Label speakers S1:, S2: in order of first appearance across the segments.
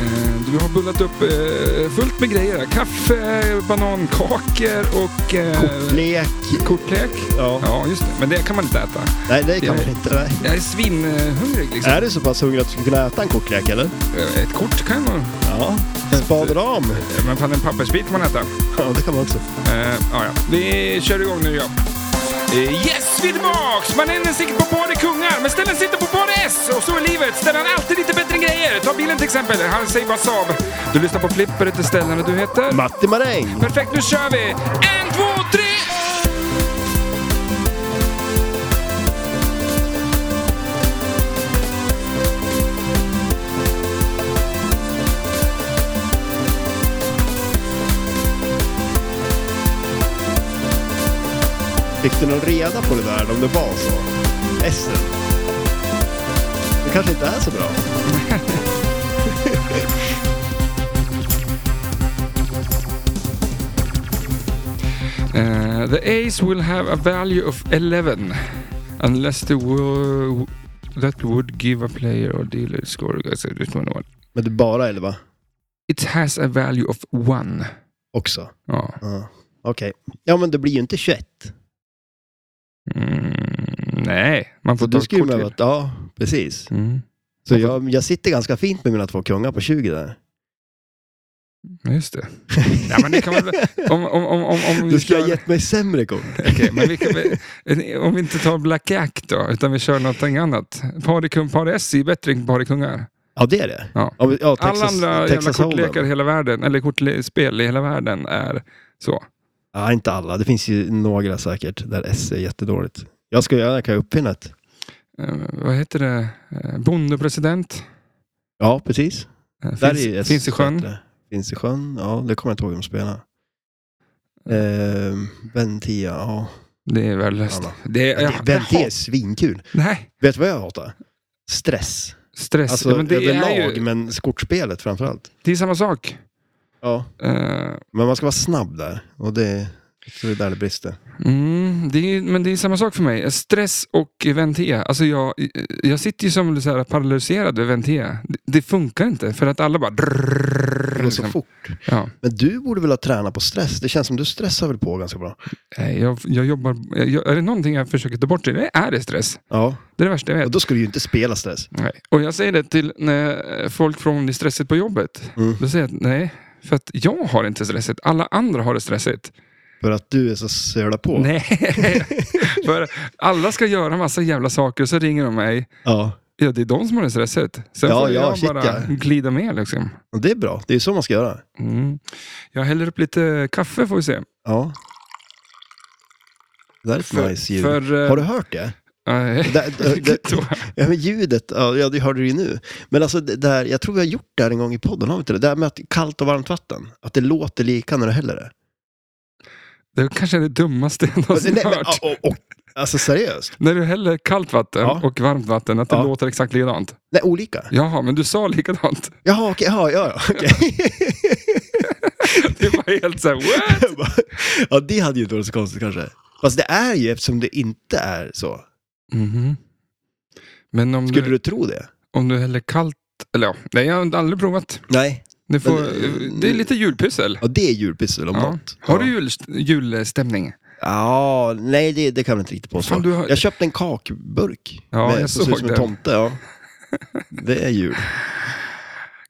S1: Eh, Du har bullat upp eh, fullt med grejer här. Kaffe, banankakor och... eh,
S2: Lek.
S1: Kortlek.
S2: Ja.
S1: Ja, just det. Men det kan man inte äta.
S2: Nej, det kan man inte. Nej.
S1: Jag är svinhungrig liksom.
S2: Är du så pass hungrig att du skulle kunna äta en kortlek eller?
S1: Eh, Ett kort kan jag nog...
S2: Ja. Spaderam.
S1: Eh, Men fan, en pappersbit kan man äta.
S2: Ja, det kan man också.
S1: Eh, ja, ja. Vi kör igång nu, ja. Eh, Yes, vi är tillbaks! Mannen sitter på paret kungar, men ställen sitter på paret S. Och så är livet. Ställen är alltid lite bättre än grejer. Ta bilen till exempel. Han säger bara Saab. Du lyssnar på Flipper, heter ställen och du heter?
S2: Matti Maräng.
S1: Perfekt, nu kör vi! En, två, tre!
S2: Fick du någon reda på det där om det var så? S. Det kanske inte är så bra.
S1: Eh, the ace will have a value of 11 unless the wo- that would give a player or dealer score. Alltså, det står nog vad-
S2: Men det är bara elva
S1: It has a value of 1.
S2: också.
S1: Ja.
S2: Ja. Okej. Ja, men det blir ju inte 21.
S1: Mm, nej, man
S2: Så
S1: får ta
S2: du
S1: ett
S2: skulle
S1: kort
S2: behöva...
S1: till.
S2: ett- Ja, precis.
S1: Mm,
S2: Så jag, jag sitter ganska fint med mina två kungar på 20 där.
S1: Mm, just det. Ja, men det kan väl, om, om, om, om, om
S2: Du
S1: vi
S2: skulle ha
S1: kör,
S2: gett mig sämre kort.
S1: Okej, men vi kan, väl- om vi inte tar Black Jack då, utan vi kör någonting annat. Parikung, par S är ju bättre än parikungar.
S2: Ja, det är det.
S1: Ja.
S2: men- ja Texas,
S1: Alla andra jävla
S2: Texas Hold'em.
S1: kortlekar i hela världen, eller kortspel i hela världen är så.
S2: Ja, inte alla. Det finns ju några säkert där S är jättedåligt. Jag ska göra, kan jag uppfinna ett?
S1: Eh, vad heter det? Eh, bondepresident?
S2: Ja, precis.
S1: Eh,
S2: Där
S1: finns,
S2: är ju S
S1: finns i sjön.
S2: bättre. Finns i sjön, ja. Det kommer jag inte ihåg hur de spelar. Ehm, Ventia, ja.
S1: Det är värdelöst.
S2: Alla.
S1: Det är,
S2: ja
S1: jag,
S2: det-
S1: jag,
S2: Ventia är
S1: hat-
S2: svinkul.
S1: nej,
S2: Vet du vad jag hatar? Stress.
S1: stress.
S2: Alltså
S1: Ja, men det, är
S2: överlag,
S1: ju,
S2: men kortspelet framförallt.
S1: det är samma sak.
S2: Ja,
S1: Eh,
S2: men man ska vara snabb där. Och det, så det är där det brister.
S1: Mm, det är, men det är samma sak för mig. Stress och Ventea. Alltså jag, jag sitter ju som så här paralyserad vid Ventea. Det, det funkar inte för att alla bara...
S2: Det
S1: drrrr,
S2: går så
S1: liksom.
S2: fort.
S1: ja.
S2: Men du borde väl ha tränat på stress? Det känns som du stressar väl på ganska bra?
S1: Nej, Eh, jag, jag jobbar... Jag, är det någonting jag försöker ta bort? Det är det stress.
S2: Ja.
S1: Det är det värsta jag
S2: Och
S1: vet.
S2: då ska du ju inte spela stress.
S1: Nej. Och jag säger det till när folk frågar om det är stressigt på jobbet.
S2: Mm.
S1: Då säger jag att nej, för att jag har inte stressigt. Alla andra har det stressigt.
S2: För att du är så söla på.
S1: Nej, för alla ska göra massa jävla saker och så ringer de mig.
S2: Ja.
S1: Ja, det är de som har det stresset. Sen
S2: Ja,
S1: får
S2: ja,
S1: jag
S2: shit,
S1: bara
S2: ja.
S1: glida med liksom.
S2: Och det är bra. Det är så man ska göra.
S1: Mm. Jag häller upp lite kaffe får vi se.
S2: Ja. Det där är ett
S1: För-
S2: nice ljud.
S1: för, eh,
S2: Har du hört det?
S1: Nej,
S2: Det- det- det-
S1: då-
S2: Ja, men ljudet, ja ja, det hörde du ju nu. Men alltså, det där, jag tror vi har gjort det här en gång i podden, har vi inte det? Det här med att kallt och varmt vatten, att det låter lika när du häller det.
S1: det kanske är det dummaste jag någonsin
S2: Nej, men,
S1: hört.
S2: ja, och, och, alltså seriöst?
S1: När du häller kallt vatten
S2: Ja.
S1: och varmt vatten, att det
S2: Ja.
S1: låter exakt likadant.
S2: Nej, olika?
S1: Jaha, men du sa likadant.
S2: Jaha, okej, jaha, ja, ja, okej.
S1: Det var helt såhär, what?
S2: Jag bara, ja, det hade ju inte varit så konstigt kanske. Fast det är ju eftersom det inte är så.
S1: Mhm. Men om
S2: Skulle
S1: du,
S2: du tro det?
S1: om du häller kallt, eller ja, nej jag har aldrig provat.
S2: Nej.
S1: Det, får,
S2: Men-
S1: det är lite julpyssel.
S2: Ja, det är julpyssel om
S1: Ja.
S2: något.
S1: Har du
S2: Ja.
S1: jul, julstämning?
S2: Ja, nej det, det kan jag inte riktigt påstå.
S1: Fan, du har-
S2: Jag köpte en kakburk.
S1: Ja, jag
S2: som ser
S1: såg
S2: ut som en
S1: det.
S2: tomte, ja. Det är jul.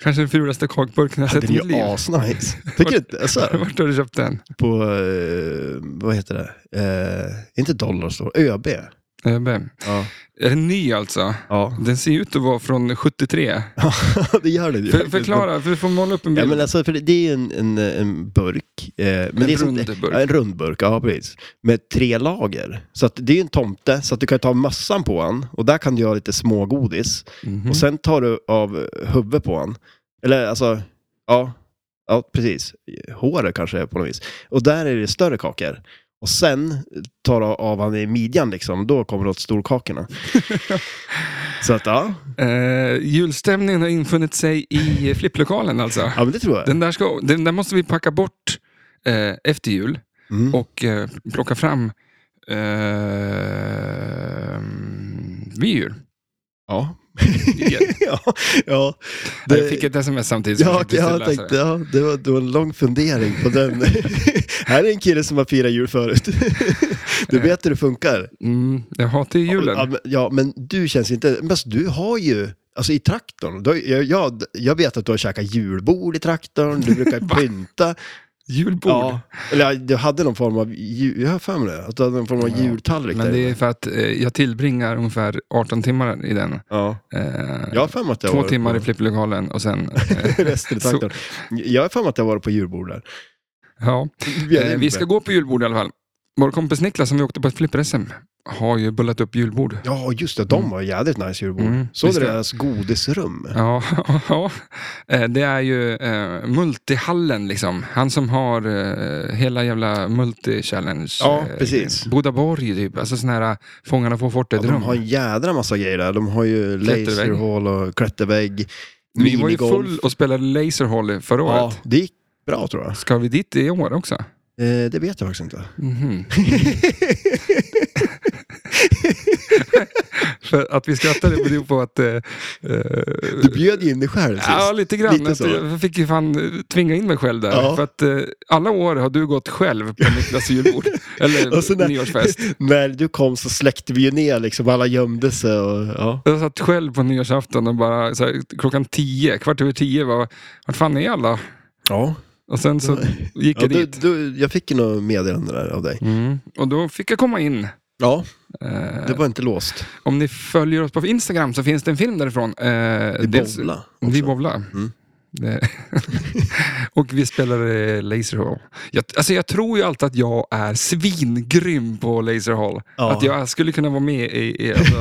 S1: Kanske den fulaste kakburken jag
S2: Ja,
S1: sett i
S2: den är
S1: mitt
S2: ju
S1: liv.
S2: asnice. Tycker du inte? Alltså,
S1: Vart har du köpt den?
S2: på, eh, vad heter det? Eh, inte Dollarstore, ÖB.
S1: ÖB.
S2: Ja.
S1: Eh, Är den ny alltså?
S2: ja.
S1: Den ser ut att vara från 73.
S2: det gör det ju.
S1: För,
S2: faktiskt.
S1: förklara, för du får måla upp en
S2: Ja,
S1: bild.
S2: men alltså, för det, det är ju en, en, en burk. Eh, men det är
S1: en
S2: som-
S1: rund burk.
S2: Ja, en rund burk, ja precis. Med tre lager. Så att det är ju en tomte, så att du kan ta mössan på han. Och där kan du göra lite smågodis.
S1: Mhm.
S2: Och sen tar du av huvudet på han. Eller alltså, ja, ja precis. Håret kanske är på något vis. Och där är det större kakor. Och sen tar du av han i midjan liksom. Då kommer du åt storkakorna. Så att ja,
S1: eh, julstämningen har infunnit sig i flipplokalen alltså.
S2: ja men det tror jag.
S1: Den där, ska, den där måste vi packa bort eh, efter jul
S2: Mm.
S1: och eh, plocka fram eh, vid jul.
S2: Ja,
S1: Igen.
S2: ja, ja.
S1: Jag fick ett sms samtidigt som
S2: ja,
S1: jag fick
S2: jag
S1: läsa
S2: tänkte,
S1: det.
S2: ja, det var, det var en lång fundering på den. här är en kille som har firat jul förut. du vet hur det funkar.
S1: Mm, jag hatar ju
S2: Ja,
S1: julen.
S2: men- Ja, men du känns inte... Men alltså, du har ju... Alltså i traktorn, du, har- jag, jag, jag vet att du har käkat julbord i traktorn, du brukar pynta.
S1: Julbord.
S2: ja. Eller ja, du hade någon form av, ju- jag har för mig det, att du hade någon form av
S1: Ja,
S2: jultallrik
S1: Men
S2: där.
S1: det är för att eh, jag tillbringar ungefär 18 timmar i den.
S2: ja.
S1: Eh,
S2: Jag har för mig att jag
S1: två
S2: varit
S1: timmar i
S2: på,
S1: flipplokalen och sen... Eh,
S2: resten i traktorn. Jag har för mig att jag har varit på julbord där.
S1: ja. eh, vi ska gå på julbord i alla fall. Vår kompis Niklas som vi åkte på ett flipper-SM har ju bullat upp julbord.
S2: Ja, just det. De var jädrigt nice julbord.
S1: Mm,
S2: Såg
S1: visst
S2: du
S1: är det.
S2: deras godisrum?
S1: Ja, ja. Eh, det är ju eh, multihallen liksom. Han som har eh, hela jävla multi-challenge.
S2: Ja, precis.
S1: Eh, Bodaborg typ. Alltså sån här Fångarna på
S2: Ja, de
S1: fortet-rum.
S2: har en jädra massa grejer där. De har ju
S1: Klättervägg.
S2: laserhall och klättervägg.
S1: vi var ju
S2: minigolf.
S1: full och spelade laserhall förra
S2: Ja,
S1: året.
S2: det gick bra tror jag.
S1: Ska vi dit i år också?
S2: Eh, det vet jag faktiskt inte.
S1: Mhm. För att vi skrattade beror på att... Eh, eh,
S2: Du bjöd ju in dig själv sist.
S1: ja, lite grann.
S2: Lite
S1: att
S2: så.
S1: jag fick ju fan eh, tvinga in mig själv där.
S2: Ja.
S1: För att eh, alla år har du gått själv på Niklas julbord.
S2: Och så
S1: eller
S2: där-
S1: nyårsfest.
S2: När du kom så släckte vi ju ner liksom. Alla gömde sig och ja.
S1: Jag satt själv på nyårsafton och bara så här, klockan tio, kvart över tio, var, vart fan är alla?
S2: Ja.
S1: Och sen så gick
S2: ja
S1: jag
S2: du,
S1: dit.
S2: du, jag fick ju något meddelande där av dig.
S1: Mm. Och då fick jag komma in.
S2: Ja,
S1: Eh,
S2: det var inte låst.
S1: Om ni följer oss på Instagram så finns det en film därifrån. Eh,
S2: Vi
S1: dels-
S2: bowlade
S1: Vi
S2: också. Mm.
S1: bowlade. Det- och vi spelade laserhall. Jag, alltså jag tror ju alltid att jag är svingrym på laserhall.
S2: Ja.
S1: Att jag skulle kunna vara med i, i, alltså,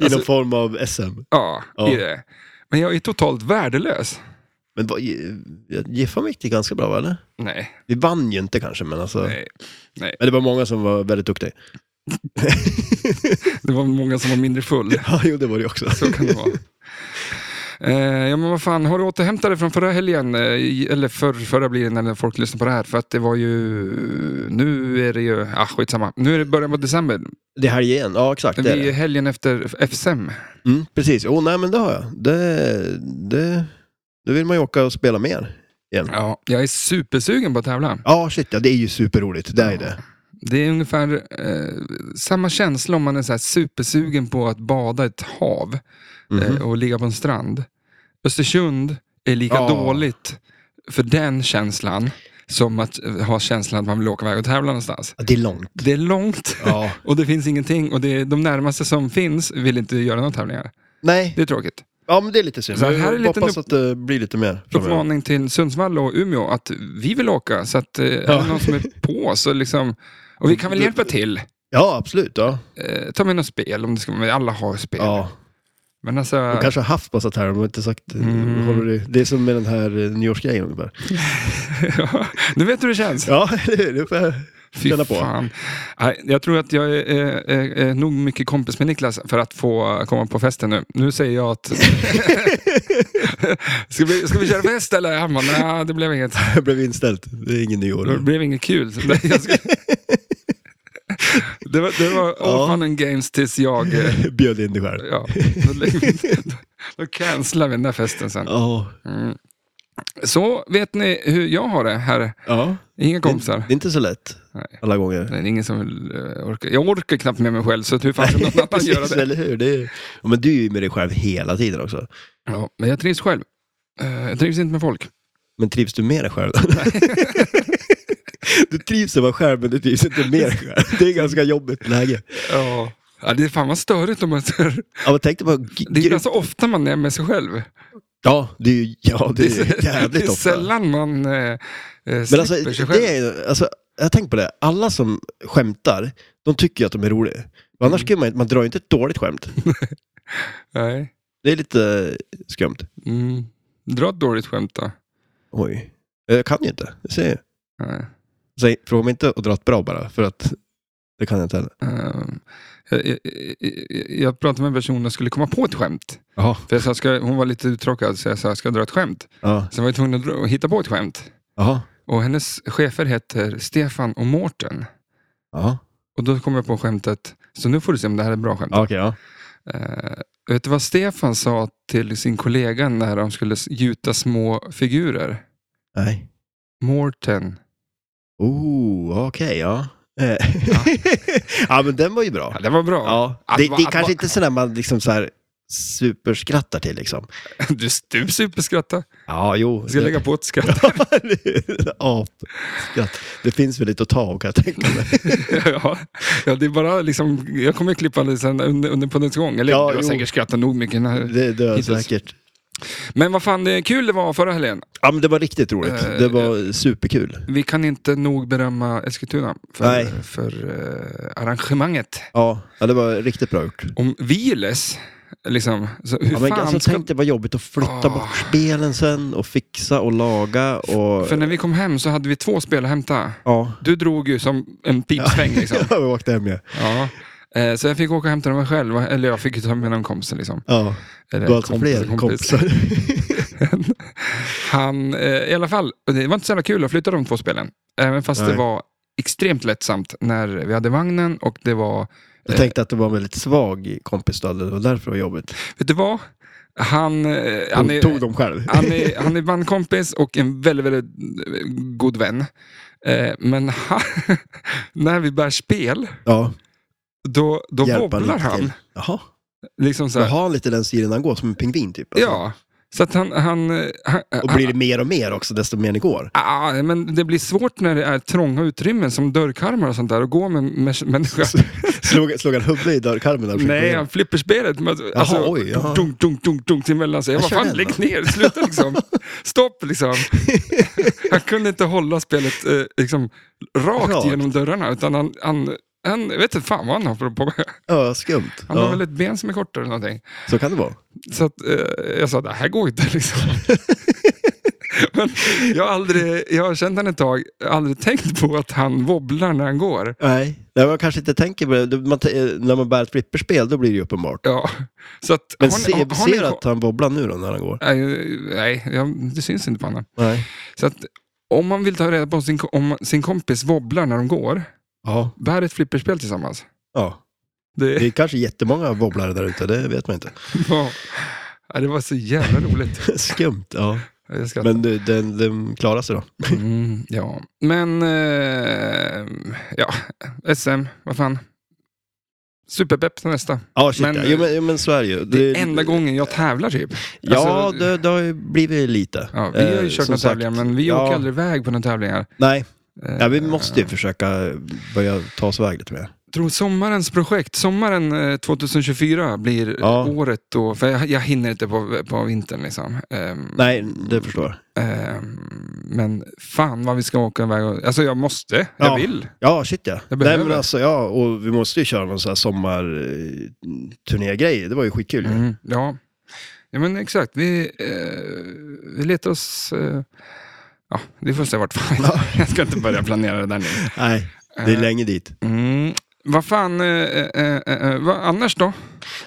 S2: I
S1: alltså,
S2: någon form av SM.
S1: ja, i
S2: Ja.
S1: det. Men jag är totalt värdelös.
S2: Men vad- Giffan gick det ganska bra, va, eller?
S1: Nej,
S2: Vi vann ju inte kanske, men alltså.
S1: nej.
S2: Men det var många som var väldigt duktiga.
S1: Det var många som var mindre full.
S2: Ja, jo, det var det ju också.
S1: Så kan det vara. Eh, ja men vad fan, har du återhämtat dig från förra helgen? Eh, i- Eller för, förra blir det när folk lyssnar på det här. För att det var ju... Nu är det ju... Ah, skitsamma. Nu är det början på december.
S2: Det här igen, ja exakt.
S1: Det
S2: Det är
S1: är ju
S2: det.
S1: helgen efter FSM.
S2: Mm, precis, oh, nej men det har jag. Det, det, då vill man ju åka och spela mer igen. Ja,
S1: Ja, jag är supersugen på att tävla.
S2: shit ja, det är ju superroligt. Det är det.
S1: Det är ungefär eh, samma känsla om man är så här supersugen på att bada i ett hav eh,
S2: Mhm.
S1: och ligga på en strand. Östersund är lika
S2: Ja.
S1: dåligt för den känslan som att eh, ha känslan att man vill åka iväg och tävla någonstans.
S2: Ja, Det är långt.
S1: Det är långt
S2: Ja.
S1: och det finns ingenting och det är, de närmaste som finns vill inte göra några tävlingar.
S2: Nej,
S1: Det är tråkigt.
S2: ja men det är lite synd.
S1: Så här är
S2: jag
S1: lite
S2: hoppas
S1: nu-
S2: att det blir lite mer framöver.
S1: uppmaning till Sundsvall och Umeå att vi vill åka, så att eh, är det någon som är på så liksom... Och vi kan väl hjälpa till.
S2: Ja, absolut. Ja.
S1: Eh, ta med något spel, om det ska, men alla har spel.
S2: Ja.
S1: Men alltså,
S2: De kanske har haft massa termer, de har inte sagt...
S1: Mm.
S2: Håller det. det är som med den här eh, nyårsgrejen ungefär.
S1: nu vet du hur det känns.
S2: Ja, eller hur? Det får jag känna på.
S1: fan. Nej, jag tror att jag är, eh, eh, eh, nog mycket kompis med Niklas för att få komma på festen nu. Nu säger jag att... ska, vi, ska vi köra fest eller? Han bara, nej det blev inget.
S2: Det blev inställt. Det är ingen
S1: Det
S2: nyår.
S1: blev inget kul. Så det- jag ska- Det var, det var all
S2: Ja.
S1: fun and games tills jag... eh,
S2: Bjöd in dig själv.
S1: Ja, då, lägger vi- då cancelar vi den där festen sen.
S2: Ja.
S1: Mm. Så vet ni hur jag har det här.
S2: ja.
S1: Inga
S2: Det,
S1: kompisar.
S2: det är inte så lätt
S1: Nej.
S2: alla gånger.
S1: Nej, det är ingen som vill eh, orka. Jag orkar knappt med mig själv, så hur fan ska någon annan göra
S2: Precis,
S1: det?
S2: Eller hur? Det är, ja, men du är ju med dig själv hela tiden också.
S1: Ja, men jag trivs själv. Eh, Jag trivs inte med folk.
S2: Men trivs du med dig själv? du trivs att vara själv, men du trivs inte med dig själv. Det är ganska jobbigt läge.
S1: Ja. Ja, det är fan vad störigt om man...
S2: Ja, men tänk dig bara... g-
S1: Det är
S2: gru-
S1: ganska ofta man är med sig själv.
S2: Ja, det är ju ja, det
S1: så-
S2: är
S1: det är
S2: jävligt ofta.
S1: sällan man eh, eh,
S2: Men
S1: slipper
S2: alltså,
S1: sig själv.
S2: det är, alltså, jag tänker på det. Alla som skämtar, de tycker ju att de är roliga. För
S1: Mm.
S2: Annars skulle man, ju- man drar ju inte ett dåligt skämt.
S1: Nej.
S2: Det är lite eh, skumt.
S1: Mm. Dra ett dåligt skämt då.
S2: Oj. Jag kan ju inte. Det ser jag.
S1: Nej.
S2: Säg, fråga mig inte att dra ett bra bara, för att det kan jag inte heller.
S1: Ehm, jag, jag, jag- jag pratade med en person som skulle komma på ett skämt.
S2: Jaha.
S1: För jag sa, ska, hon var lite uttråkad, så jag sa, ska jag dra ett skämt?
S2: Ja.
S1: Så jag var jag tvungen att dra, hitta på ett skämt.
S2: Jaha.
S1: Och hennes chefer heter Stefan och Mårten.
S2: Ja.
S1: Och då kom jag på skämtet, så nu får du se om det här är ett bra skämt.
S2: Okej, ja.
S1: Ehm, Vet du vad Stefan sa till sin kollega när de skulle s- gjuta små figurer?
S2: Nej.
S1: Morten.
S2: Oh, okej, ja. Eh, ja, men den var ju bra.
S1: Ja, det var bra.
S2: Ja,
S1: Att
S2: det,
S1: va-
S2: det är
S1: att
S2: kanske
S1: va-
S2: inte sådär man liksom så här superskrattar till liksom.
S1: Du, du superskrattar.
S2: Ja, jo.
S1: Jag ska
S2: det-
S1: lägga på ett skratt.
S2: Apskratt. Det finns väl lite att ta av kan jag tänka mig.
S1: ja. ja, det är bara liksom, jag kommer klippa det sen under, under poddens gång. Eller
S2: Ja,
S1: du har
S2: jo.
S1: säkert skrattat nog mycket. När...
S2: Det, det är
S1: Hittills.
S2: säkert.
S1: Men vad fan, det kul det var förra helgen.
S2: Ja, men det var riktigt roligt.
S1: Eh,
S2: Det var superkul.
S1: Vi kan inte nog berömma Eskilstuna för,
S2: Nej.
S1: för eh, arrangemanget.
S2: Ja, ja, det var riktigt bra gjort.
S1: Om Viles, liksom, så hur
S2: Ja, men
S1: fan
S2: alltså,
S1: ska...
S2: Tänk det var jobbigt att flytta
S1: Ah.
S2: bort spelen sen och fixa och laga och...
S1: För när vi kom hem så hade vi två spel att hämta.
S2: Ja.
S1: Du drog ju som en pipsväng liksom.
S2: Ja, vi åkte hem ja.
S1: Ja. Eh, Så jag fick åka och hämta dem själv, eller jag fick ju ta med någon kompis. Liksom.
S2: ja.
S1: Eller
S2: Du har alltså
S1: kompis,
S2: fler
S1: kompis. Eh.
S2: kompisar.
S1: Han, eh, I alla fall, och det var inte så jävla kul att flytta de två spelen. Även fast det
S2: Nej.
S1: var extremt lättsamt när vi hade vagnen och det var...
S2: Jag tänkte att det var en väldigt svag kompis då, det var därför det var jobbigt.
S1: Vet du vad? Han, eh, han,
S2: Hon tog
S1: är,
S2: dem själv.
S1: han, är, han är bandkompis och en väldigt, väldigt eh, god vän. Eh, Men han, när vi bär spel,
S2: Ja,
S1: då, då
S2: hjälpa
S1: wobblar
S2: lite
S1: han.
S2: till. Jaha.
S1: Liksom så
S2: Så
S1: här,
S2: har lite den stilen han går, som en pingvin typ. alltså.
S1: Ja, så att han... han, eh, han
S2: Och blir det mer och mer också, desto mer ni går.
S1: Ah, men det blir svårt när det är trånga utrymmen som dörrkarmar och sånt där och gå med med- människor.
S2: Slog, slog han huvudet i dörrkarmen? där och försökte gå
S1: Nej,
S2: in?
S1: han flipper spelet. Men,
S2: Jaha, Alltså, oj, jaha.
S1: dunk, dunk, dunk, dunk till mellan sig. Jag bara,
S2: Jag kör
S1: fan
S2: den
S1: lägg
S2: då."
S1: ner, sluta liksom. Stopp liksom. Han kunde inte hålla spelet eh, liksom, rakt,
S2: Rakt.
S1: genom dörrarna. Utan han, han, han, jag vet inte fan vad han har på med.
S2: Ja, skumt.
S1: Han har
S2: Ja,
S1: väl ett ben som är kortare eller någonting.
S2: Så kan det vara.
S1: Så att, eh, jag sa, det här går inte liksom. Men jag, har aldrig, jag har känt honom ett tag, jag har aldrig tänkt på att han wobblar när han går.
S2: Nej, Nej man kanske inte tänker på det. Du- Man, t- eh, när man bär ett flipperspel, då blir det ju uppenbart.
S1: Ja, så att,
S2: Men
S1: har ni-
S2: se,
S1: har- har ni-
S2: ser du att han wobblar nu då, när han går?
S1: Nej, nej jag, det syns inte på honom.
S2: Nej.
S1: Så att, om man vill ta reda på om sin, ko- om sin kompis wobblar när de går,
S2: Ja.
S1: bär ett flipperspel tillsammans.
S2: ja. Det
S1: Det,
S2: är kanske jättemånga wobblare där ute, det vet man inte.
S1: var, ja, det var så jävla roligt.
S2: Skumt, ja.
S1: Jag skrattar.
S2: Men du, den, den klarar sig då.
S1: Mm, ja. Men, eh, ja, SM, vad fan. Superpepp till nästa.
S2: Ja, shit,
S1: Men-
S2: men, ja. Jo, men, jo, men så är det ju.
S1: Det är
S2: Det-
S1: enda gången jag tävlar typ.
S2: Ja,
S1: Alltså-
S2: det, det har ju blivit lite.
S1: Ja, vi har ju
S2: Eh,
S1: kört
S2: som
S1: några
S2: sagt,
S1: tävlingar, men vi
S2: ja.
S1: åker aldrig iväg på några tävlingar.
S2: Nej,
S1: Eh,
S2: ja, vi måste ju försöka börja ta oss iväg lite mer.
S1: tror sommarens projekt, sommaren eh, 2024 blir
S2: Ja.
S1: året då. För jag, jag hinner inte på, på vintern liksom. Ehm,
S2: Nej, det förstår jag.
S1: ehm, men fan vad vi ska åka iväg. och- Alltså jag måste, jag
S2: Ja.
S1: vill.
S2: Ja, shit ja.
S1: Jag
S2: Nej,
S1: behöver.
S2: men alltså, ja, och vi måste ju köra någon sån här sommarturnégrej. Det var ju skitkul. ju.
S1: Mm, ja. ja, men exakt. Vi, eh, vi letar oss... Eh, ja, vi får se vart fan vi- Jag ska inte börja planera det där nu.
S2: Nej, det är
S1: Eh,
S2: länge dit.
S1: Mm, vad fan, eh, eh, eh, eh, vad annars då?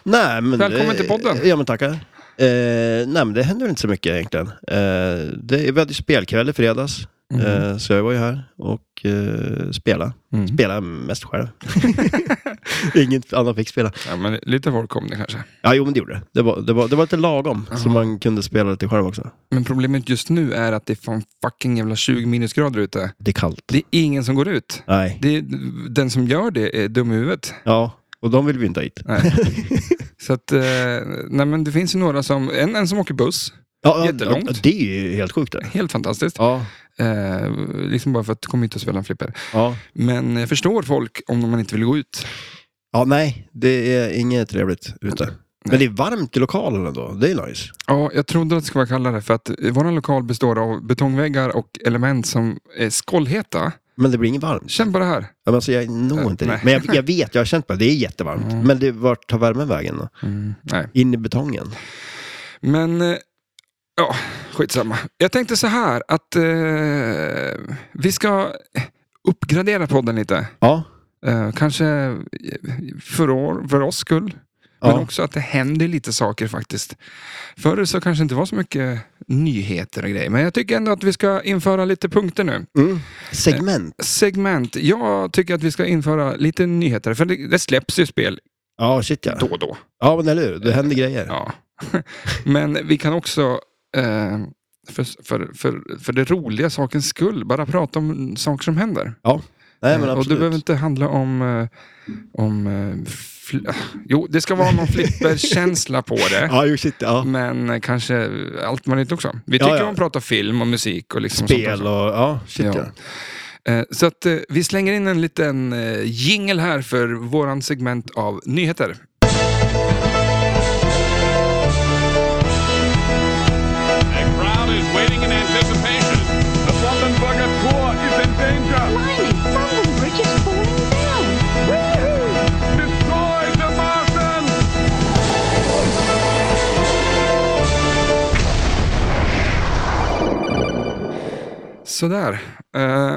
S2: Nej, men,
S1: välkommen
S2: eh,
S1: till podden.
S2: Ja, men tackar. Eh, nej, men det händer inte så mycket egentligen. Eh, det, vi hade ju spelkväll i fredags,
S1: Mm.
S2: eh, så jag var ju här och eh, spelade.
S1: Mm.
S2: Spelade mest själv. Ingen annan fick spela.
S1: Ja, men lite folk kom det kanske.
S2: Ja, jo men det gjorde det. Det var, det var, det var lite lagom,
S1: Jaha.
S2: så man kunde spela lite själv också.
S1: Men problemet just nu är att det är fan fucking jävla 20 minusgrader ute.
S2: Det är kallt.
S1: Det är ingen som går ut.
S2: Nej.
S1: Det är, den som gör det är dum i huvudet.
S2: Ja, och de vill vi inte ha hit.
S1: Nej. Så att, eh, nej men det finns ju några som, en, en som åker buss,
S2: Ja, ja,
S1: Jättelångt.
S2: ja, Det är ju helt sjukt det.
S1: helt fantastiskt.
S2: Ja,
S1: Eh, liksom bara för att komma hit och spela en flipper.
S2: ja.
S1: Men jag förstår folk om man inte vill gå ut.
S2: ja, nej, det är inget trevligt ute. Men det är varmt i lokalen ändå, det är nice.
S1: Ja, jag trodde att det skulle vara kallare för att vår lokal består av betongväggar och element som är skållheta.
S2: Men det blir inget varmt.
S1: Känn på det här.
S2: Ja, men Alltså, jag når
S1: Äh,
S2: inte
S1: nej.
S2: det. Men jag, jag vet, jag har känt på det, det är jättevarmt.
S1: Mm.
S2: Men det, vart tar värmen vägen då?
S1: Mm, nej.
S2: In i betongen?
S1: Men, eh, ja, skitsamma. Jag tänkte så här att eh, vi ska uppgradera podden lite.
S2: Ja,
S1: Eh, kanske eh, för, år, för oss skull. Men
S2: ja.
S1: också att det händer lite saker faktiskt. Förr så kanske det inte var så mycket nyheter och grejer. Men jag tycker ändå att vi ska införa lite punkter nu.
S2: Mm. segment.
S1: Segment. Jag tycker att vi ska införa lite nyheter. För det, det släpps ju spel
S2: Ja, shit ja.
S1: då och då.
S2: Ja, men eller hur? Det händer grejer.
S1: Ja. Men vi kan också, eh, för, för, för, för det roliga sakens skull, bara prata om saker som händer.
S2: Nej, men
S1: Eh, och
S2: absolut.
S1: det behöver inte handla om... eh, om eh, fl- jo, det ska vara någon flipperkänsla på det.
S2: Ja, jo, shit ja.
S1: Men eh, kanske allt möjligt också. Vi
S2: Ja,
S1: tycker
S2: ja.
S1: om att prata film och musik och liksom
S2: Spel
S1: sånt
S2: och... Ja, shit
S1: Ja.
S2: ja.
S1: också. Eh, Så att eh, vi slänger in en liten eh, jingle här för våran segment av nyheter.
S3: The crowd is waiting in anticipation. The Buffenberger Tour is in danger.
S4: Blimey, Brooklyn Bridge is falling down.
S3: Destroy the Martians!
S1: Sådär. Eh,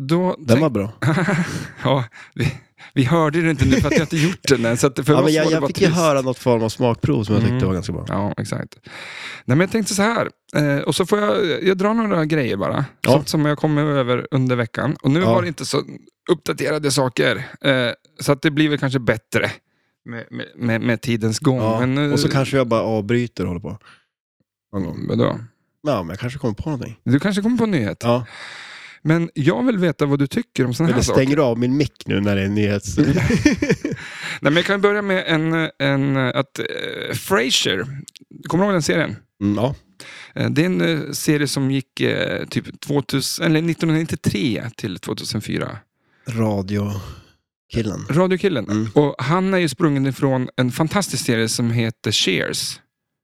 S1: Då
S2: Den
S1: tänk-
S2: var bra.
S1: ja, vi, vi hörde det inte nu för att jag inte gjort den än. Så att för
S2: Ja,
S1: oss
S2: men jag
S1: var det
S2: jag
S1: bara
S2: fick ju
S1: trist.
S2: höra något form av smakprov som jag tyckte
S1: Mm.
S2: var ganska bra.
S1: Ja, exakt. Nej, men jag tänkte så här, eh, och så får jag, jag drar några grejer bara,
S2: Ja.
S1: sånt som jag kommer över under veckan. Och nu
S2: Ja.
S1: var det inte så uppdaterade saker, eh, så att det blir väl kanske bättre med, med- med, med tidens gång.
S2: Ja.
S1: Men, eh,
S2: Och så kanske jag bara avbryter och håller på. Någon gång.
S1: vadå?
S2: Ja, men jag kanske kommer på någonting.
S1: Du kanske kommer på en nyhet,
S2: Ja.
S1: men jag vill veta vad du tycker om sådana här
S2: Eller
S1: saker.
S2: stänger du av min mick nu när det är nyhets...
S1: Nej, men jag kan börja med en, en att eh, Frasier, kommer du ihåg den serien?
S2: Mm, ja.
S1: Eh, Det är en eh, serie som gick eh, typ 2000, eller 1993 till 2004.
S2: Radiokillen.
S1: Radiokillen.
S2: Mm.
S1: Och han är ju sprungen ifrån en fantastisk serie som heter Cheers.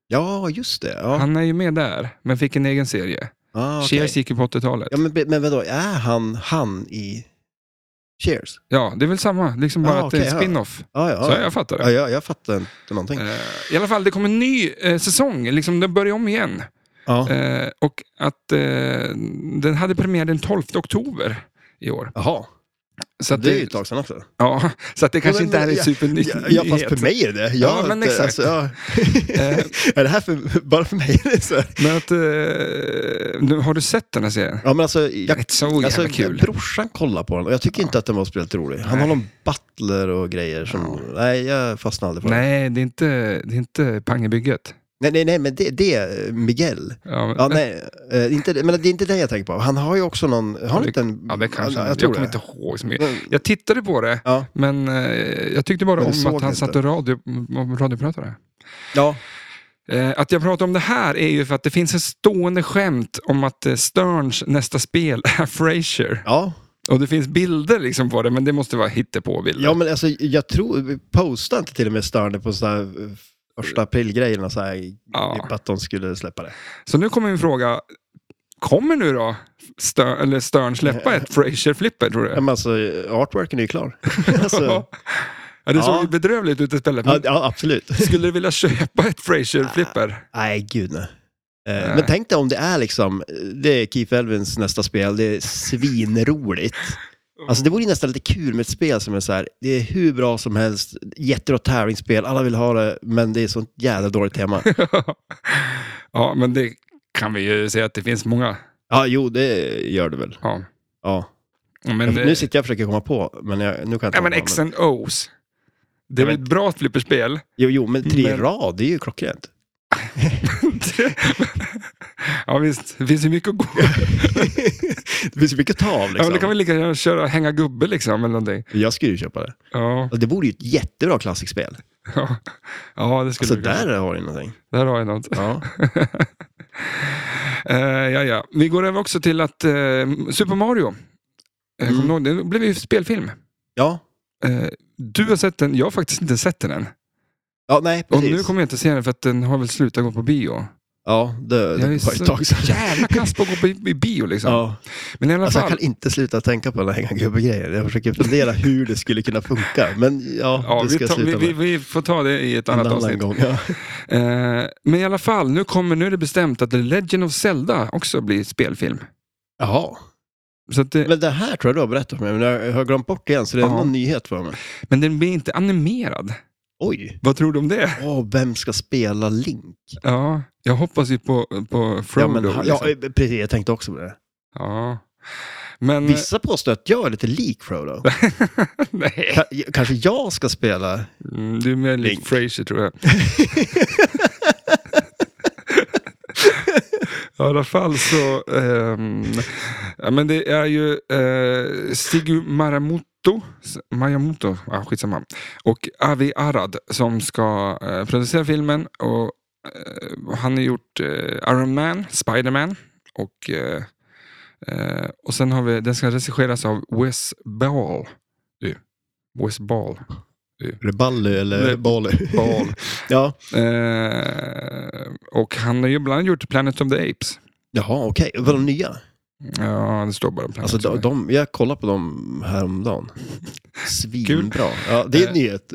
S2: Ja, just det. Ja.
S1: Han är ju med där, men fick en egen serie.
S2: Ah, okej.
S1: Cheers gick ju på 80-talet.
S2: Ja, men, men vadå, är han han i Cheers?
S1: Ja, det är väl samma. Liksom bara
S2: Ja,
S1: att det är en
S2: Ah, okej, ja.
S1: spin-off.
S2: Ja, ja.
S1: Så jag fattar det.
S2: ja, jag, jag fattar inte någonting.
S1: Eh, I alla fall, det kommer en ny eh, säsong. Liksom, den börjar om igen.
S2: Ja.
S1: Eh, och att eh, den hade premiär den 12 oktober i år.
S2: Jaha,
S1: Så att
S2: det är ju
S1: det,
S2: ett tag sedan också.
S1: ja, så att det kanske
S2: men-
S1: inte är en
S2: ja,
S1: supernyhet.
S2: Ja, ja, fast för mig är det Jag
S1: Ja,
S2: har
S1: men
S2: inte- alltså,
S1: exakt.
S2: ja.
S1: Eh.
S2: är det här för, bara för mig? eller så?
S1: Men att, eh, nu, har du sett den här serien?
S2: Ja, men alltså, jag,
S1: Rätt så jävla
S2: alltså,
S1: kul.
S2: Brorsan kollade på den och jag tycker inte att den var speciellt rolig. Han
S1: Nej.
S2: har någon butler och grejer som... Nej, jag fastnade aldrig på den.
S1: Nej, det är inte, det är inte pang i bygget.
S2: Nej, nej, nej, men det, det är Miguel.
S1: Ja, men-
S2: Ja, nej, eh, inte, det- men det är inte det jag tänker på. Han har ju också någon... Har han
S1: det-
S2: inte en...
S1: ja, det kanske
S2: jag,
S1: jag,
S2: jag
S1: jag
S2: tror
S1: kommer
S2: det.
S1: inte ihåg så mycket.
S2: Men-
S1: Jag tittade på det,
S2: Ja.
S1: men eh, jag tyckte bara
S2: Men
S1: om
S2: du
S1: att
S2: såg
S1: han
S2: det
S1: satt
S2: inte.
S1: och radio, m- radiopratade.
S2: Ja,
S1: Eh, att jag pratar om det här är ju för att det finns ett stående skämt om att eh, Sterns nästa spel är Frasier.
S2: ja.
S1: Och det finns bilder liksom på det, men det måste vara hittepåbilder.
S2: ja men alltså jag tror, postade inte till och med Störne på sådana här eh, första aprilgrejerna så här, typ
S1: Ja.
S2: att de skulle släppa det.
S1: Så nu kommer min fråga, kommer nu då Stern, eller Stern släppa ett Frasier-flipper tror
S2: Ja,
S1: du?
S2: men alltså artworken är ju klar. alltså,
S1: ja, det såg
S2: Ja.
S1: ju bedrövligt ut i spelet.
S2: ja,
S1: Men
S2: ja, absolut.
S1: skulle du vilja köpa ett
S2: Ah.
S1: Frasier-flipper?
S2: Nej, gud nej. Eh,
S1: Nej.
S2: Men tänk dig om det är liksom, det är Keith Elvins nästa spel, det är svinroligt. Alltså det vore ju nästan lite kul med ett spel som är så här, det är hur bra som helst, jättebra tävlingsspel, alla vill ha det, men det är sånt jävla dåligt tema.
S1: ja, men det kan vi ju säga att det finns många.
S2: Ja, jo, det gör det väl.
S1: Ja.
S2: Ja.
S1: Men,
S2: nu sitter jag och försöker komma på, men jag, nu kan jag inte
S1: Mm. ja, men
S2: komma på,
S1: X and O's. Det är
S2: Jag
S1: väl ett bra flipperspel?
S2: Jo, jo, men tre
S1: Men-
S2: rad, det är ju klockrent.
S1: ja, visst. Det finns ju mycket att gå.
S2: liksom. det finns ju mycket att ta av
S1: Ja, men
S2: liksom.
S1: det kan vi lika gärna köra hänga gubbe liksom, eller någonting.
S2: Jag skulle ju köpa det.
S1: Ja,
S2: Och det vore ju ett jättebra klassikspel.
S1: ja. ja det skulle
S2: Alltså
S1: vi kunna.
S2: där har du någonting.
S1: Där har jag något.
S2: Ja.
S1: Eh, ja, ja. Vi går över också till att eh, Super Mario, eh,
S2: Mm.
S1: kommer du ihåg, det blev ju spelfilm.
S2: ja.
S1: Eh, du har sett den, jag har faktiskt inte sett den än.
S2: Ja, nej,
S1: Och
S2: precis.
S1: nu kommer jag inte se den för att den har väl slutat gå på bio.
S2: Ja, det, det
S1: Jag
S2: var
S1: är
S2: ett tag
S1: så
S2: sedan.
S1: jävla kass på att gå på i- i bio liksom.
S2: Ja.
S1: Men i alla
S2: Alltså, jag
S1: fall.
S2: kan inte sluta tänka på den här hänga gubbe-grejen. Jag försöker fundera hur det skulle kunna funka, men ja,
S1: Ja,
S2: det ska
S1: vi,
S2: jag
S1: tar, vi,
S2: sluta
S1: vi,
S2: med.
S1: vi får ta det i ett annat
S2: En
S1: avsnitt.
S2: gång. Ja.
S1: Eh, men i alla fall, nu, kommer, nu är det bestämt att The Legend of Zelda också blir spelfilm.
S2: Jaha.
S1: Så att det,
S2: Men det här tror jag du har berättat för mig, men jag har glömt bort det igen, så det är
S1: Ja.
S2: någon nyhet för mig.
S1: men den blir inte animerad.
S2: Oj!
S1: Vad tror du om det?
S2: Åh, vem ska spela Link?
S1: Ja, jag hoppas ju på, på Frodo.
S2: ja, eh, men, han-
S1: liksom.
S2: ja, eh, precis. Jag tänkte också på det.
S1: Ja. Men...
S2: Vissa påstår att jag är lite lik Frodo.
S1: Nej,
S2: Ka- j- Kanske jag ska spela...
S1: Mm, du är mer lik
S2: Link.
S1: Fraser tror jag. I alla fall så... ehm, ja, men det är ju eh, Sigu Maramoto, Mayamoto, ah, skitsamma, och Avi Arad som ska eh, producera filmen. Och, eh, han har gjort eh, Iron Man, Spider-Man och... Eh, eh, och sen har vi, den ska regisseras av Wes Ball. Du, Wes Ball.
S2: Är det Bally eller
S1: Nej.
S2: Bally?
S1: Ball.
S2: ja.
S1: Eh, och han har ju ibland gjort Planet of the Apes.
S2: Jaha, okej. Var de nya?
S1: Ja, det står bara Planet
S2: Alltså,
S1: of
S2: de,
S1: the
S2: de, jag kollade på dem häromdagen. Svinbra. Ja, det är
S1: Eh,
S2: en nyhet.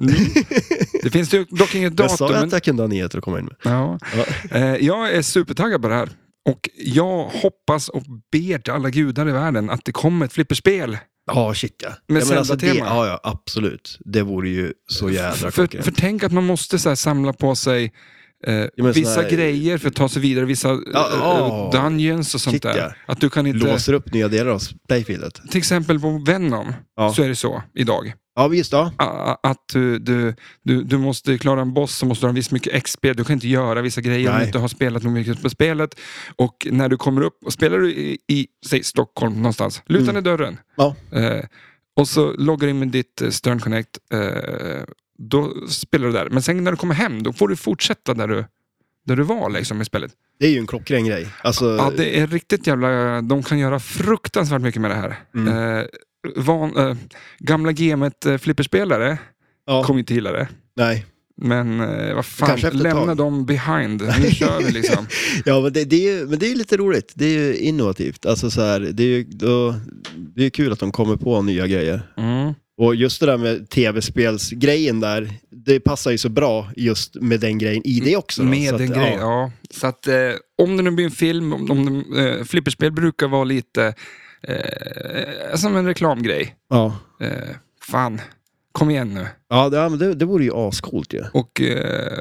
S1: Det finns ju dock inget
S2: Jag
S1: datum.
S2: sa ju
S1: Men,
S2: att jag kunde ha nyheter att komma in med.
S1: ja.
S2: Ja.
S1: eh, jag är supertaggad på det här. Och jag hoppas och ber till alla gudar i världen att det kommer ett flipperspel.
S2: Ja, shit ja.
S1: Med
S2: ja, men alltså, det,
S1: Zelda-tema.
S2: ja, ja, absolut. Det vore ju så jädra
S1: För, för
S2: klockrent.
S1: tänk att man måste så här samla på sig eh,
S2: men
S1: vissa
S2: såna här-
S1: grejer för att ta sig vidare, vissa eh,
S2: ja.
S1: dungeons och sånt
S2: Shit,
S1: där.
S2: ja.
S1: Att du kan inte...
S2: Låser upp nya delar av playfieldet.
S1: Till exempel på Venom
S2: Ja.
S1: så är det så idag.
S2: Ja, visst. Ja.
S1: a- att du, du, du, du måste klara en boss så måste du ha visst mycket XP. Du kan inte göra vissa grejer om du
S2: Nej.
S1: inte har spelat nog mycket på spelet. Och när du kommer upp, och spelar du i, i säg Stockholm någonstans, luta ner dörren.
S2: Mm. Ja.
S1: Eh, och så loggar du in med ditt eh, Stern Connect. Eh, då spelar du där. Men sen när du kommer hem, då får du fortsätta där du, där du var liksom, i spelet.
S2: Det är ju en klockren grej. Alltså,
S1: Ja, det är riktigt jävla... De kan göra fruktansvärt mycket med det här.
S2: Mm.
S1: Eh, van, eh, gamla gamet-flipperspelare
S2: ja,
S1: kommer inte gilla det.
S2: nej.
S1: Men eh, vad fan,
S2: Kanske efter ett
S1: lämna
S2: tag.
S1: dem behind. Nu kör vi liksom.
S2: Ja, men det, det är ju, men det är ju lite roligt. Det är ju innovativt. Alltså, så här, det, är ju, då, det är kul att de kommer på nya grejer.
S1: Mm.
S2: Och just det där med tv-spelsgrejen där, det passar ju så bra just med den grejen i det också. Då.
S1: Mm, Med
S2: Så att,
S1: en grej, ja.
S2: Ja.
S1: Så att eh, om det nu blir en film, om, om det, eh, flipperspel brukar vara lite eh, som en reklamgrej.
S2: Ja.
S1: Eh, fan, kom igen nu.
S2: Ja, det, ja, men det, det vore ju ascoolt ju.
S1: Och eh,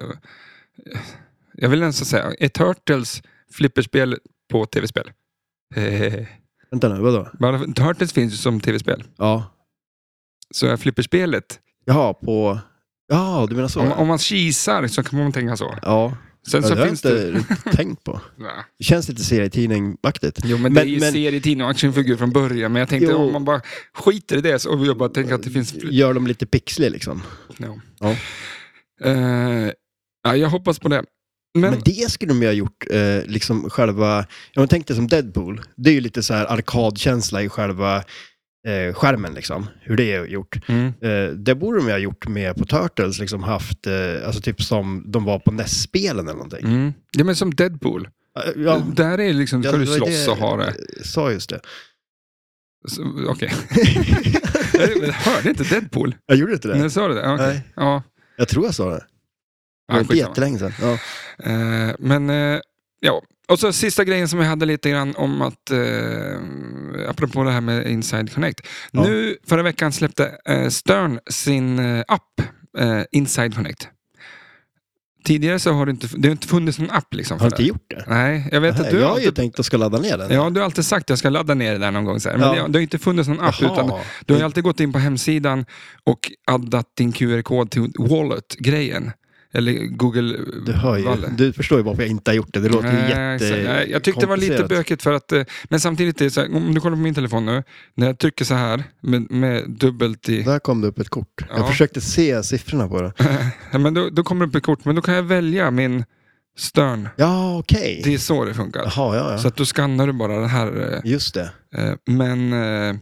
S1: jag vill ens säga, är Turtles flipperspel på tv-spel? Eh,
S2: Vänta nu, vadå?
S1: bara- Turtles finns ju som tv-spel.
S2: Ja.
S1: Så är flipperspelet,
S2: Jaha, på... Ja, du menar så?
S1: om,
S2: ja.
S1: om man kisar så kan man tänka så.
S2: Ja,
S1: Sen
S2: ja
S1: så
S2: det har jag
S1: finns
S2: inte
S1: det...
S2: riktigt tänkt på.
S1: Nej.
S2: Det känns lite serietidning-aktigt.
S1: Jo, men, det är
S2: Men-
S1: ju
S2: men-
S1: serietidning och actionfigur från början. Men jag tänkte
S2: Jo.
S1: om man bara skiter i det så, och jag bara tänker att det finns... fl-
S2: Gör dem lite pixlig liksom.
S1: Ja.
S2: Ja.
S1: Eh, ja, jag hoppas på det. Men,
S2: Men, det skulle de ju ha gjort, eh, liksom själva... Ja, men tänk dig som Deadpool. Det är ju lite så här arkadkänsla i själva eh, skärmen liksom. Hur det är gjort.
S1: mm,
S2: Eh, det borde de ju ha gjort med på Turtles, liksom haft, eh, alltså typ som de var på NES-spelen eller någonting.
S1: mm. Ja, men som Deadpool.
S2: Eh, Ja,
S1: Där är liksom, ska
S2: ja,
S1: du
S2: det var
S1: slåss
S2: det
S1: och ha det.
S2: jag Sa just det.
S1: Så, Okej. Okay. Hörde inte Deadpool?
S2: Jag gjorde inte det.
S1: När jag sa det? där? Okej.
S2: Nej.
S1: Ja.
S2: Jag tror jag sa det. Det var
S1: Ja,
S2: inte
S1: skitsamma.
S2: jättelänge sedan. Ja.
S1: Eh, men eh, ja, och så sista grejen som vi hade lite grann om att, eh, apropå det här med Inside Connect.
S2: Ja.
S1: Nu förra veckan släppte eh, Stern sin eh, app eh, Inside Connect. Tidigare så har det inte, det har inte funnits någon app liksom.
S2: Har
S1: För
S2: inte
S1: det.
S2: gjort det?
S1: Nej, jag vet att
S2: Nej,
S1: du
S2: jag
S1: har
S2: har ju
S1: alltid,
S2: tänkt att jag ska ladda ner den.
S1: ja, du har alltid sagt att jag ska ladda ner det där någon gång. Så här. Men
S2: Ja.
S1: det, det har inte funnits någon app.
S2: Jaha.
S1: utan Du har ju alltid gått in på hemsidan och addat din QR-kod till Wallet-grejen. Eller Google
S2: Du, hör ju,
S1: Wallet.
S2: du förstår ju varför jag inte har gjort det. Det låter ju
S1: Nej,
S2: jätte...
S1: så- nej, Jag tyckte det var lite
S2: komplicerat.
S1: bökigt för att, eh, men samtidigt, är det så här, om du kollar på min telefon nu, när jag trycker så här med, med dubbelt i,
S2: Där kom det upp ett kort.
S1: Ja.
S2: Jag försökte se siffrorna på det.
S1: ja, men då, då kommer det upp ett kort, men då kan jag välja min störn.
S2: Ja, okej.
S1: Det är så det funkar.
S2: Jaha, ja, ja.
S1: Så att då skannar du bara det här.
S2: Just det.
S1: eh, eh, Men eh,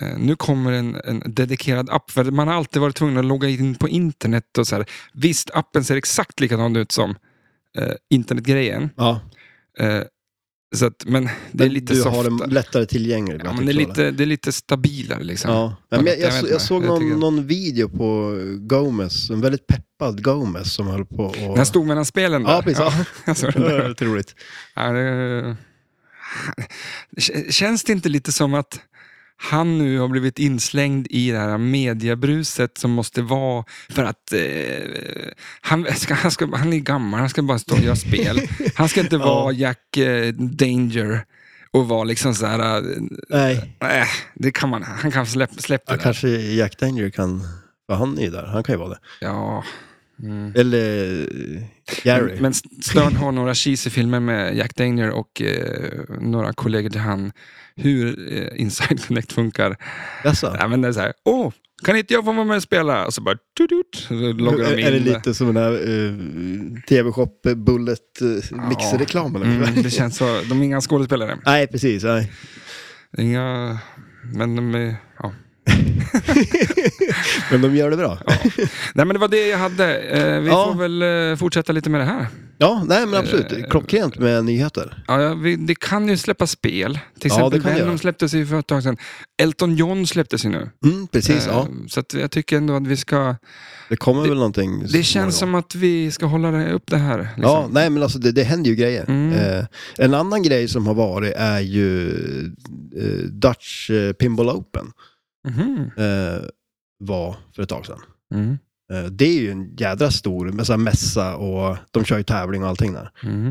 S1: eh, nu kommer en, en dedikerad app, för man har alltid varit tvungen att logga in på internet och så här. Visst, appen ser exakt likadan ut som eh, internetgrejen.
S2: Ja.
S1: Eh, så att, men det är
S2: Men
S1: lite
S2: du
S1: softare.
S2: har den lättare tillgänglig. typ
S1: Ja, men det, är lite, det är lite stabilare liksom.
S2: Ja. Ja, men jag,
S1: Jag
S2: jag,
S1: vet
S2: så-
S1: inte.
S2: jag såg
S1: Jag tycker-
S2: någon, någon video på Gomez, en väldigt peppad Gomez som höll på och...
S1: Den stod mellan spelen där.
S2: Ja, precis. Ja.
S1: jag såg
S2: Det
S1: den
S2: var
S1: där.
S2: lite roligt.
S1: Ja, det... K- Känns det inte lite som att han nu har blivit inslängd i det här mediebruset som måste vara för att eh, han, ska, han, ska, han är gammal, han ska bara stå och göra spel. Han ska inte
S2: Ja.
S1: vara Jack eh, Danger och var liksom så här... eh,
S2: Nej.
S1: Nej, det kan man. Han kan släppa släpp det
S2: Ja,
S1: där.
S2: kanske Jack Danger kan... För han är ju där, han kan ju vara det.
S1: Ja. Mm.
S2: Eller eh, Gary.
S1: Men Stern har några cheesy filmer med Jack Daniel och eh, några kollegor till han. Hur eh, Inside Connect funkar.
S2: Jaså?
S1: Nej, men det är så här, åh, kan inte jag få vara med och spela? Och så bara, tutut, så loggar de
S2: Är,
S1: in.
S2: är det lite som den eh, där TV-shop Bullet uh, mixreklamen?
S1: Mm, det känns så. De är inga skådespelare.
S2: Nej, precis. Nej.
S1: Inga... Men de är... Ja.
S2: Men de gör det bra. Ja,
S1: Nej men det var det jag hade. Eh, vi
S2: Ja.
S1: får väl eh, fortsätta lite med det här.
S2: nej men absolut.
S1: Eh,
S2: Klockrent med nyheter.
S1: Ja, ja, vi, det kan ju släppa spel. Till exempel
S2: det kan det
S1: Venom
S2: göra.
S1: släpptes ju för ett tag sedan. Elton John släpptes ju nu.
S2: Mm, precis,
S1: Eh,
S2: ja.
S1: Så att jag tycker ändå att vi ska...
S2: Det kommer
S1: det-
S2: väl någonting.
S1: Det känns som att vi ska hålla det- upp det här. Liksom.
S2: Ja, nej men alltså det, det händer ju grejer.
S1: Mm.
S2: Eh, en annan grej som har varit är ju eh, Dutch eh, Pinball Open.
S1: Mhm.
S2: Eh, var för ett tag sedan.
S1: Mm.
S2: Eh, det är ju en jädra stor med så här mässa och de kör ju tävling och allting där.
S1: Mm.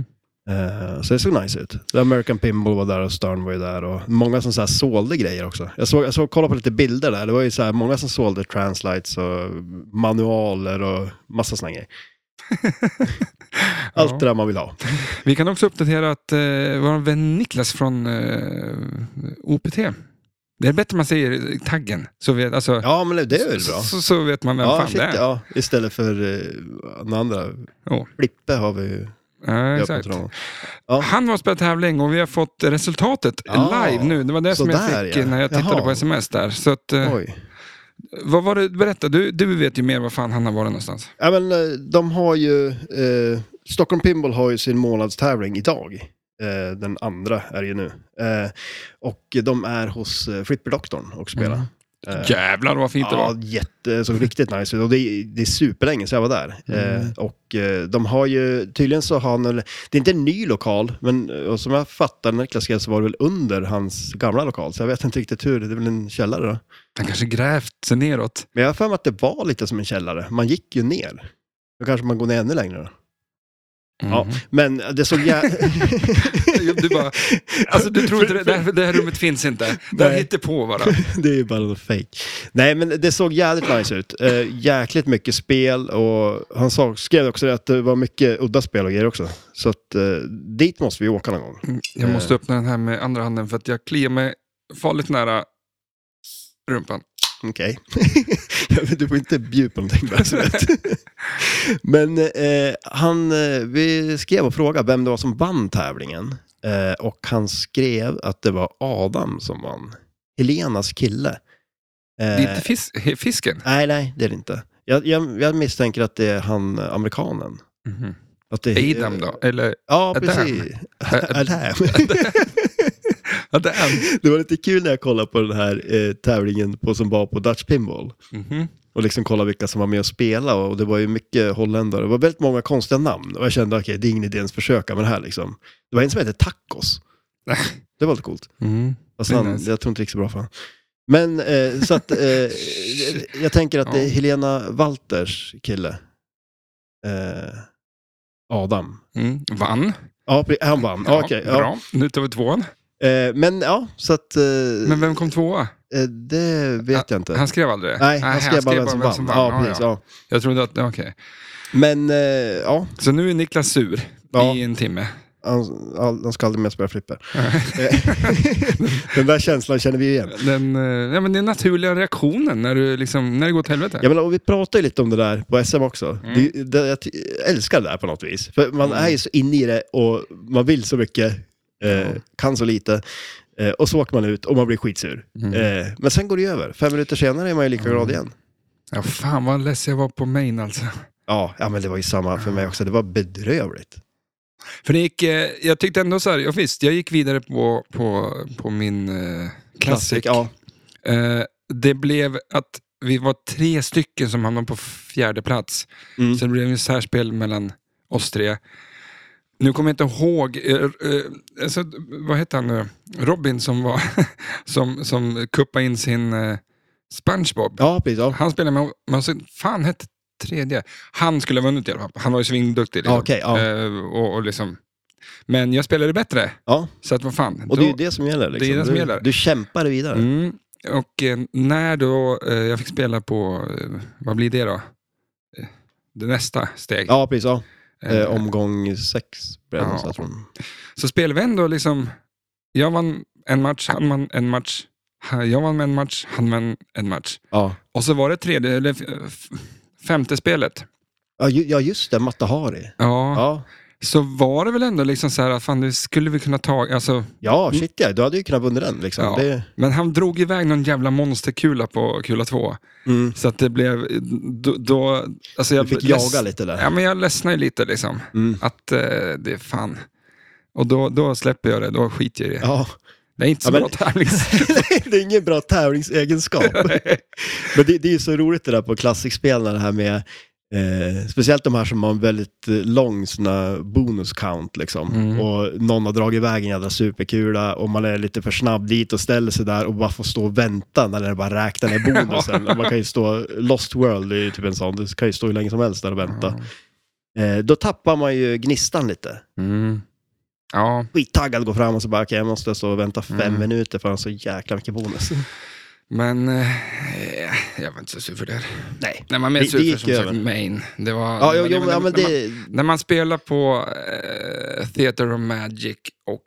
S2: Eh, Så det såg nice ut. The American Pinball var där och Stern var ju där och många som så här sålde grejer också. Jag såg, jag såg, kollade på lite bilder där. Det var ju så här många som sålde translates och manualer och massa såna grejer. Allt
S1: Ja.
S2: det där man vill ha.
S1: Vi kan också uppdatera att eh, vår vän Niklas från eh, OPT. Det är bättre man säger taggen. Så vet, alltså,
S2: Ja, men det är väl bra.
S1: Så, så vet man vem
S2: Ja,
S1: fan
S2: shit,
S1: det är.
S2: ja, istället för eh, den andra.
S1: Ja.
S2: Flippe har vi ju.
S1: Ja,
S2: döpt
S1: exakt.
S2: till honom. Ja.
S1: Han var spelat tävling och vi har fått resultatet
S2: Ah,
S1: live nu. Det var det som jag
S2: sådär,
S1: fick
S2: ja.
S1: när jag tittade
S2: Jaha.
S1: på sms där. Så att, eh,
S2: Oj.
S1: vad var det, berätta, du, du vet ju mer var fan han har varit någonstans.
S2: Ja, men, eh, de har ju... Eh, Stockholm Pinball har ju sin månadstävling idag. Eh, den andra är det ju nu. Eh, och de är hos eh, Flipperdoktorn och
S1: Mm.
S2: spelar. Eh,
S1: Jävlar vad fint det
S2: ja,
S1: var.
S2: jätte, så riktigt nice. ut. Och det, är- det är superlänge sedan jag var där. Eh,
S1: Mm.
S2: och eh, de har ju, tydligen så har han, väl- det är inte en ny lokal, men eh, och som jag fattar Niklas skrev så var det väl under hans gamla lokal. Så jag vet inte riktigt hur, det är väl en källare då.
S1: Han kanske grävt sig neråt.
S2: Men jag har för mig att det var lite som en källare. Man gick ju ner. Då kanske man går ner ännu längre då. Ja.
S1: Mhm.
S2: Men det såg jävligt...
S1: Du bara, alltså du tror inte det, det, här, det här rummet finns inte. Det här
S2: Nej.
S1: hittar på bara.
S2: det är ju bara något fake. Nej, men det såg jävligt nice ut. Eh, jäkligt mycket spel och han sa, skrev också det att det var mycket udda spel och grejer också. Så att eh, dit måste vi åka någon gång.
S1: Mm, Jag måste öppna den här med andra handen för att jag kliar mig farligt nära rumpan.
S2: Okej. du får inte bjuda på någonting bara så du vet. Men eh, han, eh, vi skrev och frågade vem det var som vann tävlingen. Eh, och han skrev att det var Adam som vann. Helenas kille. Eh,
S1: Det är inte fis, he- fisken.
S2: Nej, nej, det är det inte. Jag, jag, jag misstänker att det är han, eh, amerikanen.
S1: Mhm.
S2: Att det är,
S1: Adam då? Eller
S2: Ja,
S1: Adam.
S2: precis.
S1: Ä-
S2: Adam.
S1: Adam?
S2: det var lite kul när jag kollade på den här eh, tävlingen på, som var på Dutch Pinball.
S1: Mhm.
S2: Och liksom kolla vilka som var med och spela och det var ju mycket holländare. Det var väldigt många konstiga namn och jag kände okej, det är ingen idé ens försöka med det här liksom. Det var en som hette Tacos. Det var lite coolt.
S1: Mm.
S2: Fast
S1: Det är
S2: han,
S1: nice.
S2: jag tror inte det gick så bra för honom. Men eh, så att eh, jag tänker att det är
S1: Ja.
S2: Helena Walters kille. Eh, Adam.
S1: Mm. Vann.
S2: Ja, pre- han vann. Ja, okej, ja.
S1: Bra, nu tar vi tvåan.
S2: Eh, men ja, så att eh,
S1: Men vem kom tvåa?
S2: eh, det vet jag inte.
S1: Han skrev aldrig det?
S2: Nej, han skrev bara vem som vann. Ja,
S1: Ja,
S2: precis,
S1: ja.
S2: ja.
S1: Jag trodde att, ja, okej.
S2: Men eh, ja,
S1: Så nu är Niklas sur
S2: Ja.
S1: i en timme.
S2: han, all- han ska aldrig mer spela flipper. Eh, Den där känslan känner vi igen.
S1: Den, eh, ja, men den naturliga reaktionen när, du liksom, när det går åt helvete.
S2: Ja, men, och vi pratade ju lite om det där på SM också.
S1: Mm.
S2: Det, det, jag ty- älskar det där på något vis. För man är ju så inne i det och man vill så mycket, eh, kan så lite. Eh, och så åker man ut och man blir skitsur.
S1: Mm.
S2: Eh, men sen går det ju över. Fem minuter senare är man ju lika glad igen.
S1: Ja, fan vad less jag var på main alltså.
S2: Ja, ja, men det var ju samma för mig också. Det var bedrövligt.
S1: För det gick, eh, jag tyckte ändå så här, ja, visst, jag gick vidare på, på, på min eh, klassik.
S2: Ja,
S1: Eh, det blev att vi var tre stycken som hamnade på fjärde plats.
S2: Mm.
S1: Så det blev en särspel mellan oss tre. Nu kommer jag inte ihåg, eh, eh, alltså, vad hette han nu? Robin som, var som, som kuppade in sin eh, Spongebob.
S2: ja precis. Ja.
S1: Han spelade med, men alltså, fan hette tredje. Han skulle ha vunnit i alla fall. Han var ju svinduktig. Liksom.
S2: Ja, okej, ja.
S1: Eh, och, och liksom Men jag spelade bättre,
S2: Ja,
S1: så att vad fan.
S2: och det är ju
S1: då-
S2: det som gäller. Liksom.
S1: det som
S2: du,
S1: gäller.
S2: du kämpar vidare.
S1: Mm. Och eh, när då eh, jag fick spela på, eh, vad blir det då? Eh, Det nästa steg.
S2: Ja, precis. Ja.
S1: Eh,
S2: Eh, omgång sex blev det
S1: ja.
S2: någonstans från.
S1: Så spelade vi ändå liksom, jag vann en match, han vann en match, han- jag vann en match, han vann en match.
S2: Ja.
S1: Och så var det tredje, eller f- f- femte spelet.
S2: Ja, ju- ja, just det. Matahari.
S1: Ja,
S2: Ja,
S1: så var det väl ändå liksom så här, att fan det skulle vi kunna ta, alltså,
S2: ja shit ja. Du hade ju kunnat vunnit den. Liksom.
S1: Ja.
S2: Det,
S1: men han drog iväg någon jävla monsterkula på kula två.
S2: mm.
S1: Så att det blev, då, då alltså
S2: Du
S1: jag
S2: fick
S1: leds-
S2: jaga lite där.
S1: Ja, men jag ledsnar ju lite liksom.
S2: Mm.
S1: Att eh, det är fan. Och då, då släpper jag det, då skiter jag i det.
S2: Ja.
S1: Det är inte så
S2: Ja, men-
S1: bra liksom. tävlings...
S2: Nej, det är ingen bra tävlingsegenskap. Men det, det är ju så roligt det där på klassikspelen, det här med eh, speciellt de här som har en väldigt eh, lång såna bonus count liksom.
S1: Mm.
S2: Och någon har dragit iväg en jädra superkula och man är lite för snabb dit och ställer sig där och bara får stå och vänta när det bara räknar ner bonusen. Och man kan ju stå, Lost World är ju typ en sån, du kan ju stå hur länge som helst där och vänta. Eh, då tappar man ju gnistan lite.
S1: Mm. Ja,
S2: Skittaggad går fram och så bara, okej jag måste stå och vänta fem
S1: Mm.
S2: minuter för han har så jäkla mycket bonus.
S1: men eh, jag var inte så sur för det.
S2: Nej.
S1: Nej, man är mer
S2: Det- det
S1: sur för
S2: gick
S1: som
S2: ju
S1: sagt
S2: över.
S1: main. Det var,
S2: Ja, jo,
S1: men-
S2: jo,
S1: men-
S2: ja men
S1: när man-
S2: det...
S1: När man spelar på eh, Theater of Magic och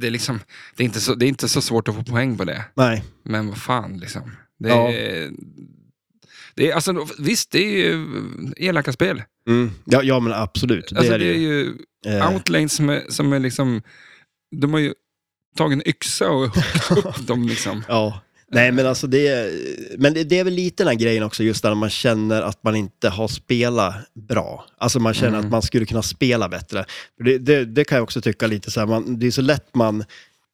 S1: det är, liksom, det, är inte så, det är inte så svårt att få poäng på det.
S2: Nej.
S1: Men vad fan liksom. Det
S2: Ja.
S1: är, det är, alltså, visst, det är ju elaka spel.
S2: Mm. Ja, ja, men absolut. Det
S1: Alltså,
S2: är det ju.
S1: ju
S2: Eh,
S1: outlanes som är, som är liksom, de har ju tagit en yxa och huggt upp dem liksom.
S2: ja. Nej, men alltså det är, men det, det är väl lite den här grejen också, just där man känner att man inte har spelat bra. Alltså man känner
S1: Mm.
S2: att man skulle kunna spela bättre. För Det, det, det kan jag också tycka lite så här, man, det är så lätt man...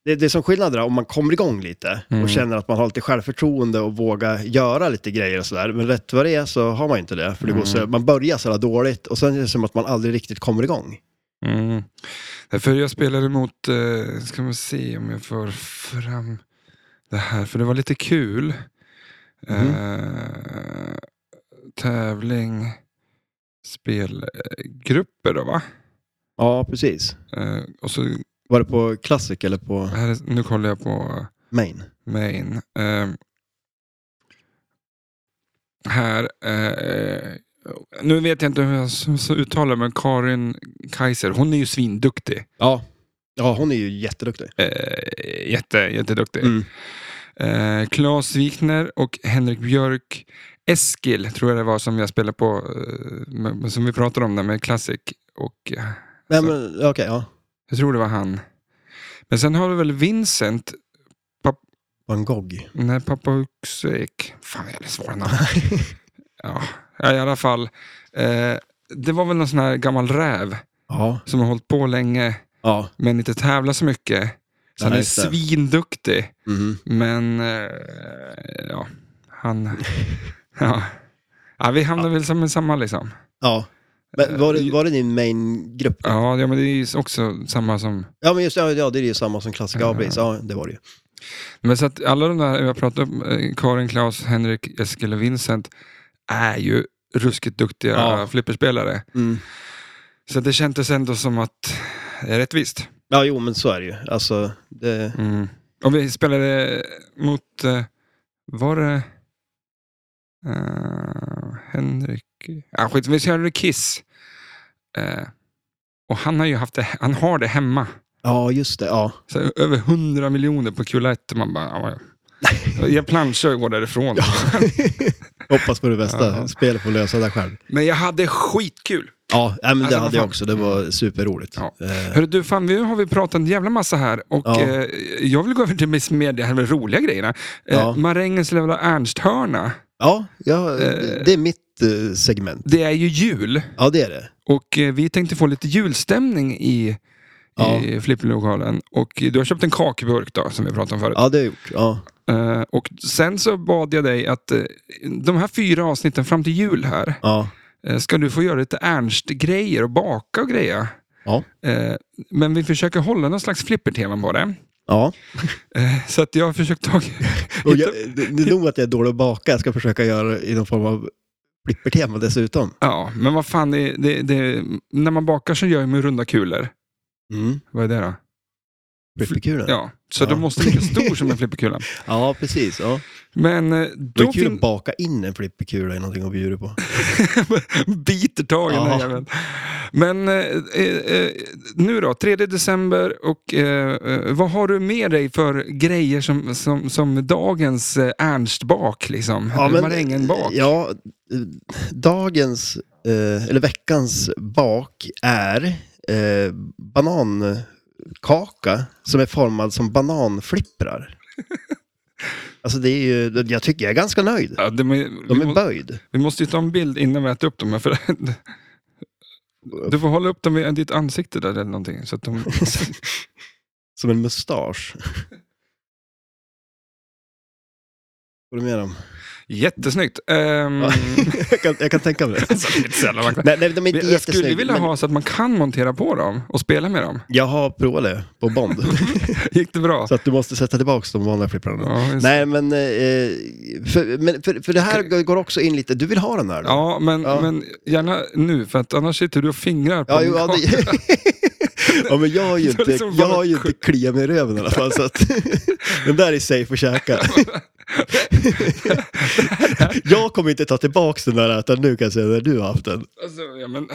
S2: Det, det är som skillnad där, om man kommer igång lite
S1: Mm.
S2: och känner att man har lite självförtroende och vågar göra lite grejer och sådär. Men rätt vad det är så har man ju inte det. För det går så, man börjar så här dåligt och sen är det som att man aldrig riktigt kommer igång.
S1: Mm. Därför jag spelade mot, eh, ska man se om jag får fram det här, för det var lite kul.
S2: Mhm.
S1: Eh, tävling, spelgrupper då va?
S2: Ja, precis.
S1: Eh, och så,
S2: Var det på Classic eller på
S1: här, är- nu kollar jag på
S2: Main?
S1: Main. Ehm, här, eh, nu vet jag inte hur jag så, så uttalar men Karin Kaiser, hon är ju svinduktig.
S2: Ja. Ja, hon är ju jätteduktig.
S1: Eh, jätte, jätteduktig.
S2: Mm.
S1: Eh, Claes Wikner och Henrik Björk. Eskil tror jag det var som jag spelade på, eh, med- som vi pratade om där med Classic. Och, eh,
S2: Nej,
S1: Så-
S2: men okej, ja.
S1: jag tror det var han. Men sen har vi väl Vincent,
S2: Van Gogh.
S1: nej pappa Uxvik. Fan jag är svåra namn. Ja, ja, i alla fall. Eh, det var väl någon sån här gammal räv
S2: ja.
S1: som har hållit på länge
S2: Ja.
S1: men inte tävlar så mycket. Så
S2: Ja,
S1: han är
S2: just det.
S1: svinduktig,
S2: Mhm.
S1: men eh, ja, han... ja. Ja, vi hamnar väl som samma liksom.
S2: Ja. Men var det, var det din main-grupp? Ja.
S1: Ja, det- men det är ju också samma som...
S2: men just ja, ja, det är ju samma som Classic. Ja, precis. Ja, det var det ju.
S1: Men så att alla de där jag pratade om, eh, Karin, Klaus, Henrik, Eskil och Vincent, är ju ruskigt duktiga
S2: Ja.
S1: flipperspelare.
S2: Mm.
S1: Så det kändes ändå som att det är rättvist.
S2: Ja, jo, men så är det ju. Alltså, det...
S1: Mm. Och vi spelade mot, eh, var det eh, Henrik? Ah, skit, vi spelade Kiss. Eh, och han har ju haft det, han har det hemma.
S2: Ja, just det. Ja.
S1: Så över 100 miljoner på kula 1. Man bara, ja, ja. jag planschar och går därifrån.
S2: Hoppas på det bästa.
S1: Ja.
S2: Spelet får lösa det själv.
S1: Men jag hade skitkul.
S2: Ja, nej, men det
S1: Alltså, vad
S2: hade jag
S1: fan.
S2: också. Det var superroligt.
S1: Ja.
S2: Eh,
S1: Hörru du, fan, nu har vi pratat en jävla massa här och
S2: Ja.
S1: eh, jag vill gå över till miss- med de här roliga grejerna. Eh,
S2: Ja.
S1: Marängens lilla Ernst-hörna,
S2: ja, ja
S1: Eh.
S2: det, det är mitt eh, segment.
S1: det är ju jul.
S2: Ja, det är det.
S1: Och eh, vi tänkte få lite julstämning i,
S2: Ja.
S1: i flipplokalen. Och eh, du har köpt en kakburk då, som vi pratade om förut.
S2: Ja, det har jag gjort. Ja.
S1: Eh, och sen så bad jag dig att eh, de här fyra avsnitten fram till jul här,
S2: Ja.
S1: eh, ska du få göra lite Ernst-grejer och baka och grejer.
S2: Ja.
S1: Eh, men vi försöker hålla någon slags flippertema på det.
S2: ja.
S1: Eh, så att jag har försökt ta...
S2: Och jag, det, det är nog att jag är dålig att baka. Jag ska försöka göra det i någon form av flippertema dessutom.
S1: Ja, men vad fan, det, det, det, när man bakar så gör man ju runda kulor.
S2: Mm.
S1: Vad är det då?
S2: Flipperkulan. Ja.
S1: Ja, så då
S2: Ja.
S1: måste den vara stor som en flipperkula.
S2: ja, precis. Ja.
S1: Men eh,
S2: Det var
S1: då
S2: kul
S1: fin-
S2: att baka in en flipperkula i någonting att bjuda på.
S1: biter tag i den här
S2: Ja.
S1: jäveln. Men eh, eh, eh, nu då, 3 december och eh, eh, vad har du med dig för grejer som, som, som dagens eh, Ernstbak liksom?
S2: Ja, men-
S1: Marängenbak?
S2: Ja, eh, dagens, eh, eller veckans bak är eh, banankaka som är formad som bananflipprar. alltså det är ju, jag tycker jag är ganska nöjd.
S1: Ja, de är,
S2: De
S1: vi,
S2: är
S1: må,
S2: böjd.
S1: vi måste ju ta en bild innan vi äter upp dem. här, För du får hålla upp dem vid ditt ansikte där eller någonting. Så att de,
S2: Som en mustasch. Vad du med om?
S1: jättesnyggt! Ehm,
S2: Mm. jag, kan, jag kan tänka mig det.
S1: alltså, det är inte så jävla vackert.
S2: Nej, nej, de är inte
S1: jag skulle
S2: jättesnygga.
S1: vilja
S2: men
S1: ha så att man kan montera på dem och spela med dem.
S2: Jag har provat det på Bond.
S1: Gick det bra?
S2: så att du måste sätta tillbaka de vanliga flipprarna.
S1: Ja, just-
S2: Nej, men, eh, för, men för, för det här går också in lite, du vill ha den där? Då?
S1: Ja, men,
S2: Ja.
S1: men gärna nu, för att annars sitter du och fingrar på
S2: Ja,
S1: en
S2: jo, ja,
S1: karl.
S2: det, ja, men jag har ju
S1: Det var
S2: inte,
S1: liksom bara
S2: jag har ju inte kliat mig i röven i alla fall, så att den där är safe att käka. jag kommer inte ta tillbaka den där ätaren nu kan jag säga, när du har haft den.
S1: Alltså, ja, men,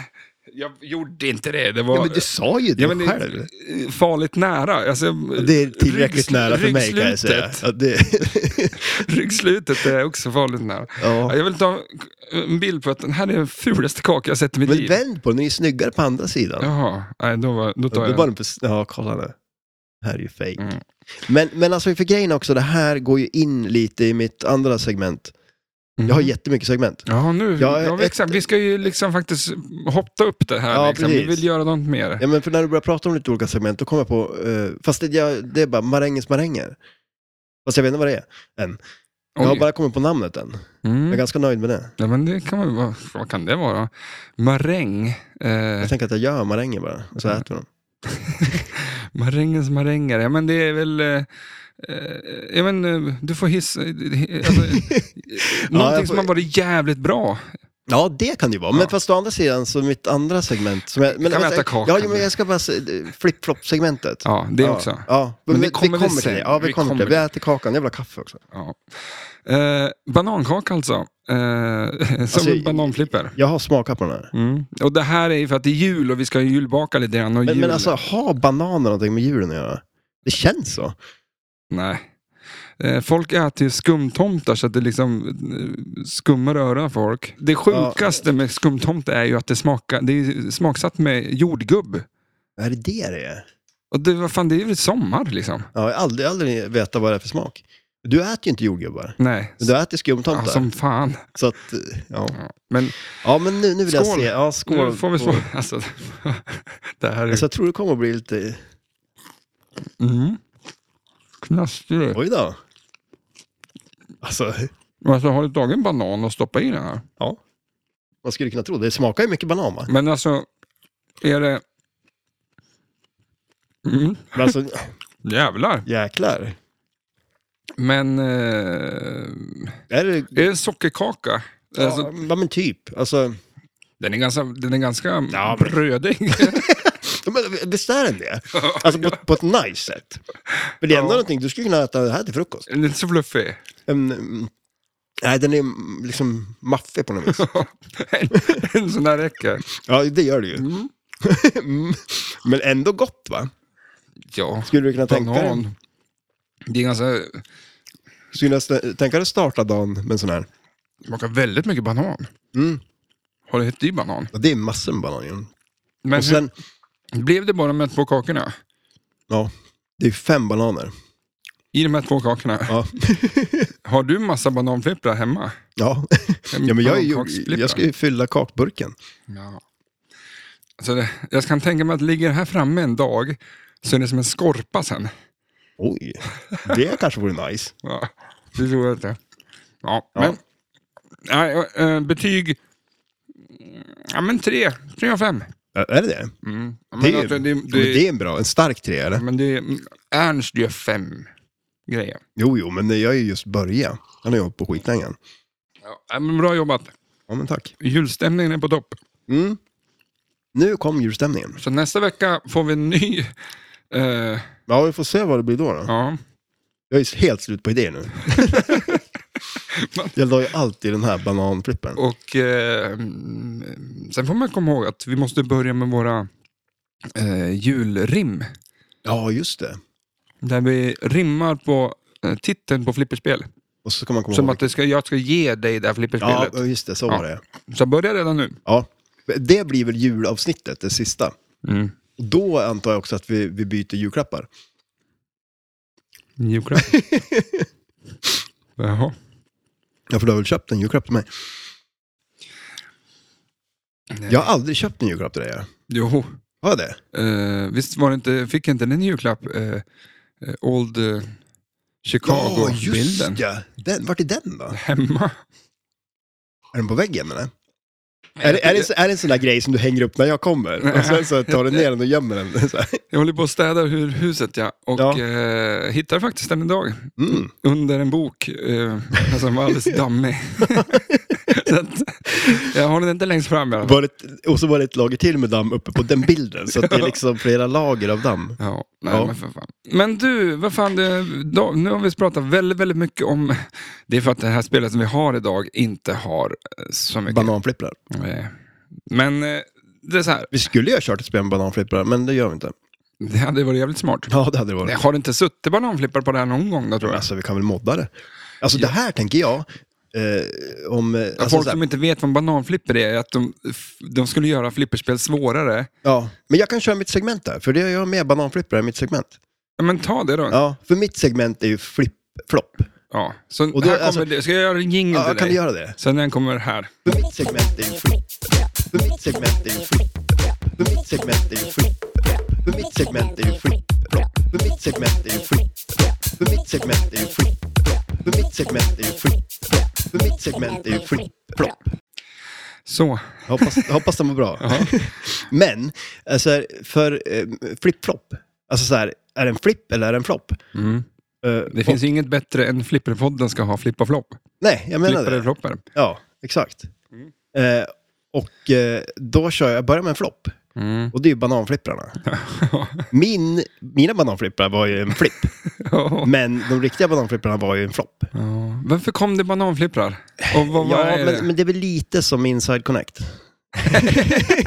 S1: jag gjorde inte det. Det var
S2: Ja, men du sa ju det
S1: ja, men det
S2: själv.
S1: är farligt nära. Alltså,
S2: Det är tillräckligt
S1: ryggsl-
S2: nära för mig kan jag säga.
S1: ryggslutet-
S2: Ja, det,
S1: Ryggslutet är också farligt nära. Ja,
S2: ja.
S1: Jag vill ta en bild på att den här är den fulaste kaka jag sett i mitt
S2: Men
S1: liv.
S2: vänd på den, den är ju snyggare på andra sidan.
S1: Jaha, nej, då, var, då tar
S2: Ja,
S1: jag
S2: det
S1: den.
S2: var den precis- ja, kolla nu. Det här är ju fake.
S1: Mm.
S2: Men, men alltså för grejen också, det här går ju in lite i mitt andra segment. Jag har
S1: Mhm.
S2: jättemycket segment.
S1: Ja, nu,
S2: Jag
S1: ja,
S2: är
S1: vi,
S2: ett-
S1: exakt, vi ska ju liksom faktiskt hoppa upp det här.
S2: Ja,
S1: liksom. Vi
S2: precis.
S1: vill göra något mer.
S2: Ja, men för när du börjar prata om lite olika segment, då kommer jag på, eh, fast det, jag, det är bara marängens maränger. Fast jag vet inte vad det är än. Jag har
S1: Oj.
S2: bara kommit på namnet än. Jag är
S1: Mm.
S2: ganska nöjd med det.
S1: Ja, men det kan man, vad, vad kan det vara? Maräng. Eh,
S2: Jag tänker att jag gör maränger bara, och så
S1: Mm.
S2: äter vi dem.
S1: marängens maränger. Ja, men det är väl... Eh, eh, ja, men, eh, du får hissa... Alltså, någonting
S2: jag får-
S1: som har varit jävligt bra.
S2: Ja, det kan det ju vara.
S1: Ja.
S2: Men fast å andra sidan, så mitt andra segment... Som jag, men,
S1: Kan vi
S2: vänta,
S1: äta kakan?
S2: Ja, jo, men jag ska bara... se- eh, Flip-flop-segmentet.
S1: Ja, det
S2: ja.
S1: också.
S2: Ja, men, vi kommer, vi kommer till det. Ja, vi, kommer till det. Vi äter kakan. Jag vill ha kaffe också.
S1: Ja. Eh, banankaka alltså. Eh, som
S2: Alltså,
S1: en bananflipper.
S2: Jag har smakat på den här.
S1: Mm. Och det här är ju för att det är jul och vi ska ju julbaka lite grann. Och
S2: Men,
S1: jul.
S2: men alltså, har bananer någonting med julen att göra? Det känns så.
S1: Nej. Eh, Folk äter ju skumtomtar så att det liksom eh, skummar öronen för folk. Det sjukaste med skumtomte är ju att det, smakar, det är ju smaksatt med jordgubb.
S2: Är det det det är?
S1: Och det, vad fan, det är ju sommar liksom.
S2: Ja, jag har aldrig, aldrig vetat vad det är för smak. Du äter ju inte jordgubbar.
S1: Nej.
S2: Men du äter skumtomtar.
S1: Ja, som fan.
S2: Så att, ja.
S1: Men
S2: ja, men nu, nu vill jag
S1: Skål.
S2: se. Ja, skål.
S1: nu får vi svara. Alltså, det här är
S2: Alltså, jag tror det kommer att bli lite...
S1: mm. knastrigt.
S2: Oj då. Alltså,
S1: Alltså, har du tagit en banan och stoppat i den här?
S2: man skulle kunna tro det. Det smakar ju mycket banan, va?
S1: Men alltså, är det... Mm,
S2: Men alltså,
S1: jävlar.
S2: jäklar.
S1: Men... Eh...
S2: Är det...
S1: Det är en sockerkaka. Alltså,
S2: Ja, men typ. Alltså,
S1: den är ganska, den är ganska
S2: Ja, men-
S1: brödig.
S2: Ja, Men visst är den det? Alltså på, på ett nice sätt. För det är ändå
S1: Ja.
S2: någonting, du skulle kunna äta det här till frukost.
S1: Den är Inte så fluffig.
S2: En, mm, nej, den är mm, liksom maffig på något vis.
S1: en, en sån där räcker.
S2: Ja, det gör det ju. Mm. Men ändå gott va?
S1: Ja,
S2: Skulle du kunna tänka dig,
S1: banan. Det är ganska,
S2: skulle du nästan- tänka dig starta dagen med en sån här?
S1: smakar väldigt mycket banan.
S2: Mm.
S1: Har du hett i banan?
S2: Ja, det är massor med banan ju.
S1: Men
S2: Och sen,
S1: hur, blev det bara de här två kakorna?
S2: ja, det är fem bananer.
S1: I de här två kakorna.
S2: Ja,
S1: Har du massa bananflipprar hemma?
S2: ja. ja men jag, är ju,
S1: Banankaksflipprar?
S2: jag ska ju fylla kakburken.
S1: Ja. Alltså det, jag kan tänka mig att ligger det här framme en dag så är det som en skorpa sen.
S2: Oj, det kanske vore nice.
S1: Ja, det tror jag inte. Ja,
S2: Ja.
S1: men... Nej, eh, betyg... Ja, men tre. Tre av fem.
S2: Ä- Är det det?
S1: Mm. Ja,
S2: Det
S1: Men
S2: är,
S1: alltså, det,
S2: ja, men det är en bra, en stark tre eller?
S1: men det Ernst gör fem grejer.
S2: Jo, jo, men jag är ju just börja. Han har jobbat på skitlänge.
S1: Ja, men bra jobbat.
S2: Ja, men tack.
S1: Julstämningen är på topp.
S2: Mm. Nu kom julstämningen.
S1: Så nästa vecka får vi en ny... eh,
S2: Ja, vi får se vad det blir då. då.
S1: ja.
S2: Jag är helt slut på idéer nu. jag la ju alltid den här bananflippen.
S1: Och eh, mm, sen får man komma ihåg att vi måste börja med våra eh, julrim.
S2: Ja, just det.
S1: Där vi rimmar på eh, titeln på flipperspel.
S2: Och så ska man komma
S1: Som
S2: ihåg.
S1: att det ska, jag ska ge dig det här
S2: ja,
S1: flipperspelet.
S2: just det. Så
S1: Ja.
S2: var det.
S1: Så börja redan nu.
S2: Ja. Det blir väl julavsnittet, det sista.
S1: Mm.
S2: Och Då antar jag också att vi, vi byter julklappar.
S1: Julklapp. Jaha.
S2: Ja, för du har väl köpt en julklapp till mig?
S1: Nej.
S2: Jag har aldrig köpt en julklapp till dig. jag.
S1: Jo.
S2: Har jag det?
S1: Eh, visst var det inte, fick inte den en julklapp? Eh, eh, old eh, Chicago-bilden.
S2: ja. Den, vart är den då?
S1: Hemma.
S2: Är den på väggen eller? Är, det- är, det, är det en sån där grej som du hänger upp när jag kommer? Och sen så tar du ner den och gömmer den? Så här.
S1: Jag håller på att städa ur huset ja. Och
S2: Ja.
S1: eh, hittar faktiskt den idag.
S2: Mm.
S1: Under en bok. Eh, alltså, den var alldeles dammig. så att, jag har den inte längst fram i alla fall.
S2: Var det, och så var det ett lager till med damm uppe på den bilden. Så att det är liksom flera lager av damm.
S1: Ja, nej,
S2: Ja.
S1: Men, för fan. men du, vad fan, det, då, nu har vi pratat väldigt, väldigt mycket om... Det är för att det här spelet som vi har idag inte har eh, så mycket.
S2: Bananflipprar.
S1: Eh, Men eh, det är så här,
S2: Vi skulle ju ha kört ett spel med bananflipprar, men det gör vi inte.
S1: det hade varit jävligt smart.
S2: Ja, det hade det varit.
S1: Jag har det inte suttit bananflippar på det här någon gång då tror jag.
S2: Alltså, vi kan väl modda det. Alltså, det här tänker jag. Eh, om, eh, alltså,
S1: Folk
S2: så här,
S1: som inte vet vad en bananflipper är, är att de, f- de skulle göra flipperspel svårare.
S2: ja. Men jag kan köra mitt segment där, för det jag har med bananflipprar i mitt segment.
S1: Ja, men ta det då. Ja.
S2: Ja, för mitt segment är ju flipp-flopp.
S1: Så här
S2: då,
S1: kommer
S2: alltså-
S1: det. Ska jag göra en jingle
S2: Ja,
S1: till
S2: kan
S1: dig?
S2: du göra det?
S1: Sen den kommer här.
S2: För mitt segment är ju flipp. För mitt segment är ju flipp. För mitt segment är ju flipp. För mitt segment är ju flipp. För mitt segment är ju flipp. För mitt segment är ju flipp. För mitt segment är ju flipp. För mitt segment är ju flipp. Flopp.
S1: Så.
S2: Jag Hoppas, jag hoppas den var bra.
S1: Ja.
S2: Men, alltså, för eh, flipp-flopp, alltså så här, är det en flipp eller är det en flopp?
S1: Mm.
S2: Eh,
S1: Det finns ju inget bättre än flipperpodden ska ha flippa flopp.
S2: nej, jag menar
S1: Flippar
S2: det.
S1: eller floppar.
S2: Ja, exakt.
S1: Mm.
S2: Eh, och eh, då kör jag, jag börjar med en flopp.
S1: Mm.
S2: Och det är ju bananflipprarna. Min, mina bananflipprar var ju en flipp,
S1: Ja.
S2: men de riktiga bananflipprarna var ju en flopp.
S1: Ja. Varför kom det bananflipprar? Och vad, vad
S2: Ja,
S1: är det?
S2: men, men det är väl lite som Inside Connect. Jag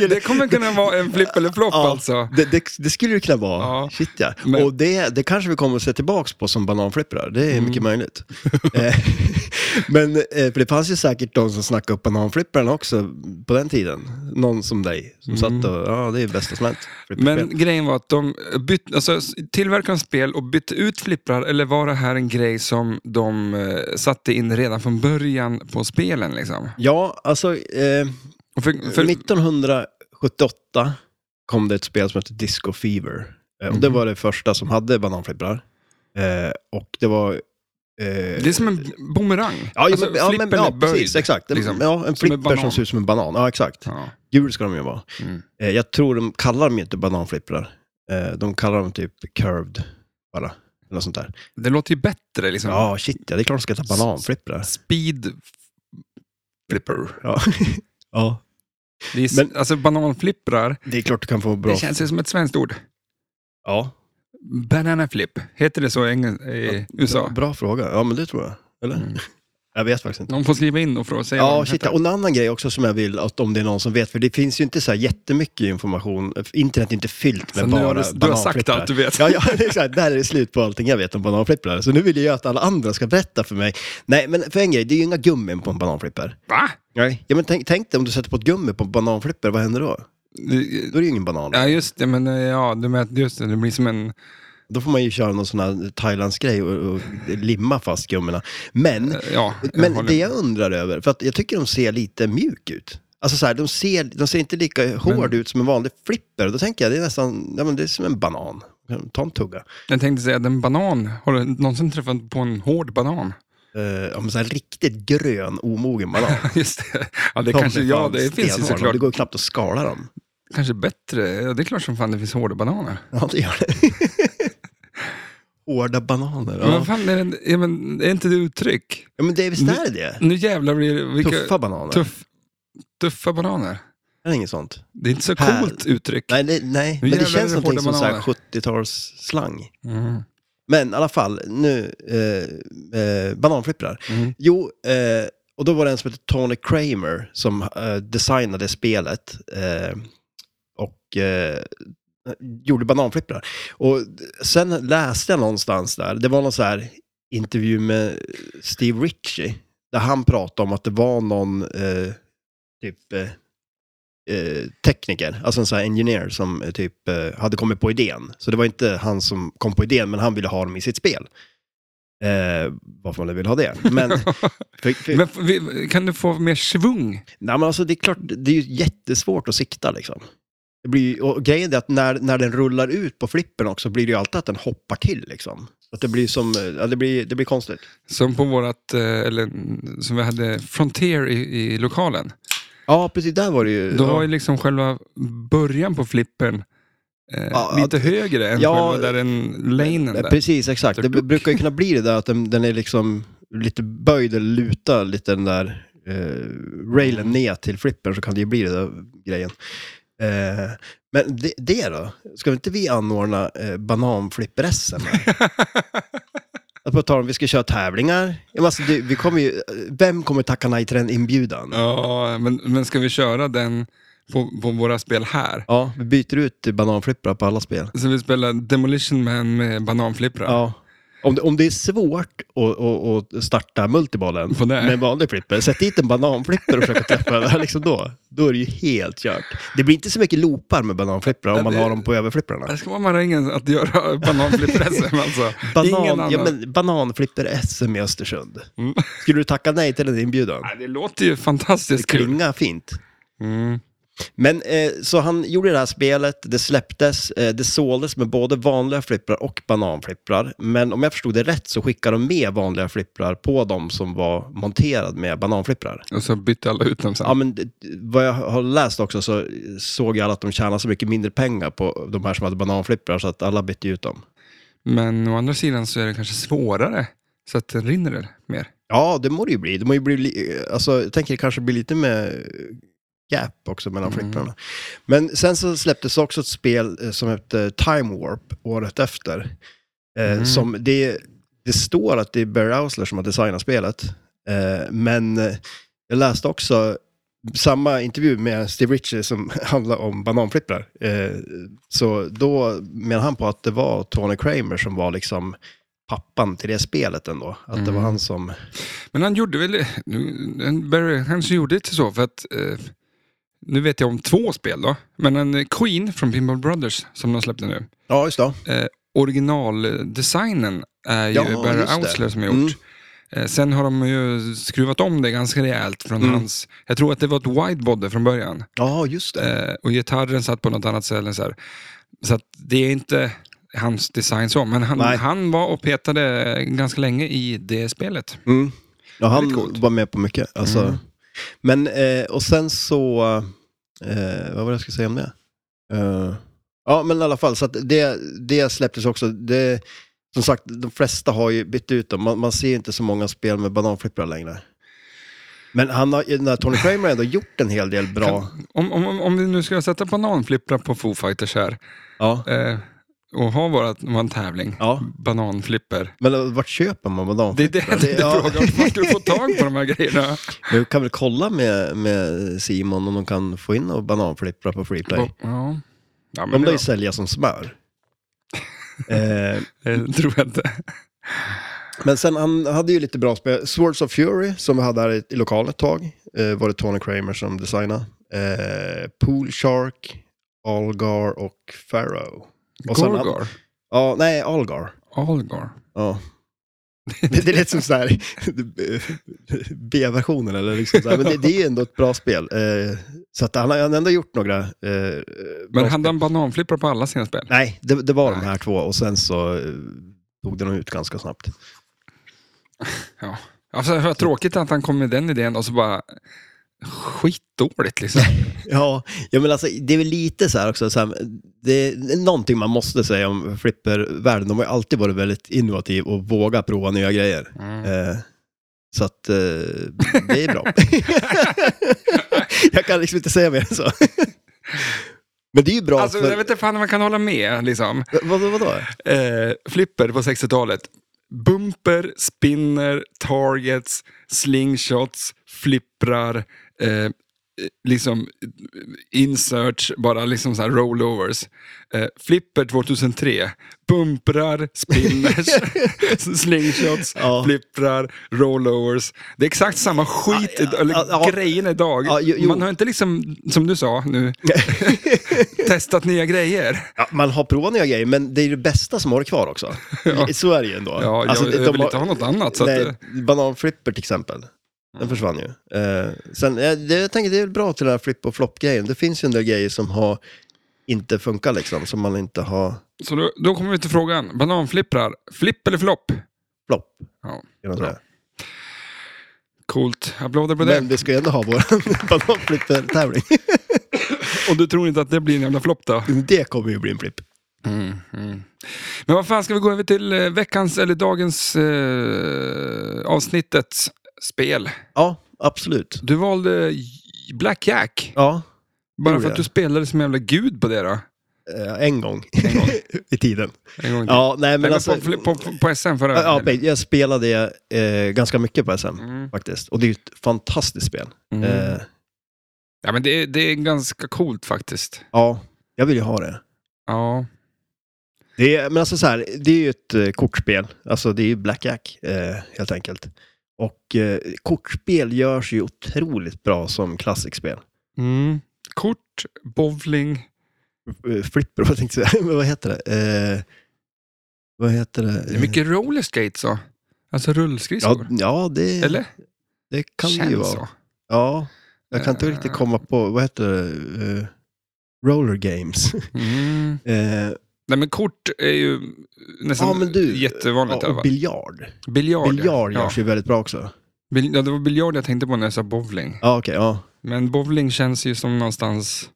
S1: det, det kommer kunna vara en flipp eller flopp
S2: Ja,
S1: alltså.
S2: Det, det, det skulle det kunna vara.
S1: Ja.
S2: Shit ja.
S1: Men- Mm.
S2: Och det, det kanske vi kommer att se tillbaka på som bananflipprar. Det är mycket möjligt. Eh, Men eh, för det fanns ju säkert de som snackade upp bananflipprarna också på den tiden. Någon som dig som satt och, ja det är bästa som hänt. Flipperspel.
S1: Mm. Men grejen var att de bytte, alltså, tillverkade en spel och bytte ut flipprar, eller var det här en grej som de eh, satte in redan från början på spelen? Liksom?
S2: Ja, alltså eh,
S1: Och för, för,
S2: 1978 kom det ett spel som hette Disco Fever. Eh,
S1: Mhm.
S2: och det var det första som hade bananflipprar. Eh, och det var... eh,
S1: det är som en bumerang.
S2: Ja,
S1: Alltså,
S2: men, ja, men,
S1: flippen
S2: ja
S1: är böjd,
S2: precis, exakt. En-
S1: liksom.
S2: ja, en
S1: Som en
S2: flipper som
S1: banan.
S2: ser ut som en banan. Ja, exakt.
S1: Ja.
S2: Gul ska de ju vara.
S1: Mm.
S2: Eh, jag tror de kallar dem ju inte bananflipprar. Eh, de kallar dem typ curved, bara. Eller något sånt där.
S1: Det låter ju bättre. Liksom.
S2: Ja, shit ja, det är klart de ska heta bananflipprar.
S1: Speed f- flipper.
S2: Ja. ja,
S1: Det är, s-
S2: Men-
S1: alltså bananflipprar,
S2: det är klart du kan få bra...
S1: det känns ju som ett svenskt ord.
S2: Ja,
S1: Banana flip, heter det så i, Engel, i USA? Mm.
S2: bra, bra fråga. Ja, men det tror jag. Eller? Jag vet faktiskt inte.
S1: Någon får skriva in och fråga. säga vad
S2: Ja,
S1: den
S2: shit.
S1: heter.
S2: Och en annan grej också som jag vill, att om det är någon som vet, för det finns ju inte så här jättemycket information. Internet är inte fyllt med
S1: Så nu
S2: bara
S1: har du, du har sagt
S2: bananflipprar.
S1: allt du vet.
S2: Ja, ja exakt. Där är det slut på allting jag vet om bananflipprar. Så nu vill jag ju att alla andra ska berätta för mig. Nej, men för en grej, det är ju inga gummin på en bananflipper.
S1: Va?
S2: Nej. Ja, men tänk, tänk dig om du sätter på ett gummi på en bananflipper, vad händer då?
S1: Det-
S2: Då är det ju ingen banan.
S1: Ja, just det. Men eh, ja, du menar, just det, det blir som en...
S2: Då får man ju köra någon sån här Thailandsgrej och, och limma fast gummorna. Men,
S1: Eh, Ja,
S2: men
S1: håller-
S2: det jag undrar över, för att jag tycker de ser lite mjuk ut. Alltså så här, de ser, de ser inte lika hård ut som en vanlig flipper. Då tänker jag, det är nästan, ja men det är som en banan. Ta en tugga.
S1: jag tänkte säga att en banan, har du någonsin träffat på en hård banan?
S2: Uh, ja, men så här riktigt grön, omogen banan.
S1: Just det. Ja, det
S2: De
S1: kanske,
S2: är
S1: ja,
S2: fan
S1: det finns ju
S2: stenhårda.
S1: såklart.
S2: Det går ju knappt att skala dem.
S1: Kanske bättre. Ja, det är klart som fan det finns hårda bananer.
S2: Ja, det gör det. Hårda bananer.
S1: Men vad
S2: Ja.
S1: fan är det, ja, men, är inte det uttryck?
S2: ja, men det, visst är det det?
S1: Nu jävlar blir det... Vilka,
S2: Tuffa bananer.
S1: tuff, tuffa bananer.
S2: Är det inget sånt?
S1: Det är inte så
S2: Här.
S1: coolt uttryck.
S2: Nej, det, nej. men det
S1: jävlar är
S2: känns
S1: det
S2: någonting
S1: hårda
S2: som så här
S1: bananer.
S2: 70-talsslang.
S1: Mm.
S2: Men i alla fall, nu, eh, eh, bananflipprar.
S1: Mm.
S2: Jo, eh, och då var det en som hette Tony Kramer som eh, designade spelet eh, och eh, gjorde bananflipprar. Och d- sen läste jag någonstans där, det var någon så här intervju med Steve Ritchie, där han pratade om att det var någon eh, typ eh, eh, tekniker, alltså en sån här engineer som eh, typ eh, hade kommit på idén. Så det var inte han som kom på idén, men han ville ha dem i sitt spel. Eh, varför man nu vill ha det. Men, för, för,
S1: Men f- vi- kan du få mer svung?
S2: Nej, men alltså, det är klart, det är ju jättesvårt att sikta liksom. Det blir, ju- och grejen är att när, när den rullar ut på flippen också blir det ju alltid att den hoppar till liksom. Att det blir som, eh, ja, det blir, det blir konstigt.
S1: Som på vårat, eh, eller mm, som vi hade Frontier i, i lokalen.
S2: Ja, precis, där var det ju...
S1: Då
S2: ja.
S1: var ju liksom själva början på flippen eh,
S2: Ja,
S1: lite högre än
S2: ja,
S1: själva där den lanen
S2: Eh,
S1: där.
S2: Precis, exakt. Det brukar ju kunna bli det där att den, den är liksom lite böjd eller lutar lite den där eh,
S1: Mm.
S2: railen ner till flippen så kan det ju bli det där grejen. Eh, men det, det då? Ska inte vi anordna eh, bananflipper-SM? Att på tal om vi ska köra tävlingar. Ja, men Alltså, det, vi kommer ju, vem kommer tacka nej till den inbjudan? Ja.
S1: Ja, men, men ska vi köra den på, på våra spel här?
S2: vi byter ut bananflipprar på alla spel.
S1: Så vi spelar Demolition Man med bananflipprar.
S2: Ja. Om det, om det är svårt att, att, att starta multibollen
S1: På det.
S2: med en vanlig flipper, sätt dit en bananflipper och försök att träffa den. Liksom då, då är det ju helt kört. Det blir inte så mycket loopar med bananflipprar om
S1: Men
S2: man
S1: det-
S2: har dem på överflipprarna.
S1: Det ska vara marängen att göra bananflipp-SM alltså. Ingen
S2: Banan,
S1: annan.
S2: ja, men bananflipper-SM i Östersund.
S1: Mm.
S2: Skulle du tacka nej till den inbjudan?
S1: Nej, det låter ju
S2: Det
S1: fantastiskt kul.
S2: klingar fint.
S1: Mm.
S2: Men eh, så han gjorde det här spelet, det släpptes, eh, det såldes med både vanliga flipprar och bananflipprar. Men om jag förstod det rätt så skickade de med vanliga flipprar på de som var monterad med bananflipprar.
S1: Och så bytte alla ut dem sen.
S2: Ja, men det- vad jag har läst också så såg jag att de tjänade så mycket mindre pengar på de här som hade bananflipprar så att alla bytte ut dem.
S1: Men å andra sidan så är det kanske svårare. Så att den rinner väl mer.
S2: Ja, det må det ju bli. Det må ju bli li- alltså, jag tänker det kanske blir lite med eh, gap också mellan
S1: Mm.
S2: flipprarna. Men sen så släpptes också ett spel eh, som hette Time Warp året efter. Eh,
S1: Mm.
S2: som det, det står att det är Barry Ausler som har designat spelet. Eh, men eh, jag läste också samma intervju med Steve Ritchie som handlar om bananflipprar. Eh, så då menar han på att det var Tony Kramer som var liksom pappan till det spelet ändå. Att det var
S1: Mm.
S2: han som...
S1: Men han gjorde väl... nu- Barry kanske gjorde det så för att... Eh, nu vet jag om två spel då. Men en eh, Queen från Pinball Brothers som de släppte nu. Eh,
S2: Ja, just det.
S1: Originaldesignen är ju
S2: Ja,
S1: Barry
S2: just det.
S1: Ausler som har gjort.
S2: Mm.
S1: Eh, Sen har de ju skruvat om det ganska rejält från
S2: Mm.
S1: hans... Jag tror att det var ett widebody från början.
S2: Ja, just det.
S1: Eh, och gitarren satt på något annat ställe. Så, här. så att det är inte hans design så, men han,
S2: Nej.
S1: han var och petade ganska länge i det spelet.
S2: Mm. Ja, han
S1: Väldigt coolt.
S2: var med på mycket. Alltså.
S1: Mm.
S2: Men, eh, och sen så, eh, vad var det jag skulle säga om det? Eh, ja, men i alla fall, så att det, det släpptes också. Det, som sagt, de flesta har ju bytt ut dem. Man, man ser inte så många spel med bananflipprar längre. Men han har, den här Tony Kramer har ändå gjort en hel del bra.
S1: Om, om, om- om vi nu ska sätta bananflipprar på Foo Fighters här
S2: Ja.
S1: eh, och ha vårat, vår tävling,
S2: Ja.
S1: bananflipper.
S2: Men eh, vart köper man
S1: Det är
S2: bananflipprar?
S1: det jag tänkte
S2: ja.
S1: fråga, om man skulle få tag på de här grejerna.
S2: Du kan väl kolla med, med Simon om de kan få in några bananflipprar på Freeplay?
S1: Ja. Ja, men
S2: De lär
S1: det,
S2: ju sälja som smör. eh,
S1: det tror jag inte.
S2: men sen han hade ju lite bra spel. Swords of Fury som vi hade här i, i lokalen ett tag. Eh, var det Tony Kramer som designade. Eh, Pool Shark, Algar och Pharaoh. Och sen-
S1: Gorgor?
S2: Ja, nej, Algar.
S1: Algar?
S2: Ja. Det, det lät som så här B-versionen eller liksom så här. Men det, det är ju ändå ett bra spel. Eh, så att han har han har ändå gjort några eh, bra
S1: Men
S2: spel.
S1: hade han bananflipprar på alla sina spel?
S2: Nej, det, det var de
S1: Nej.
S2: här två och sen så eh, tog den ut ganska snabbt.
S1: Alltså, det var tråkigt att han kom med den idén och så bara skitdåligt liksom.
S2: Ja, ja men alltså, det är väl lite så här också, så här, det är någonting man måste säga om flippervärlden. De har ju alltid varit väldigt innovativ och vågat prova nya grejer.
S1: Mm.
S2: Eh, så att eh, det är bra. jag kan liksom inte säga mer än så. Men det är ju bra
S1: Alltså,
S2: för...
S1: jag vet inte fan om man kan hålla med. Liksom.
S2: Vad, vadå?
S1: Eh, flipper på 60-talet. Bumper, spinner, targets, slingshots, flipprar, eh, liksom eh, inserts, bara liksom så här rollovers. Eh, flipper 2003, bumprar, spinners, slingshots,
S2: Ja.
S1: flipprar, rollovers. Det är exakt samma skit,
S2: Ja, ja,
S1: eller
S2: ja, ja.
S1: grejen idag.
S2: Ja, jo, jo.
S1: Man har inte liksom, som du sa nu, testat nya grejer.
S2: Ja, man har provat nya grejer, men det är ju det bästa som har kvar också.
S1: Ja.
S2: Så är det ju ändå. Alltså,
S1: Ja, jag- jag vill inte ha något annat, så att
S2: nej,
S1: det- Mm.
S2: Bananflipper till exempel. Den försvann ju. Eh, sen, eh, det, jag tänker det är väl bra till den här flip och flop-grejen. Det finns ju en del grejer som har inte funkar liksom, som man inte har
S1: Så då, då kommer vi till frågan. Bananflipprar, flipp eller flopp?
S2: flopp.
S1: Ja,
S2: kan man
S1: Bra.
S2: säga.
S1: coolt. Applåder på
S2: Men
S1: det.
S2: vi ska ju ändå ha vår bananflipper-tävling.
S1: Och du tror inte att det blir en jävla flopp då?
S2: det kommer ju bli en flipp.
S1: Men vad fan, ska vi gå över till eh, veckans, eller dagens eh, avsnittets spel?
S2: Ja, absolut.
S1: Du valde J- Blackjack.
S2: Oh, Ja,
S1: Bara
S2: gjorde
S1: för att du
S2: jag.
S1: spelade som en jävla gud på det då.
S2: eh, en gång
S1: En gång,
S2: i tiden.
S1: en gång till.
S2: Ja, nej men
S1: Nej,
S2: alltså...
S1: men på, på, på, på SM förra
S2: Ja,
S1: helgen.
S2: ja, jag spelade eh, ganska mycket på SM
S1: Mm.
S2: faktiskt. Och det är ju ett fantastiskt spel.
S1: Mm.
S2: Eh,
S1: ja, men det, är- det är ganska coolt faktiskt.
S2: ja, jag vill ju ha det.
S1: Ja.
S2: Det är, men alltså så här, det är ju ett eh, kortspel. Alltså det är ju blackjack eh, helt enkelt. Och eh, kortspel görs ju otroligt bra som klassikspel.
S1: Mm. Kort, bowling.
S2: Eh, Flipper, vad tänkte jag säga? Men vad heter det? Eh, vad heter det?
S1: Det är mycket rollerskates så. Alltså
S2: ja,
S1: rullskridskor.
S2: ja, det,
S1: Eller?
S2: det kan det ju
S1: Känns
S2: vara.
S1: så.
S2: Ja, jag kan inte
S1: Eh.
S2: riktigt komma på, vad heter det? Eh, roller games.
S1: Mm.
S2: Eh,
S1: Nej men kort är ju nästan
S2: Ja, men du,
S1: jättevanligt i
S2: ja,
S1: alla fall.
S2: och biljard.
S1: biljard. ja.
S2: Biljard görs ju väldigt bra också.
S1: Bil- ja, det var biljard jag tänkte på när jag sa bowling.
S2: Ja, okej. ja.
S1: Men bowling känns ju som någonstans...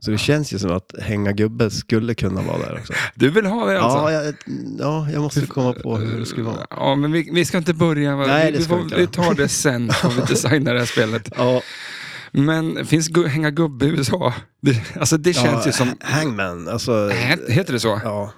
S2: Så det känns ju som att hänga gubbe skulle kunna vara där också.
S1: Du vill ha det alltså?
S2: Ja, jag, ja, jag måste komma på hur det skulle vara.
S1: Ja, men vi, vi ska inte börja. Va?
S2: Nej, det
S1: vi,
S2: ska
S1: vi,
S2: vi inte
S1: får,
S2: göra.
S1: vi tar det sen, om vi designar det här spelet.
S2: Ja,
S1: Men finns gu- hänga gubbe i USA? Det, alltså det känns ju som...
S2: Hangman, alltså...
S1: Hä- Heter det så?
S2: eh, Ja,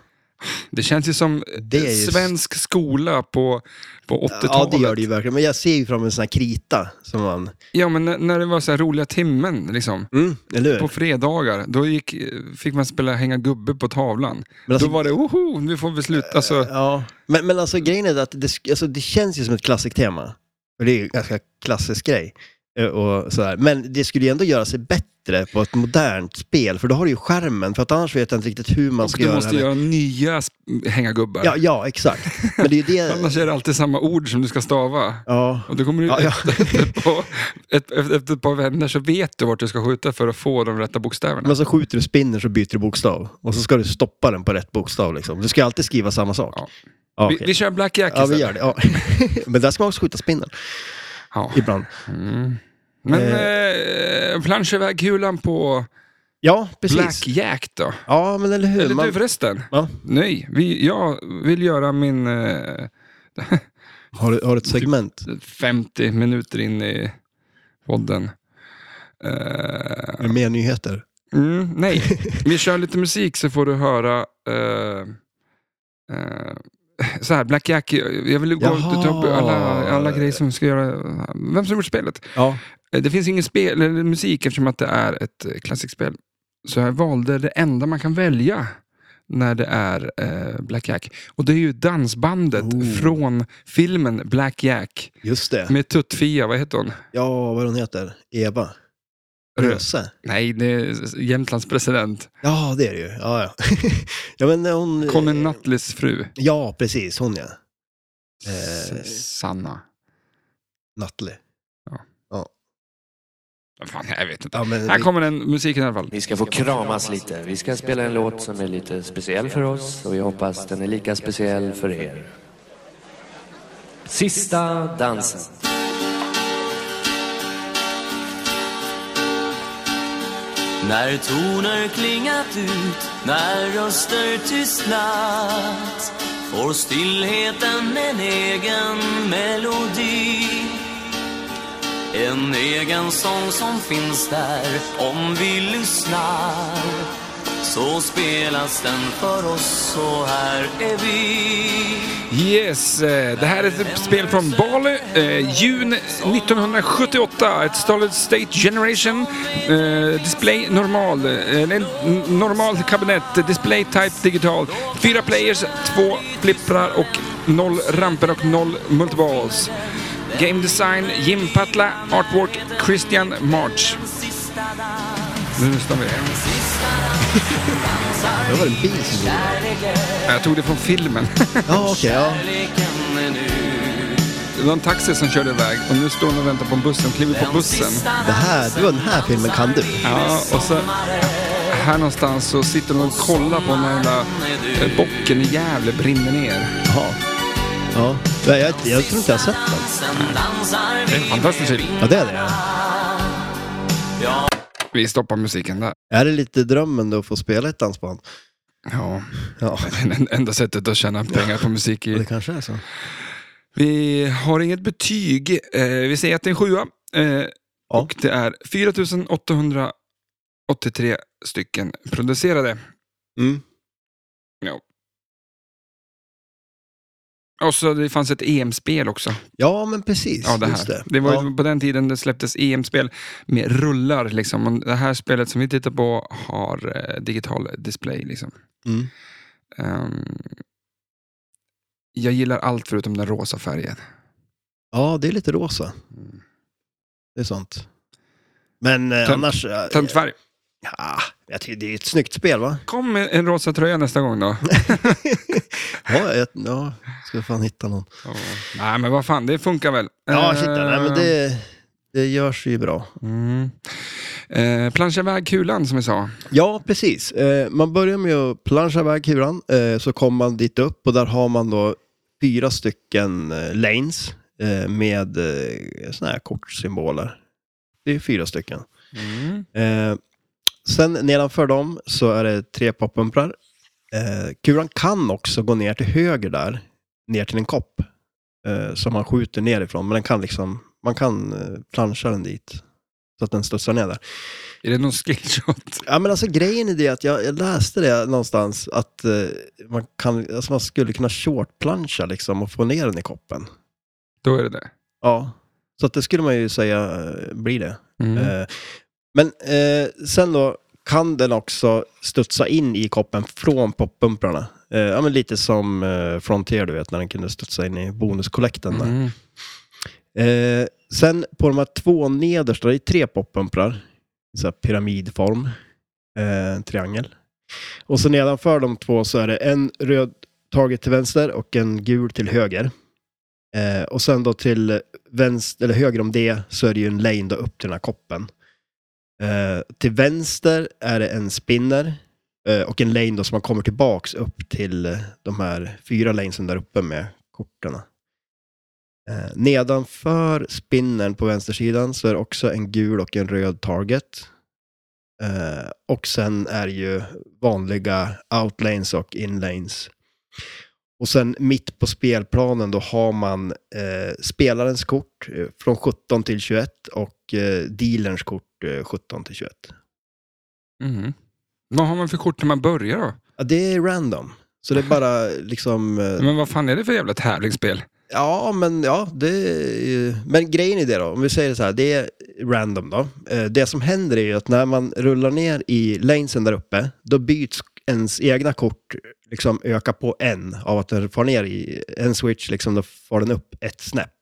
S1: Det känns ju som
S2: Det är ju-
S1: svensk skola på, på 80-talet.
S2: ja, det gör det ju verkligen. Men jag ser ju fram en sån här krita som man...
S1: Ja, men när, när det var så här roliga timmen, liksom.
S2: Mm, eller hur?
S1: På fredagar, då gick, fick man spela hänga gubbe på tavlan.
S2: Men alltså- Eh,
S1: då var det, oho, nu får vi sluta. Alltså,
S2: Ja, men, men alltså grejen är att det, sk- alltså, det känns ju som ett klassiktema. Och det är ju en ganska klassisk grej. eh, Och sådär. Men det skulle ju ändå göra sig bättre på ett modernt spel, för då har du ju skärmen, för att annars vet jag inte riktigt hur man
S1: och
S2: ska
S1: du
S2: göra.
S1: måste
S2: det.
S1: göra nya sp- hänga gubbar.
S2: Ja, ja, exakt. Men det är ju det...
S1: Annars är det alltid samma ord som du ska stava.
S2: Ja,
S1: Och då kommer du
S2: Ja, ja.
S1: Efter, efter, ett par, ett, efter efter ett par vänner så vet du vart du ska skjuta för att få de rätta bokstäverna.
S2: men så skjuter du spinner så byter du bokstav. Och så ska du stoppa den på rätt bokstav liksom. Du ska alltid skriva samma sak.
S1: Ja.
S2: Ja,
S1: vi,
S2: okej.
S1: vi kör blackjack
S2: Ja, vi
S1: istället.
S2: gör det. Ja. men där ska man också skjuta spinner
S1: Ja.
S2: ibland.
S1: Mm. Men eh, plansch iväg kulan på
S2: Ja, precis.
S1: blackjack då?
S2: Ja, men eller hur.
S1: Eller
S2: man...
S1: du förresten?
S2: Ja.
S1: Nej, vi, jag vill göra min eh,
S2: har, du, har du ett segment?
S1: Typ- 50 minuter in i podden. Eh,
S2: Med mer nyheter?
S1: mm, nej, vi kör lite musik så får du höra. Eh, eh, så här, Black Jack, jag vill gå
S2: Jaha.
S1: och ta upp alla, alla grejer som ska göra, vem som gjort spelet.
S2: Ja.
S1: Eh, Det finns ingen spel, eller musik eftersom att det är ett eh, klassikspel. Så jag valde det enda man kan välja när det är eh, Black Jack. Och det är ju dansbandet
S2: Oh.
S1: från filmen Black Jack.
S2: Just det.
S1: Med Tuttfia, vad heter hon?
S2: Ja, vad hon heter. Eva. Röse.
S1: Nej, det är Jämtlands president.
S2: Ja, det är det ju. Ja, ja. ja men hon...
S1: Conny Nuttleys fru.
S2: Ja, precis. Hon ja. Eh.
S1: S- Sanna.
S2: Nutley.
S1: Vad Fan, jag vet inte.
S2: Ja, men...
S1: Här kommer den musiken i alla fall.
S5: Vi ska få kramas lite. Vi ska spela en låt som är lite speciell för oss och jag hoppas den är lika speciell för er. Sista dansen.
S6: När toner klingat ut, när röster tystnat får stillheten en egen melodi En egen sång som finns där om vi lyssnar Så spelas den för oss och här är vi
S1: Yes, eh, det här är ett spel från Bali, eh, juni 1978. Ett Solid State Generation, eh, Display normal, eh, eller n- normal kabinett, Display Type digital. Fyra players, två flipprar och noll ramper och noll multiballs. Game Design, Jim Patla, Artwork, Christian March. Nu lyssnar vi.
S2: Det var en bil som gjorde det.
S1: Jag tog det från filmen.
S2: Ja, okej. ja.
S6: Leken är nu
S1: Det var en taxi som körde iväg och nu står hon och väntar på bussen, kliver på bussen.
S2: Det här, det var den här filmen kan du.
S1: Ja, och så här någonstans så sitter de och kollar på när den där eh, bocken i Gävle brinner ner.
S2: Jaha. Ja. Nej, Jag, jag tror inte jag har sett den.
S6: Sen dansar
S1: Det är en
S6: vi
S1: fantastisk film.
S2: Ja, det är det. ja.
S1: Vi stoppar musiken där.
S2: Är det lite drömmen då att få spela ett dansband?
S1: Ja,
S2: Ja,
S1: det är det enda sättet att tjäna pengar på musik
S2: det
S1: i.
S2: kanske är så.
S1: Vi har inget betyg. Eh, vi säger att det är en sjua. Eh,
S2: Ja.
S1: Och det är 4883 stycken producerade.
S2: Mm.
S1: Och så det fanns ett EM-spel också.
S2: Ja, men precis.
S1: Ja, det här.
S2: Just
S1: Det.
S2: det.
S1: var
S2: ja.
S1: ju på den tiden det släpptes EM-spel med rullar. Liksom. Och det här spelet som vi tittar på har eh, digital display. Liksom.
S2: Mm.
S1: Ehm, jag gillar allt förutom den rosa färgen.
S2: ja, det är lite rosa. Det är sånt. Men eh,
S1: Tönt-
S2: annars... eh,
S1: Tönt färg.
S2: ja, jag tycker det är ett snyggt spel, va?
S1: Kom med en rosa tröja nästa gång då.
S2: ja, jag, ja, ska fan hitta någon.
S1: Ja. Nej men vad fan, det funkar väl.
S2: Ja, shit, ja, nej, men
S1: Ehm,
S2: det, det görs ju bra.
S1: Mm. Eh, planscha iväg kulan som vi sa.
S2: Ja, precis. Eh, man börjar med att planscha iväg kulan, eh, så kommer man dit upp och där har man då fyra stycken eh, lanes eh, med eh, såna här kortsymboler. Det är fyra stycken.
S1: Mm.
S2: Eh, sen nedanför dem så är det tre poppumprar. Eh, kulan kan också gå ner till höger där, ner till en kopp eh, som man skjuter nerifrån, men den kan liksom, man kan eh, planscha den dit så att den studsar ner där.
S1: Är det någon skillshot?
S2: Ja, men alltså grejen är det att jag, jag läste det någonstans att eh, man, kan, alltså, man skulle kunna shortplanscha liksom och få ner den i koppen.
S1: Då är det det.
S2: Ja, så att det skulle man ju säga eh, blir det.
S1: Mm.
S2: Eh, men eh, sen då kan den också studsa in i koppen från poppumprarna. Eh, ja, men lite som eh, Frontier, du vet, när den kunde studsa in i bonuskollekten där.
S1: Mm.
S2: Eh, sen på de här två nedersta, det är tre poppumprar. Så här pyramidform. Eh, en triangel. Och så nedanför de två så är det en röd taget till vänster och en gul till höger. Eh, och sen då till vänster, eller höger om det, så är det ju en lane då upp till den här koppen. Eh, till vänster är det en spinner eh, och en lane då som man kommer tillbaks upp till eh, de här fyra lanesen där uppe med korten. Eh, nedanför spinnern på vänstersidan så är det också en gul och en röd target. Eh, och sen är det ju vanliga outlanes och inlanes. Och sen mitt på spelplanen då har man eh, spelarens kort eh, från 17 till 21 och eh, dealerns kort eh, 17 till 21.
S1: Mm. Vad har man för kort när man börjar då?
S2: Ja, det är random. Så det är bara liksom... eh,
S1: Men vad fan är det för jävla tävlingsspel?
S2: Ja, men ja, det är ju... Men grejen i det då, om vi säger så här, det är random då. Eh, Det som händer är ju att när man rullar ner i lanesen där uppe, då byts ens egna kort, liksom ökar på en av att den far ner i en switch, liksom då far den upp ett snäpp.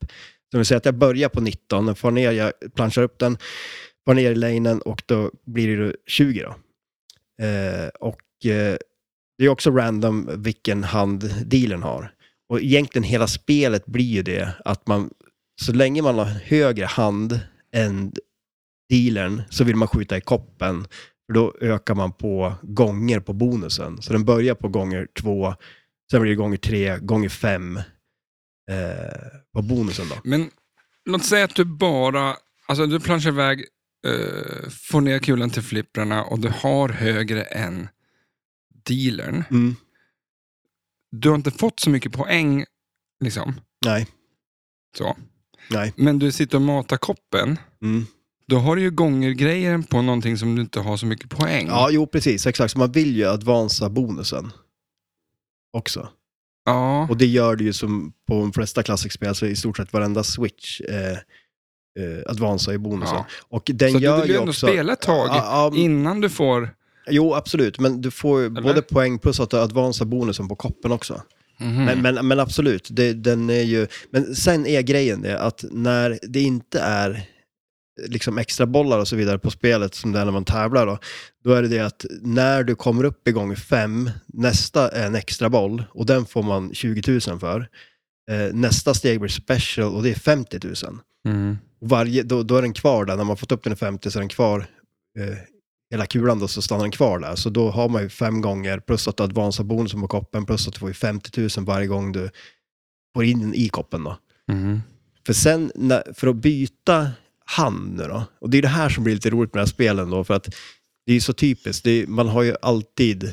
S2: Så om vi säger att jag börjar på 19, den far ner, jag planchar upp den, far ner i lanen och då blir det 20 då. Eh, och eh, det är också random vilken hand dealen har. Och egentligen hela spelet blir ju det att man, så länge man har högre hand än dealern så vill man skjuta i koppen. För då ökar man på gånger på bonusen. Så den börjar på gånger två, sen blir det gånger tre, gånger fem eh, på bonusen då.
S1: Men låt säga att du bara, alltså du planschar iväg, eh, får ner kulan till flipprarna och du har högre än dealern.
S2: Mm.
S1: Du har inte fått så mycket poäng, liksom.
S2: Nej.
S1: Så.
S2: Nej.
S1: Men du sitter och matar koppen.
S2: Mm.
S1: Då har du ju gånger grejen på någonting som du inte har så mycket poäng.
S2: Ja, jo precis. Exakt. Så man vill ju advansa bonusen. Också.
S1: Ja.
S2: Och det gör det ju som på de flesta klassikspel, så i stort sett varenda switch eh, eh, advansar i bonusen.
S1: Ja.
S2: Och den
S1: Så du
S2: gör
S1: vill ju ändå
S2: också...
S1: spela ett tag
S2: Ja, ja,
S1: innan du får...
S2: Jo, absolut. Men du får ju
S1: Eller?
S2: både poäng plus att du advansar bonusen på koppen också.
S1: Mhm.
S2: Men, men, men absolut, det, den är ju... Men sen är grejen det att när det inte är liksom extra bollar och så vidare på spelet som det är när man tävlar då, då är det det att när du kommer upp i gång fem, nästa är en extra boll och den får man 20 000 för. Eh, nästa steg blir special och det är 50 000.
S1: Mm.
S2: Och varje, då, då är den kvar där, när man fått upp den i 50 så är den kvar eh, hela kulan då, så stannar den kvar där. Så då har man ju fem gånger, plus att du advansar bonusen på koppen, plus att du får ju 50 000 varje gång du får in den i koppen då.
S1: Mhm.
S2: För sen, när, för att byta hand nu då, och det är det här som blir lite roligt med det här spelen då, för att det är ju så typiskt, det är, man har ju alltid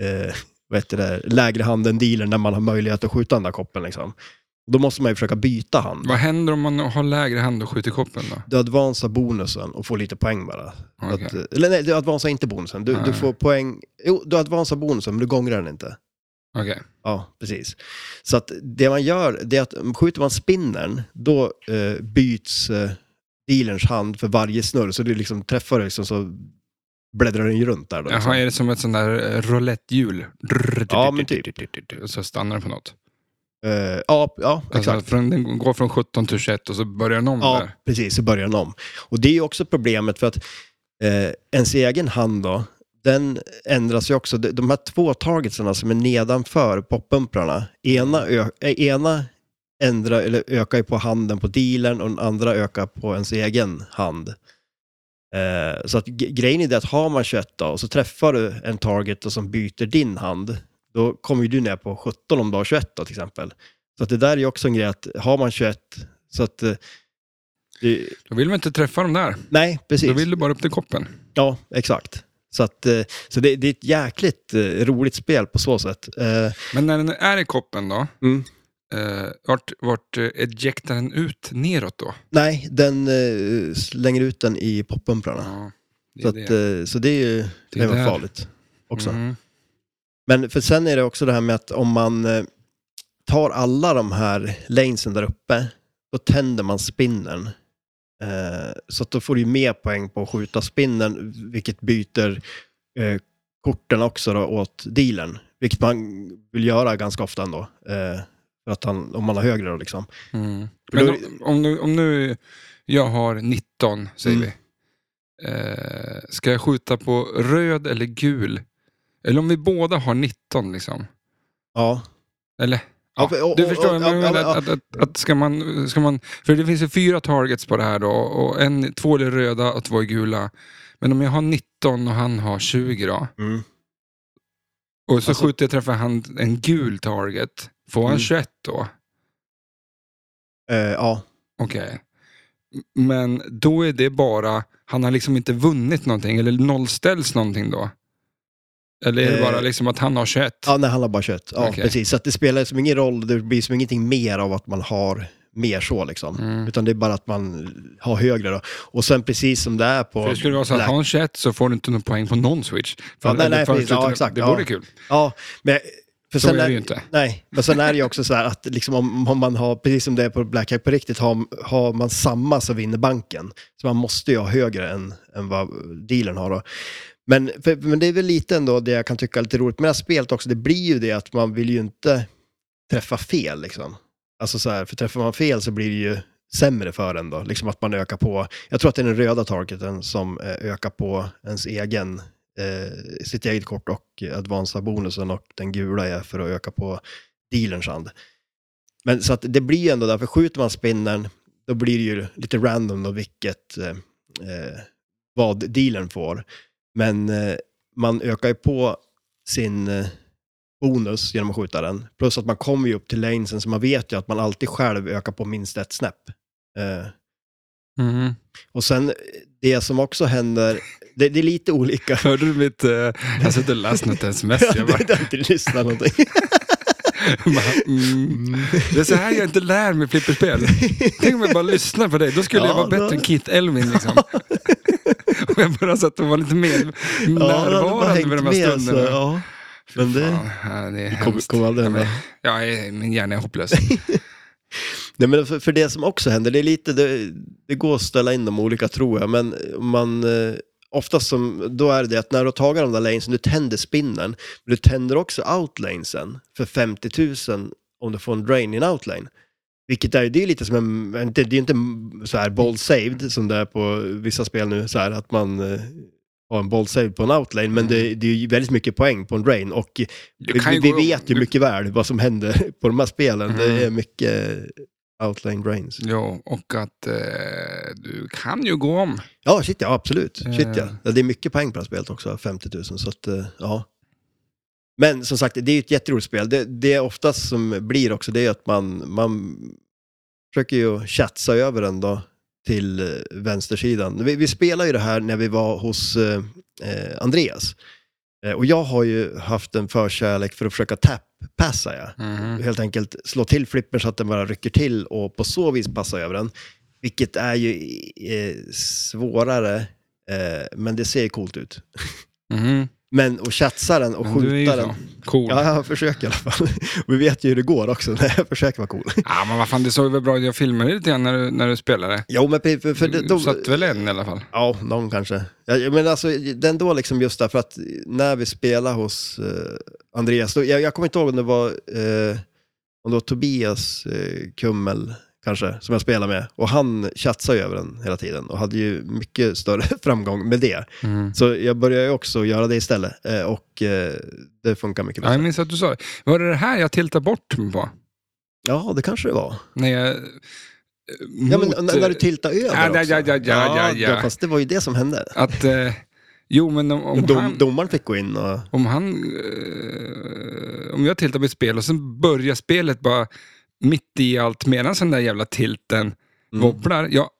S2: eh, vad heter det, lägre hand än dealern när man har möjlighet att skjuta den där koppen liksom. Då måste man ju försöka byta hand
S1: Vad händer om man har lägre hand och skjuter koppen då?
S2: du advansar bonusen och får lite poäng bara. Så
S1: Okej.
S2: Att, eh, eller nej, du advansar inte bonusen. Du, du
S1: Nej.
S2: får poäng. Jo, du advansar bonusen, men du gångrar den inte.
S1: Okej.
S2: Ja, precis. Så att det man gör, det är att mm, skjuter man spinnern, då eh, byts eh, dealerns hand för varje snurr. Så du liksom träffar liksom så bläddrar den ju runt där. Då, liksom.
S1: Jaha, är det som ett sånt där eh, roulettehjul? typ, Drrrr,
S2: Ja,
S1: drrrr,
S2: men typ.
S1: drrrr, drrrr, typ, Och så stannar den på något.
S2: Eh, ja, ja,
S1: Alltså,
S2: exakt.
S1: att från, den går från 17 till 21 och så börjar den om
S2: Ja,
S1: där.
S2: precis. Så börjar den om. Och det är ju också problemet för att eh, ens egen hand då, den ändras ju också. De- De här två targetsarna som är nedanför poppumprarna, ena, ö- eh, ena ändrar, eller ökar ju på handen på dealern och den andra ökar på ens egen hand. Eh, så att ge- grejen är det att har man 21 då, och så träffar du en target och som byter din hand, då kommer ju du ner på 17 om du har 21 då, till exempel. Så att det där är ju också en grej att har man 21, så att eh, det,
S1: Då vill man inte träffa dem där.
S2: Nej, precis.
S1: Då vill du bara upp till koppen.
S2: Ja, exakt. Så, att, eh, så det, det är ett jäkligt eh, roligt spel på så sätt. Eh,
S1: Men när den är i koppen då,
S2: Mm.
S1: eh, vart, vart eh, ejectar den ut neråt då?
S2: nej, den eh, slänger ut den i poppumprarna.
S1: Ja, det är
S2: Ah. Så, att,
S1: det.
S2: eh, så det är ju det
S1: är
S2: var
S1: där.
S2: farligt också.
S1: Mhm.
S2: Men för sen är det också det här med att om man eh, tar alla de här lanesen där uppe, då tänder man spinnen. Eh, så att då får du ju mer poäng på att skjuta spinnen, vilket byter eh, korten också då åt dealern. Vilket man vill göra ganska ofta ändå. Eh, för att han, om man har högre då liksom.
S1: Mm.
S2: För
S1: Men
S2: då-
S1: om, om, nu, om nu jag har 19, säger
S2: Mm.
S1: vi. Eh, ska jag skjuta på röd eller gul? Eller om vi båda har 19 liksom?
S2: Ja,
S1: Eller?
S2: Ja,
S1: Ja,
S2: för- och-
S1: du
S2: och-
S1: förstår,
S2: och-
S1: vad jag
S2: ja,
S1: menar,
S2: ja, ja.
S1: att, att, att ska, man, ska man... För det finns ju fyra targets på det här då. Och en, två är röda och två är gula. Men om jag har 19 och han har 20 då.
S2: mm.
S1: Och så
S2: Alltså-
S1: skjuter jag träffar han en gul target. Får han
S2: Mm.
S1: 21 då?
S2: eh, ja.
S1: Okej. Men då är det bara, han har liksom inte vunnit någonting eller nollställts någonting då? Eller är det
S2: Eh.
S1: bara liksom att han har 21?
S2: ja nej, han har bara kött. Ja,
S1: Okej.
S2: precis. Så att det spelar som ingen roll, det blir som ingenting mer av att man har mer så liksom.
S1: Mm.
S2: Utan det är bara att man har högre då. Och sen precis som det är på...
S1: För det skulle vara så att
S2: Black-
S1: har han 21 så får du inte någon poäng på någon switch. För,
S2: Ja, nej,
S1: eller
S2: nej,
S1: för-
S2: precis. Ja,
S1: utan-
S2: exakt.
S1: Det
S2: Ja.
S1: vore kul.
S2: Ja, men... För
S1: Så
S2: sen
S1: är
S2: är-
S1: det ju inte.
S2: Nej, men sen är det ju också så här att liksom om, om man har, precis som det är på Black Hack på riktigt, har, har man samma så vinner banken. Så man måste ju ha högre än, än vad dealern har då. Men, för, men det är väl lite ändå det jag kan tycka är lite roligt med det här spelet också. Det blir ju det att man vill ju inte träffa fel liksom. Alltså så här, för träffar man fel så blir det ju sämre för en då. Liksom att man ökar på, jag tror att det är den röda targeten som eh, ökar på ens egen, eh, sitt eget kort och eh, advansa bonusen och den gula är för att öka på dealerns hand. Men så att det blir ju ändå därför, skjuter man spinnen då blir det ju lite random då vilket, eh, eh, vad dealern får. Men eh, man ökar ju på sin eh, bonus genom att skjuta den. Plus att man kommer ju upp till lanesen så man vet ju att man alltid själv ökar på minst ett snäpp. Eh,
S1: Mhm.
S2: och sen eh, det som också händer, det, det är lite olika.
S1: Hörde du mitt... eh, jag satt och läste något sms. Jag bara,
S2: Jag har inte lyssnat någonting.
S1: Bara, mm. Det är så här jag inte lär mig flipperspel. Tänk om jag bara lyssnar på dig, då skulle
S2: Ja,
S1: jag vara
S2: då-
S1: bättre än Keith Elvin liksom. Om jag bara satt och var lite mer närvarande vid de här stunderna.
S2: alltså, ja. Men det
S1: Ja, det är
S2: kommer
S1: hemskt.
S2: kom aldrig hända.
S1: Ja, jag- min hjärna är hopplös.
S2: Nej, men för, för det som också händer, det är lite, det, det går att ställa in de olika tror jag, men man, eh, oftast som, då är det att när du har tagit de där lanesen, du tänder spinnen, men du tänder också outlanesen för 50 000 om du får en drain i en outlane. Vilket är, det är lite som en, en- det, det är inte så här ball saved som det är på vissa spel nu, så här att man eh, har en ball saved på en outlane, men det, det är ju väldigt mycket poäng på en drain och
S1: Mm. Du
S2: vi,
S1: kan ju
S2: vi
S1: gå-
S2: vet ju
S1: du-
S2: mycket väl vad som händer på de här spelen.
S1: Mm.
S2: Det är mycket outline brains.
S1: Ja, och att eh, du kan ju gå om.
S2: Ja, shit ja, absolut.
S1: Ja,
S2: Shit,
S1: ja.
S2: ja. Ja, det är mycket poäng på det här spelet också, 50 000. Så att, eh, ja. Men som sagt, det är ju ett jätteroligt spel. Det, det är oftast som blir också, det är att man, man försöker ju chatsa över den då till eh, vänstersidan. Vi, vi spelade ju det här när vi var hos eh, eh, Andreas. Eh, och jag har ju haft en förkärlek för att försöka tap-passa, ja.
S1: Mhm.
S2: helt enkelt slå till flippern så att den bara rycker till och på så vis passa över den. Vilket är ju eh, svårare, eh, men det ser coolt ut.
S1: Mhm.
S2: Men att chatsa den och
S1: Men du är ju
S2: skjuta
S1: så
S2: den.
S1: cool.
S2: Ja, jag försöker i alla fall. Och vi vet ju hur det går också när jag försöker vara cool.
S1: Ja, men vad fan, det såg ju väl bra ut. Jag filmade lite grann när du, när du spelade.
S2: Jo, men för- för det,
S1: Du
S2: de,
S1: satt väl en i alla fall.
S2: Ja, någon kanske. Ja, ja, men alltså, det är ändå liksom just därför att när vi spelar hos eh, Andreas, då, jag, jag kommer inte ihåg om det var, eh, om det var Tobias eh, Kummel kanske, som jag spelade med. Och han tjafsade ju över den hela tiden och hade ju mycket större framgång med det.
S1: Mm.
S2: Så jag började ju också göra det istället eh, och eh, det funkar mycket
S1: Ja, jag
S2: bättre.
S1: minns att du sa det. Var det det här jag tiltade bort mig på?
S2: Ja, det kanske det var.
S1: När jag... eh,
S2: Ja, men
S1: mot,
S2: n- när du
S1: eh,
S2: tiltade över
S1: ja, ja,
S2: också.
S1: ja, ja, ja, ja.
S2: då, Fast det var ju det som hände.
S1: Att, eh, jo, men om, om
S2: Dom,
S1: han...
S2: Domaren fick gå in och...
S1: Om han... Eh, om jag tiltar mitt spel och sen börjar spelet bara mitt i allt medan den där jävla tilten
S2: Mm.
S1: wobblar. Ja,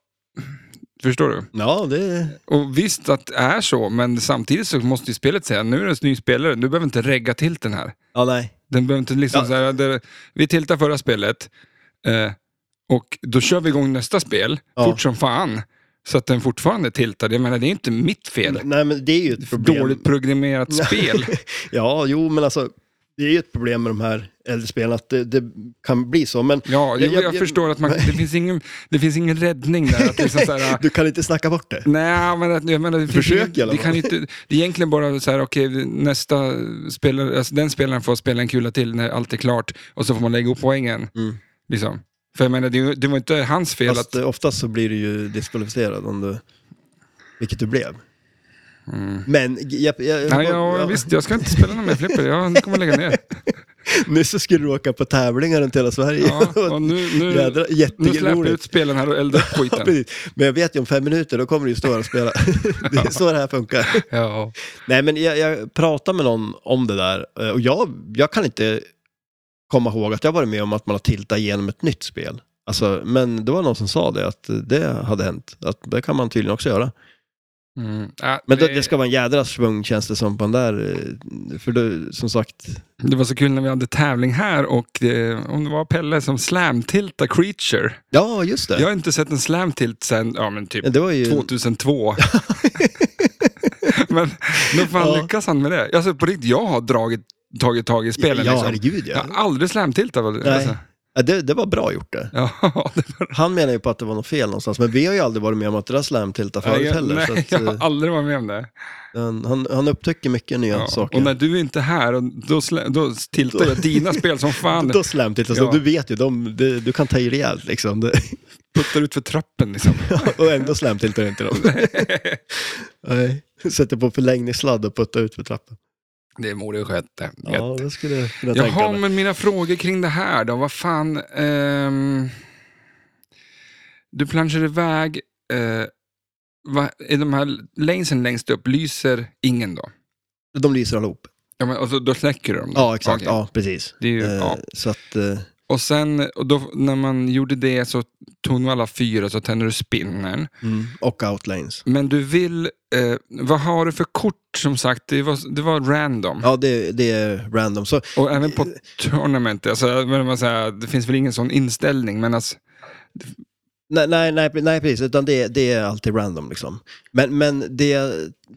S1: förstår du?
S2: Ja, det...
S1: Och visst att det är så, men samtidigt så måste ju spelet säga nu är det en ny spelare, du behöver inte regga tilten här.
S2: Ja, nej.
S1: Den behöver inte liksom
S2: Ja.
S1: så här, det, vi tiltar förra spelet eh, och då kör vi igång nästa spel
S2: Ja.
S1: fort som fan. Så att den fortfarande är tiltad. Jag menar, det är inte mitt fel.
S2: Nej, men det är ju ett Mm, problem.
S1: Dåligt programmerat spel.
S2: ja, jo, men alltså det är ju ett problem med de här äldre spelen att det, det kan bli så. Men
S1: Ja, jag, jag, förstår att man, det,
S2: Nej,
S1: finns ingen, det finns ingen räddning där. Att liksom så här,
S2: Du kan inte snacka bort det.
S1: Nej, men att- jag menar, det, finns
S2: Försök
S1: ingen-
S2: i alla
S1: det,
S2: fall.
S1: kan inte, det är egentligen bara så här, okej, nästa spelare, alltså den spelaren får spela en kula till när allt är klart och så får man lägga upp poängen.
S2: Mm.
S1: Liksom. För jag menar, det, är ju- det var inte hans fel
S2: Fast
S1: att...
S2: eh, oftast så blir du ju diskvalificerad om du... Vilket du blev. Men, jag, jag, jag,
S1: Mm. Nej, ja, visst, jag ska inte spela någon mer flipper, jag kommer lägga ner.
S2: Nu så skulle du åka på tävlingar runt hela Sverige.
S1: Ja, och nu, nu,
S2: Jädra,
S1: nu släpper jag
S2: jätteroligt.
S1: ut spelen här och eldar upp
S2: Ja,
S1: skiten.
S2: precis. Men jag vet ju om fem minuter, då kommer du ju stå här och spela. det är så det här funkar.
S1: Ja.
S2: Nej, men jag, jag pratade med någon om det där eh, och jag, jag kan inte komma ihåg att jag varit med om att man har tiltat igenom ett nytt spel. Alltså, men det var någon som sa det, att eh, det hade hänt. Att det kan man tydligen också göra.
S1: Mm. Äh,
S2: Men det,
S1: det-
S2: det ska vara en jädra svung känns det som på den där. eh, För det, som sagt,
S1: Det var så kul när vi hade tävling här och eh, om det var Pelle som slamtilta Creature.
S2: ja just det.
S1: Jag har inte sett en slamtilt sen, ja men typ
S2: Ja, det var ju...
S1: 2002. men då fan
S2: Ja.
S1: lyckas han med det? Alltså på riktigt, jag har dragit, tagit tag i spelen
S2: ja,
S1: liksom.
S2: herregud
S1: Jag
S2: ja.
S1: har aldrig slamtiltat. väl? Alltså.
S2: Nej. Ja, det, det var bra gjort det.
S1: Ja, det var,
S2: Han menar ju på att det var något fel någonstans, men vi har ju aldrig varit med om att det där slamtiltar förut
S1: nej,
S2: heller.
S1: nej,
S2: så att,
S1: jag
S2: eh,
S1: har aldrig varit med om det.
S2: han, han, han upptäcker mycket nya
S1: Ja.
S2: saker.
S1: Och när du inte är här, och då, slä, då tiltar jag dina spel som fan.
S2: Då slamtiltar
S1: Ja.
S2: ja. alltså, du vet ju, de, du, du kan ta i rejält liksom. Det-
S1: Puttar ut för trappen liksom.
S2: och ändå slamtiltar du inte dem. Nej. Sätter på förlängningssladd och puttar ut för trappan.
S1: Det vore skötte.
S2: Ja, det skulle jag kunna tänka
S1: Jaha,
S2: mig.
S1: men mina frågor kring det här då. Vad fan... ehm, du planschar iväg. Eh, va, är de här lanesen längst upp, lyser ingen då?
S2: De lyser allihop.
S1: Ja, men, alltså, då släcker du dem? då?
S2: Ja, exakt.
S1: Okej.
S2: Ja, precis.
S1: Det är ju,
S2: Eh,
S1: ja.
S2: Så att, eh,
S1: Och sen och då, när man gjorde det så tog du alla fyra så tände du spinnern.
S2: mm, Och outlanes.
S1: Men du vill, eh, vad har du för kort som sagt? Det var, det var random.
S2: Ja, det, det är random. Så,
S1: Och även på tournament, alltså, men man säger, det finns väl ingen sån inställning, men alltså,
S2: nej, nej, nej, nej, precis. Utan det, det är alltid random liksom. Men, men det,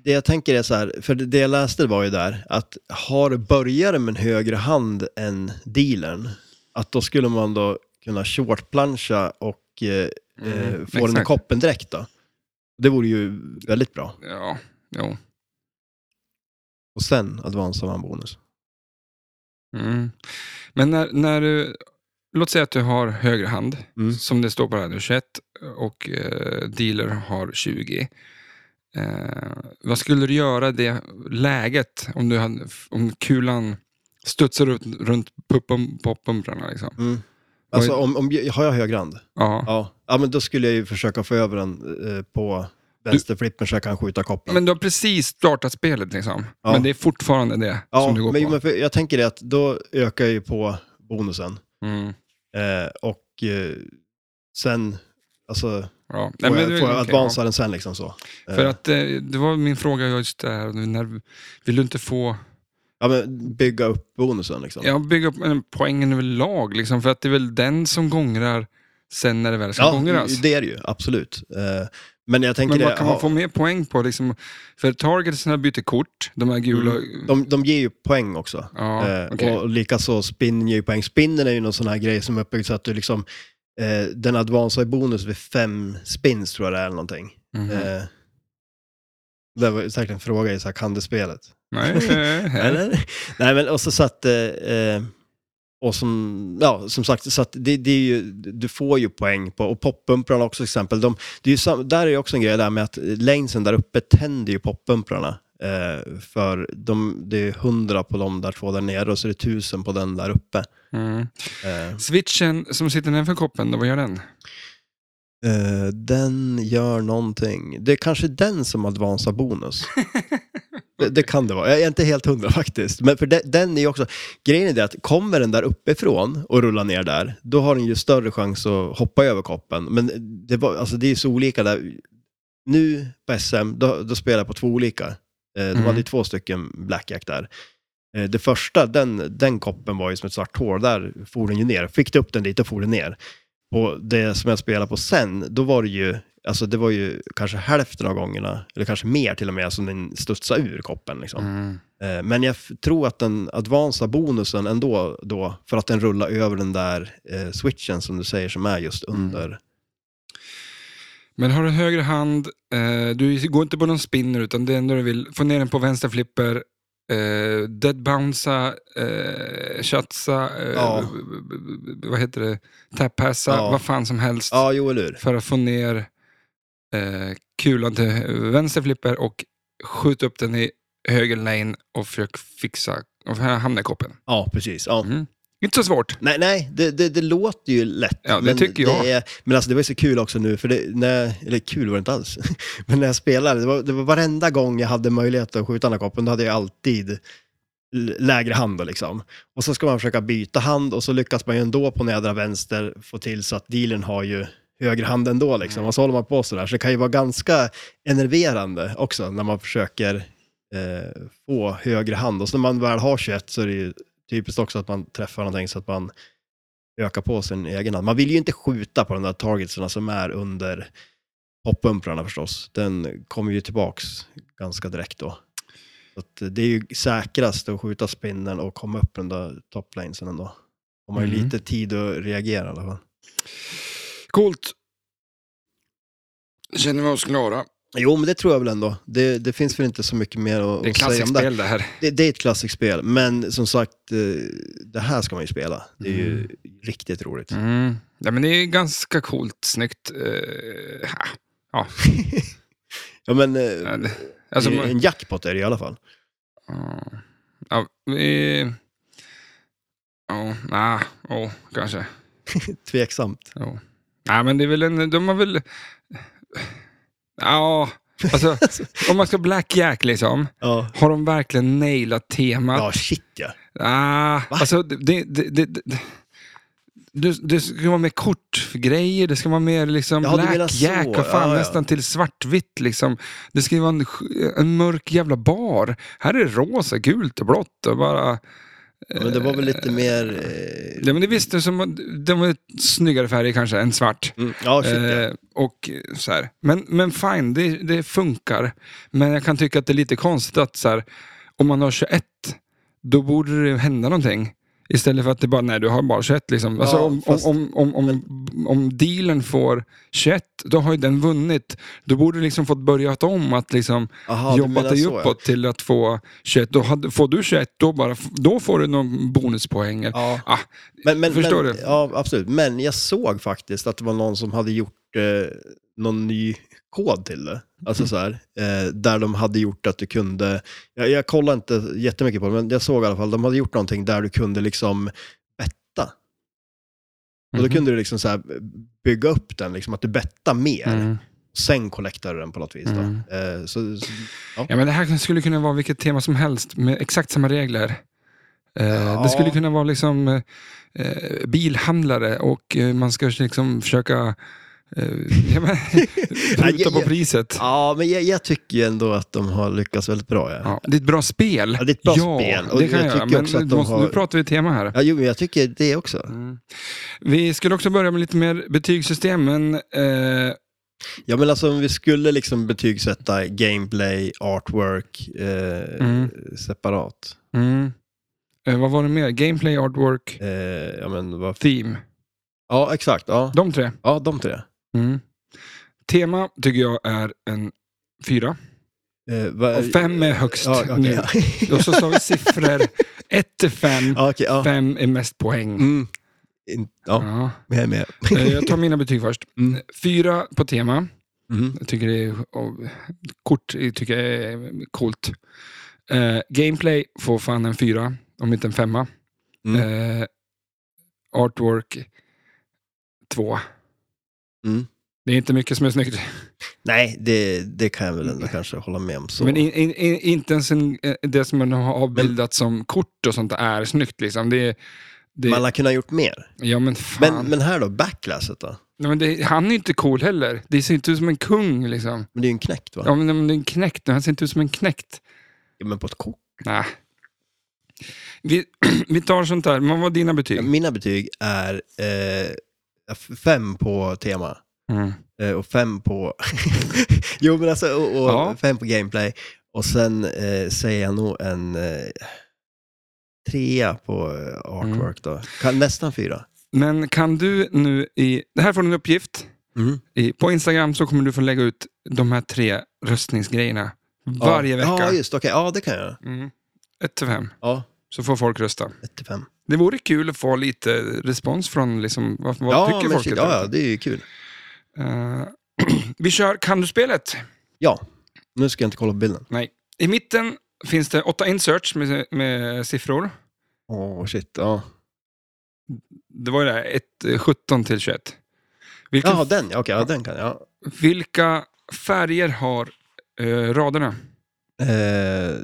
S2: det jag tänker är så här, för det jag läste var ju där, att har börjaren med en högre hand än dealern, att då skulle man då kunna shortplancha och eh, eh, få den i
S1: Mm, exakt.
S2: koppen direkt då. Det vore ju väldigt bra.
S1: ja, jo.
S2: Och sen advance av en bonus.
S1: Mm. Men när, när du, låt säga att du har höger hand,
S2: Mm.
S1: som det står på det här nu, 21, och eh, dealer har 20. Eh, vad skulle du göra i det läget om, du hade, om kulan studsar ut runt puppen, poppumprarna? Liksom?
S2: Mm. Alltså, om, om, har jag höger hand?
S1: Ja.
S2: Ja. ja, men då skulle jag ju försöka få över den eh, på vänsterflippen så jag kan skjuta koppen.
S1: Men du har precis startat spelet, liksom.
S2: Ja.
S1: men det är fortfarande det
S2: ja,
S1: som du går
S2: men,
S1: på.
S2: men för jag tänker det att då ökar jag ju på bonusen.
S1: Mm.
S2: Eh, och eh, sen, alltså,
S1: Ja.
S2: får,
S1: Nej, men
S2: jag,
S1: det-
S2: får jag
S1: okej,
S2: advansa den sen liksom så.
S1: ja.
S2: Eh,
S1: För att, eh, det var min fråga just där, när, vill du inte få
S2: ja, men bygga upp bonusen liksom.
S1: Ja, bygga upp en poängen överlag. Liksom, för att det är väl den som gångrar sen när det väl ska
S2: Ja,
S1: gångras.
S2: det är det ju, absolut. Eh, men jag tänker
S1: alltså. Men
S2: det,
S1: vad kan man
S2: ja,
S1: få mer poäng på? Liksom, för targetsna byter kort, de här gula...
S2: de, de ger ju poäng också.
S1: Ja,
S2: Eh,
S1: okej.
S2: Och likaså spinnen ger ju poäng. Spinnen är ju någon sån här grej som är uppbyggd så att du liksom, eh, den advansar i bonus vid fem spins tror jag det är eller någonting.
S1: Mhm.
S2: Eh, det var säkert en fråga i så här, kan det spelet?
S1: Nej, eh, eh.
S2: Eller? Nej men och så, så att, eh, eh, och som, ja som sagt, så att det, det är ju, du får ju poäng på, och poppumprarna också till exempel, de, det är ju sam, där är ju också en grej där med att lanesen där uppe tänder ju poppumprarna. Eh, för de, det är hundra på de där två där nere och så är det tusen på den där uppe.
S1: Mm.
S2: Eh,
S1: Switchen som sitter nedanför koppen, då, vad gör den?
S2: eh, den gör någonting. Det är kanske den som advansar bonus. Det, det kan det vara. Jag är inte helt hundra faktiskt. Men för de, den är ju också... Grejen är det att kommer den där uppifrån och rullar ner där, då har den ju större chans att hoppa över koppen. Men det, var, alltså det är ju så olika där. Nu på SM, då, då spelar jag på två olika. Eh, de
S1: Mm.
S2: hade ju två stycken Blackjack där. Eh, det första, den, den koppen var ju som ett svart hål. Där for den ju ner. Fick du upp den dit och for den ner. Och det som jag spelade på sen, då var det ju, alltså det var ju kanske hälften av gångerna, eller kanske mer till och med, som den studsade ur koppen. Liksom.
S1: Mm.
S2: Eh, Men jag f- tror att den advansa bonusen ändå då, för att den rullar över den där eh, switchen som du säger som är just under.
S1: Men har du höger hand, eh, du går inte på någon spinner, utan det enda du vill, få ner den på vänster flipper, eh, dead bounca, eh, chatsa, eh,
S2: Ja.
S1: b- b- b- b- vad heter det, tappassa,
S2: Ja.
S1: vad fan som helst.
S2: Ja, jo eller hur.
S1: för att få ner eh, kulan till vänster flipper och skjuta upp den i höger lane och försöka fixa och här hamnar koppen.
S2: Ja, precis. Ja.
S1: Mm. Inte så svårt.
S2: Nej, nej det, det, det låter ju lätt.
S1: Ja, det tycker jag.
S2: Det är, men alltså det var ju så kul också nu, för det, när, eller kul var det inte alls. men när jag spelade, det var, det var varenda gång jag hade möjlighet att skjuta den här koppen, då hade jag alltid l- lägre hand då, liksom. Och så ska man försöka byta hand och så lyckas man ju ändå på nedre vänster få till så att dealen har ju höger hand ändå liksom.
S1: Mm.
S2: Och så håller man på sådär. Så det kan ju vara ganska enerverande också när man försöker eh, få högre hand. Och så när man väl har 21 så är det ju typiskt också att man träffar någonting så att man ökar på sin egen hand. Man vill ju inte skjuta på de där targetserna som är under poppumprarna förstås. Den kommer ju tillbaks ganska direkt då. Så att det är ju säkrast att skjuta spinnen och komma upp den där toplanesen ändå. Om man har ju
S1: Mm.
S2: lite tid att reagera i alla fall.
S1: Coolt. Känner vi oss klara?
S2: Jo, men det tror jag väl ändå. Det, det finns väl inte så mycket mer att,
S1: Det är
S2: att säga om
S1: klassiskt
S2: det.
S1: spel det här.
S2: Det, det är ett klassikspel, men som sagt, eh, det här ska man ju spela. Det är ju
S1: Mm.
S2: riktigt roligt.
S1: Mm. Ja, men det är ganska coolt, snyggt. eh, ha.
S2: Ja, men eh,
S1: alltså,
S2: det är
S1: man-
S2: en jackpot är det i alla fall.
S1: Ja. Ja, vi... Ja, nej, ja, kanske.
S2: Tveksamt.
S1: Ja. Nej, men det är väl en... De har väl... Ja, alltså om man ska blackjack liksom.
S2: Ja,
S1: Har de verkligen nailat temat?
S2: ja shit ja.
S1: Ah, alltså, det, det, det, det, Du, det ska vara mer kortgrejer, det ska vara mer liksom
S2: Ja, du menar
S1: black
S2: så.
S1: jack och fan
S2: Ja, ja.
S1: nästan till svartvitt liksom. Det ska ju vara en, en mörk jävla bar. Här är det rosa, gult och blått och bara...
S2: Men det var väl lite mer... eh,
S1: Ja, men det visste som de var snyggare färger kanske än svart.
S2: Mm, ja, shit ja.
S1: Eh, och eh, så här. Men, men fine, det, det funkar. Men jag kan tycka att det är lite konstigt att så här, om man har 21, då borde det hända någonting. Istället för att det bara, nej du har bara 21 liksom. Alltså,
S2: Ja,
S1: om,
S2: fast-
S1: om, om, om, om, om dealen får 21, då har ju den vunnit. Då borde du liksom fått börja om att liksom
S2: Aha, du
S1: jobbat
S2: menar
S1: dig
S2: så, ja.
S1: uppåt till att få 21. Då hade, får du 21, då, bara, då får du någon bonuspoäng.
S2: Ja.
S1: Ah,
S2: Men, men,
S1: Förstår
S2: men,
S1: du?
S2: Ja, absolut. Men jag såg faktiskt att det var någon som hade gjort eh, någon ny kod till det. Alltså så här, eh, där de hade gjort att du kunde, jag, jag kollade inte jättemycket på det, men jag såg i alla fall, de hade gjort någonting där du kunde liksom betta. Och då
S1: mhm,
S2: kunde du liksom så här bygga upp den, liksom att du bettar mer.
S1: mm.
S2: Sen collectar du den på något vis. Då.
S1: Mm.
S2: Eh, så, så,
S1: Ja, men det här skulle kunna vara vilket tema som helst med exakt samma regler. Eh,
S2: Ja.
S1: Det skulle kunna vara liksom eh, eh, bilhandlare och eh, man ska liksom försöka eh, ja, men, pruta
S2: ja,
S1: på
S2: ja.
S1: priset.
S2: ja, men jag, jag tycker ju ändå att de har lyckats väldigt bra. Ja.
S1: Ja, det är ett bra spel.
S2: Ja, det är ett bra spel. Och
S1: det kan
S2: jag
S1: jag, göra.
S2: tycker
S1: Men
S2: också att
S1: du
S2: de
S1: måste,
S2: har-
S1: nu pratar vi tema här. Mm.
S2: Ja, jo, men jag tycker det också.
S1: Vi skulle också börja med lite mer betygssystem, men eh,
S2: Ja, men alltså om vi skulle liksom betygsätta gameplay, artwork eh,
S1: Mm.
S2: separat.
S1: mm, eh, vad var det mer? Gameplay, artwork,
S2: Eh, ja, men vad...
S1: theme.
S2: Ja, exakt. Ja,
S1: De tre.
S2: ja de tre.
S1: Mm. Tema tycker jag är en fyra.
S2: Eh, vad-
S1: Och fem är högst Mm.
S2: Ja, okej,
S1: nu.
S2: ja.
S1: Och så sa vi siffror 1 till 5.
S2: ja, okej, ja.
S1: 5 är mest poäng.
S2: Mm. In- ja,
S1: Ja.
S2: jag är med.
S1: Eh, Jag tar mina betyg först.
S2: Mm.
S1: Fyra på tema.
S2: Mm.
S1: Jag tycker det är, och, kort jag tycker jag är coolt. Eh, gameplay får fan en fyra, om inte en femma.
S2: Mm.
S1: Eh, artwork två.
S2: Mm.
S1: Det är inte mycket som är snyggt.
S2: Nej, det, det kan jag väl ändå kanske hålla med om. Så.
S1: Men in, in, in, inte ens en, eh, det som man har avbildat som kort och sånt är snyggt. Liksom. Det, är- det,
S2: Man har kunnat gjort mer.
S1: Ja men fan.
S2: Men, men här då, backlasset då?
S1: Nej, men det, han är ju inte cool heller. Det ser inte ut som en kung liksom.
S2: Men det är ju en knäckt va?
S1: Ja men men det är en knäckt, men han ser inte ut som en knäckt.
S2: Ja, men på ett kort.
S1: Nej. Vi, vi tar sånt där, men vad var dina betyg?
S2: Ja, mina betyg är eh, f- fem på tema.
S1: Mm.
S2: Eh, Och fem på... jo, men alltså, och, och
S1: Ja.
S2: fem på gameplay. Och sen eh, säger jag nog en eh, trea på eh,
S1: Mm.
S2: artwork då. Kan, nästan fyra.
S1: Men kan du nu i, det här får du en uppgift.
S2: Mm.
S1: I, på Instagram så kommer du få lägga ut de här tre röstningsgrejerna varje
S2: ja.
S1: vecka.
S2: Ja, just okej. Ja, det kan jag göra.
S1: mm. Ett till fem,
S2: Ja,
S1: så får folk rösta.
S2: ett till fem.
S1: Det vore kul att få lite respons från, liksom, vad, vad
S2: ja,
S1: tycker
S2: men
S1: folk?
S2: shit, ja, ja, det är ju kul.
S1: Eh, vi kör Kan du spelet?
S2: Ja, nu ska jag inte kolla på bilden.
S1: Nej. I mitten finns det åtta inserts med, med siffror.
S2: Åh, shit. Ja,
S1: Det var ju det här, ett, eh, 17 till 21. Vilken,
S2: ja den. ja, Okej, ja, den kan jag. Ja.
S1: Vilka färger har eh, raderna?
S2: Eh, eh,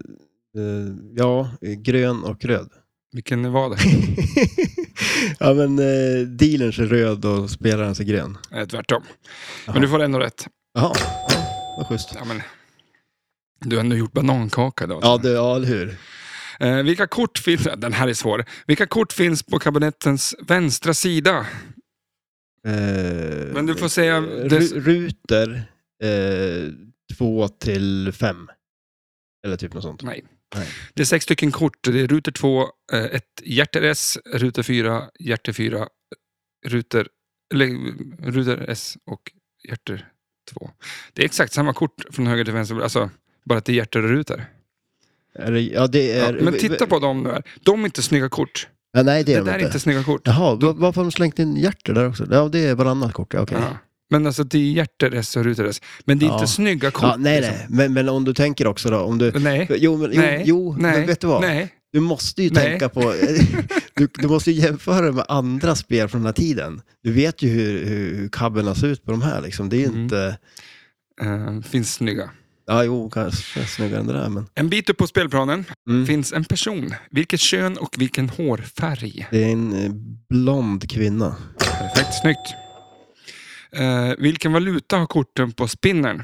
S2: ja, grön och röd.
S1: Vilken var det?
S2: ja, men eh, dealerns är röd och spelarens är grön.
S1: Eh, Tvärtom.
S2: Jaha.
S1: Men du får ändå rätt.
S2: Jaha, vad schysst.
S1: Ja, men, du har ändå gjort banankaka idag.
S2: Ja, det, ja, eller hur?
S1: Eh, vilka kort finns... Den här är svår. Vilka kort finns på kabinettens vänstra sida?
S2: Eh,
S1: Men du får säga-
S2: ru-
S1: dess-
S2: Ruter 2 till 5. Eller typ något sånt.
S1: Nej.
S2: Nej.
S1: Det är sex stycken kort. Det är ruter 2, ett hjärter S, ruter 4, hjärter 4, ruter, eller, ruter S och hjärter 2. Det är exakt samma kort från höger till vänster, alltså bara att det är hjärter och
S2: Eh,
S1: ruter.
S2: Är det, ja, det
S1: Ja,
S2: är...
S1: men titta på dem nu här. De är inte snygga kort.
S2: Ja, nej, det
S1: Det,
S2: är de
S1: där är
S2: inte.
S1: inte snygga kort.
S2: Jaha, va- varför har de slängt in hjärter där också? Ja, det är varannat kort. Ja, okej.
S1: Ja. Men alltså det är hjärter S och ruter S. Men det är
S2: Ja.
S1: inte snygga kort.
S2: Ja, nej,
S1: liksom.
S2: nej. Men, men om du tänker också då, om du...
S1: Nej.
S2: Jo, men, jo,
S1: Nej.
S2: jo
S1: nej.
S2: men vet du vad?
S1: Nej.
S2: Du måste ju
S1: Nej.
S2: tänka på... Du, du måste ju jämföra med andra spel från den här tiden. Du vet ju hur, hur, hur kabben ser ut på de här liksom. Det är ju
S1: Mm.
S2: inte...
S1: Eh, finns snygga.
S2: Ja, jo, kanske snyggare än det där, men
S1: En bit upp på spelplanen
S2: Mm.
S1: finns en person. Vilket kön och vilken hårfärg?
S2: det är en eh, blond kvinna.
S1: Perfekt, snyggt. Eh, vilken valuta har korten på spinnern?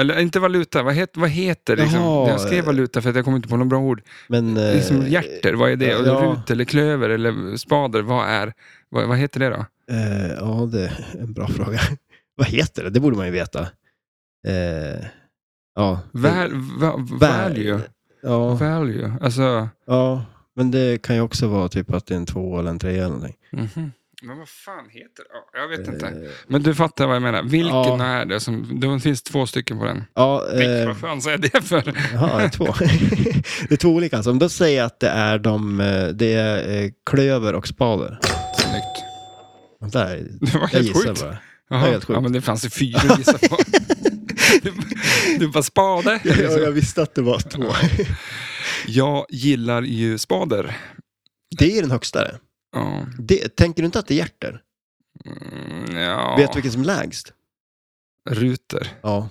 S1: Eller inte valuta, vad, het, vad heter det? Liksom?
S2: Jaha,
S1: Jag skrev
S2: eh. valuta
S1: valuta för att jag kom inte på något bra ord.
S2: Men, eh,
S1: Liksom hjärter, vad är det? Och
S2: ja.
S1: Rut eller klöver eller spader, vad är... Vad, vad heter det då?
S2: eh, ja, det är en bra fråga. Vad heter det? Det borde man ju veta. Eh, ja.
S1: Väl, va, value.
S2: Ja,
S1: Value. Alltså...
S2: ja, men det kan ju också vara typ att det är en två eller en tre eller någonting.
S1: mhm. Men vad fan heter det? Ja, Jag vet
S2: Eh,
S1: inte. Men du fattar vad jag menar. Vilken
S2: Ja.
S1: är det? Som, det finns två stycken på den.
S2: Ja,
S1: Tänk,
S2: eh,
S1: Vad fan säger jag det för?
S2: Jaha, det är två. det är två olika alltså. Om du säger att det är de, eh, det är eh, klöver och spader.
S1: Snyggt.
S2: Där,
S1: Det var
S2: jag
S1: helt
S2: gissar
S1: sjukt.
S2: bara.
S1: Jaha,
S2: helt sjukt.
S1: Ja, men det fanns ju fyra att gissa på. Du, du bara spade.
S2: Ja, jag
S1: Liksom.
S2: visste att det var två.
S1: Jag gillar ju spader.
S2: Det är den högsta. det.
S1: Ja.
S2: Det, tänker du inte att det är hjärter?
S1: Mm, ja.
S2: Vet du vilken som är lägst?
S1: Ruter.
S2: Ja.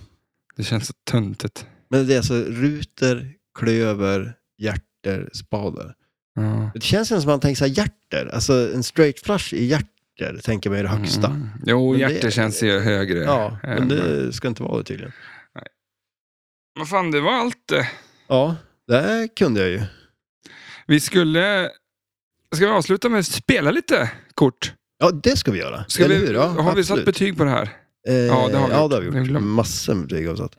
S1: Det känns så töntigt.
S2: Men det är alltså ruter, klöver, hjärter, spader.
S1: Ja.
S2: Det känns ju som att man tänker så här hjärter. Alltså en straight flush i hjärter tänker man är det högsta.
S1: Mm. Jo,
S2: Men det-
S1: hjärter känns ju högre.
S2: Ja, men
S1: än-
S2: det ska inte vara det tydligen.
S1: Vad fan, det var allt det.
S2: Ja, det här kunde jag ju.
S1: Vi skulle... Ska vi avsluta med att spela lite kort?
S2: Ja, det ska vi göra.
S1: Ska
S2: Eller
S1: vi,
S2: hur? Ja,
S1: har vi satt
S2: absolut.
S1: betyg på det här?
S2: Eh, ja,
S1: det har vi
S2: Ja,
S1: gjort.
S2: det har vi gjort.
S1: Jag glömde.
S2: Massor med betyg har vi satt.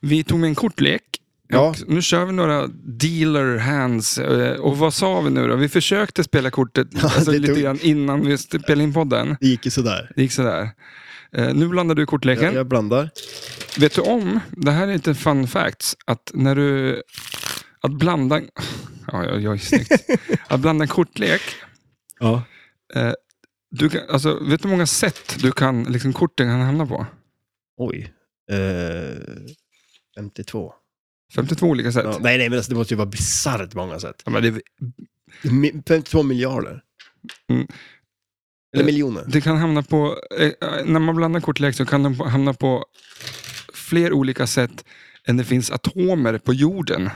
S1: Vi tog med en kortlek.
S2: Ja.
S1: Och nu kör vi några dealer hands. Eh, Och vad sa vi nu då? Vi försökte spela kortet alltså,
S2: det
S1: lite
S2: tog-
S1: grann innan vi spelade in podden.
S2: Det gick ju sådär.
S1: Det gick sådär. Eh, Nu blandar du kortleken.
S2: Jag, jag blandar.
S1: Vet du om, det här är lite fun facts, att när du... Att blanda... Ja, jag, jag är snyggt. Att blanda en kortlek.
S2: Ja.
S1: Du kan, alltså, vet du hur många sätt du kan, liksom, korten kan hamna på?
S2: Oj. Eh, 52.
S1: 52 olika sätt.
S2: Ja, nej, nej, men alltså, det måste ju vara bisarrt många sätt.
S1: Ja, men det,
S2: Mi- 52 miljarder.
S1: Mm.
S2: Eller
S1: Eh,
S2: miljoner.
S1: det kan hamna på... eh, Eh, när man blandar kortlek så kan de hamna på fler olika sätt än det finns atomer på jorden.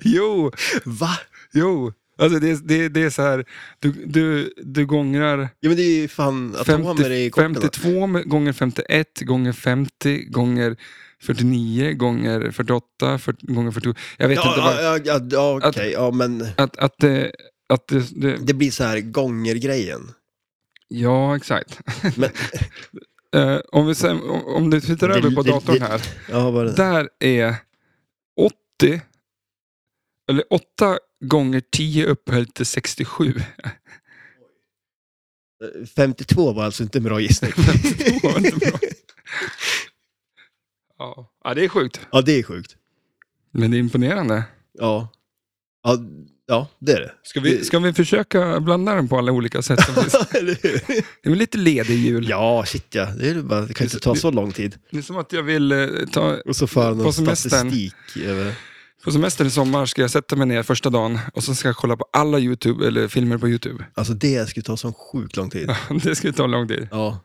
S1: Jo,
S2: Va?
S1: jo. Alltså det, det, det är så här, du, du, du gångrar
S2: Ja, men det är ju fan atomer
S1: 50,
S2: i korten.
S1: 52 med- gånger 51 gånger 50 gånger 49 gånger 48 40, gånger 47. Jag vet
S2: Ja,
S1: inte.
S2: ja,
S1: Vad,
S2: ja, ja, ja okej.
S1: Att-
S2: Ja, men
S1: att, att, det, att det, det,
S2: det blir så här gånger-grejen.
S1: Ja, exakt.
S2: Men-
S1: Eh, om, vi sen, om- om du tittar
S2: Det-
S1: över på
S2: det-
S1: datorn
S2: det-
S1: här.
S2: Ja, vad är det?
S1: Där är 80, eller 8 gånger 10 upphöjt till 67.
S2: 52 var alltså inte en bra gissning.
S1: Det var inte bra. ja. ja, det är sjukt.
S2: ja, det är sjukt.
S1: Men det är imponerande.
S2: Ja. Ja, ja det är det.
S1: Ska vi, ska vi försöka blanda den på alla olika sätt? som finns?
S2: Eller hur?
S1: Det är väl lite ledig jul.
S2: Ja, shit ja. Det, är bara, det kan ju inte ta så lång tid.
S1: Det är som att jag vill eh, ta...
S2: Och så för någon
S1: På semestern.
S2: statistik över det.
S1: På semester i sommar ska jag sätta mig ner första dagen och så ska jag kolla på alla YouTube, eller filmer på YouTube.
S2: Alltså det skulle ta så sjukt lång tid.
S1: Det ska ta lång tid.
S2: Ja.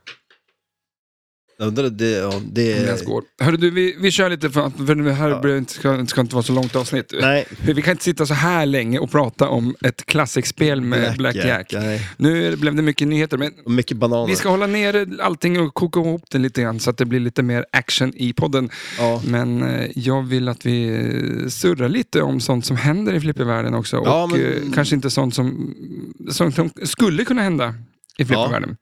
S2: Jag undrar, det, ja, det
S1: Om det ens går. Hörru du, vi, vi kör lite för, att- för det här
S2: Ja.
S1: blir inte- ska, ska inte vara så långt avsnitt.
S2: Nej.
S1: Vi kan inte sitta så här länge och prata om ett klassikspel med Blackjack.
S2: Nej.
S1: Nu blev det mycket nyheter, men
S2: Och mycket bananer.
S1: vi ska hålla ner allting och koka ihop det lite grann så att det blir lite mer action i podden.
S2: Ja.
S1: Men eh, jag vill att vi eh, surrar lite om sånt som händer i flippervärlden också.
S2: Ja,
S1: och
S2: men-
S1: eh, kanske inte sånt som, sånt som skulle kunna hända i flippervärlden.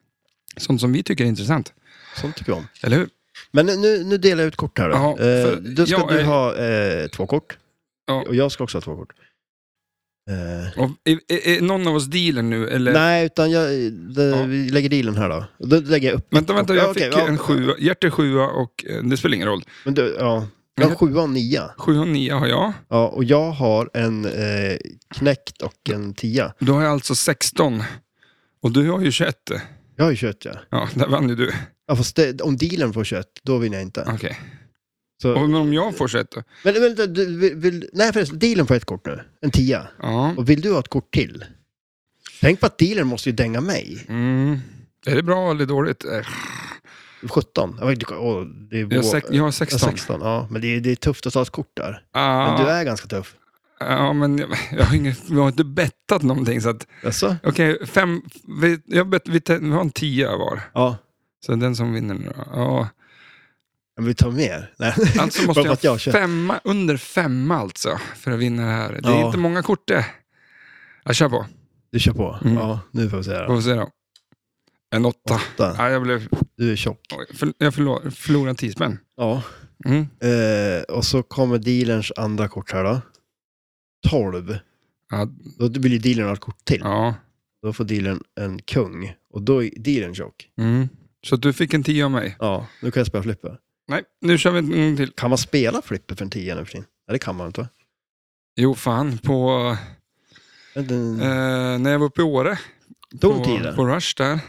S1: Sånt som vi tycker är intressant,
S2: Sånt tycker jag om.
S1: eller hur?
S2: Men nu, nu delar jag ut kort här då.
S1: Ja, för-
S2: eh, då ska
S1: jag
S2: du
S1: är-
S2: ha eh, två kort.
S1: Ja.
S2: Och jag ska också ha två kort. Eh,
S1: Och är, är, är någon av oss dealer nu? Eller?
S2: nej, utan jag, det,
S1: Ja.
S2: vi lägger dealen här då. Och Då lägger jag upp.
S1: Vänta, vänta,
S2: Ja,
S1: jag
S2: okej,
S1: fick
S2: ja.
S1: en sjua, hjärter sjua och eh, det spelar ingen roll.
S2: Men du, ja. Jag har sjua och nia.
S1: Sjua och nio har jag.
S2: Ja, och jag har en eh, knäckt och en tia.
S1: Då har jag alltså 16. Och du har ju 21.
S2: Jag har ju 21 ja.
S1: Ja, där vann ju du.
S2: ja fast det, om dealen får 21, då vinner jag inte.
S1: Okej.
S2: Så,
S1: Och om jag får 21 då?
S2: men vänta, du, vill, vill, nej förresten, dealen får ett kort nu. En tia.
S1: Ja.
S2: Och vill du ha ett kort till? Tänk på att dealern måste ju dänga mig.
S1: Mm. Är det bra eller dåligt? Eh,
S2: 17. Jag, vet, inte, åh, det är
S1: Jag har, sex, jag har 16.
S2: Ja, 16. Ja, men det är, det är tufft att ta ett kort där.
S1: Ah,
S2: Men du är ganska tuff.
S1: Ja, men jag, jag, har inget, jag har inte bettat någonting. Så att,
S2: Jaså?
S1: okej, fem... Vi, jag bet, vi, te- vi har en tia var.
S2: Ja.
S1: Så den som vinner nu då. Ja.
S2: Men vi tar mer. Nej.
S1: Alltså
S2: Bara
S1: måste
S2: för att
S1: jag,
S2: jag kör.
S1: femma, under femma alltså, för att vinna det här. Det är
S2: Ja.
S1: inte många kort det. Jag kör på.
S2: Du kör på.
S1: Mm.
S2: Ja, nu får vi se
S1: Får
S2: då.
S1: vi se då. En åtta.
S2: Åtta.
S1: Ja, jag blev,
S2: Du är tjock.
S1: oj, för, jag förlor, förlorade tio spänn.
S2: Ja.
S1: Mm.
S2: Eh, och så kommer dealerns andra kort här då. 12.
S1: Ja,
S2: Då blir ju dealern ha ett kort till.
S1: ja.
S2: Då får dealern en kung. Och då är dealern tjock.
S1: Mm. Så att du fick en tia av mig.
S2: Ja, nu kan jag spela flipper.
S1: Nej, nu kör vi en gång till.
S2: Kan man spela flipper för en tia nu för tiden? Nej, det kan man inte va?
S1: Jo, fan. På,
S2: Men den-
S1: eh, när jag var uppe i Åre
S2: Tog
S1: på,
S2: tiden?
S1: på Rush där,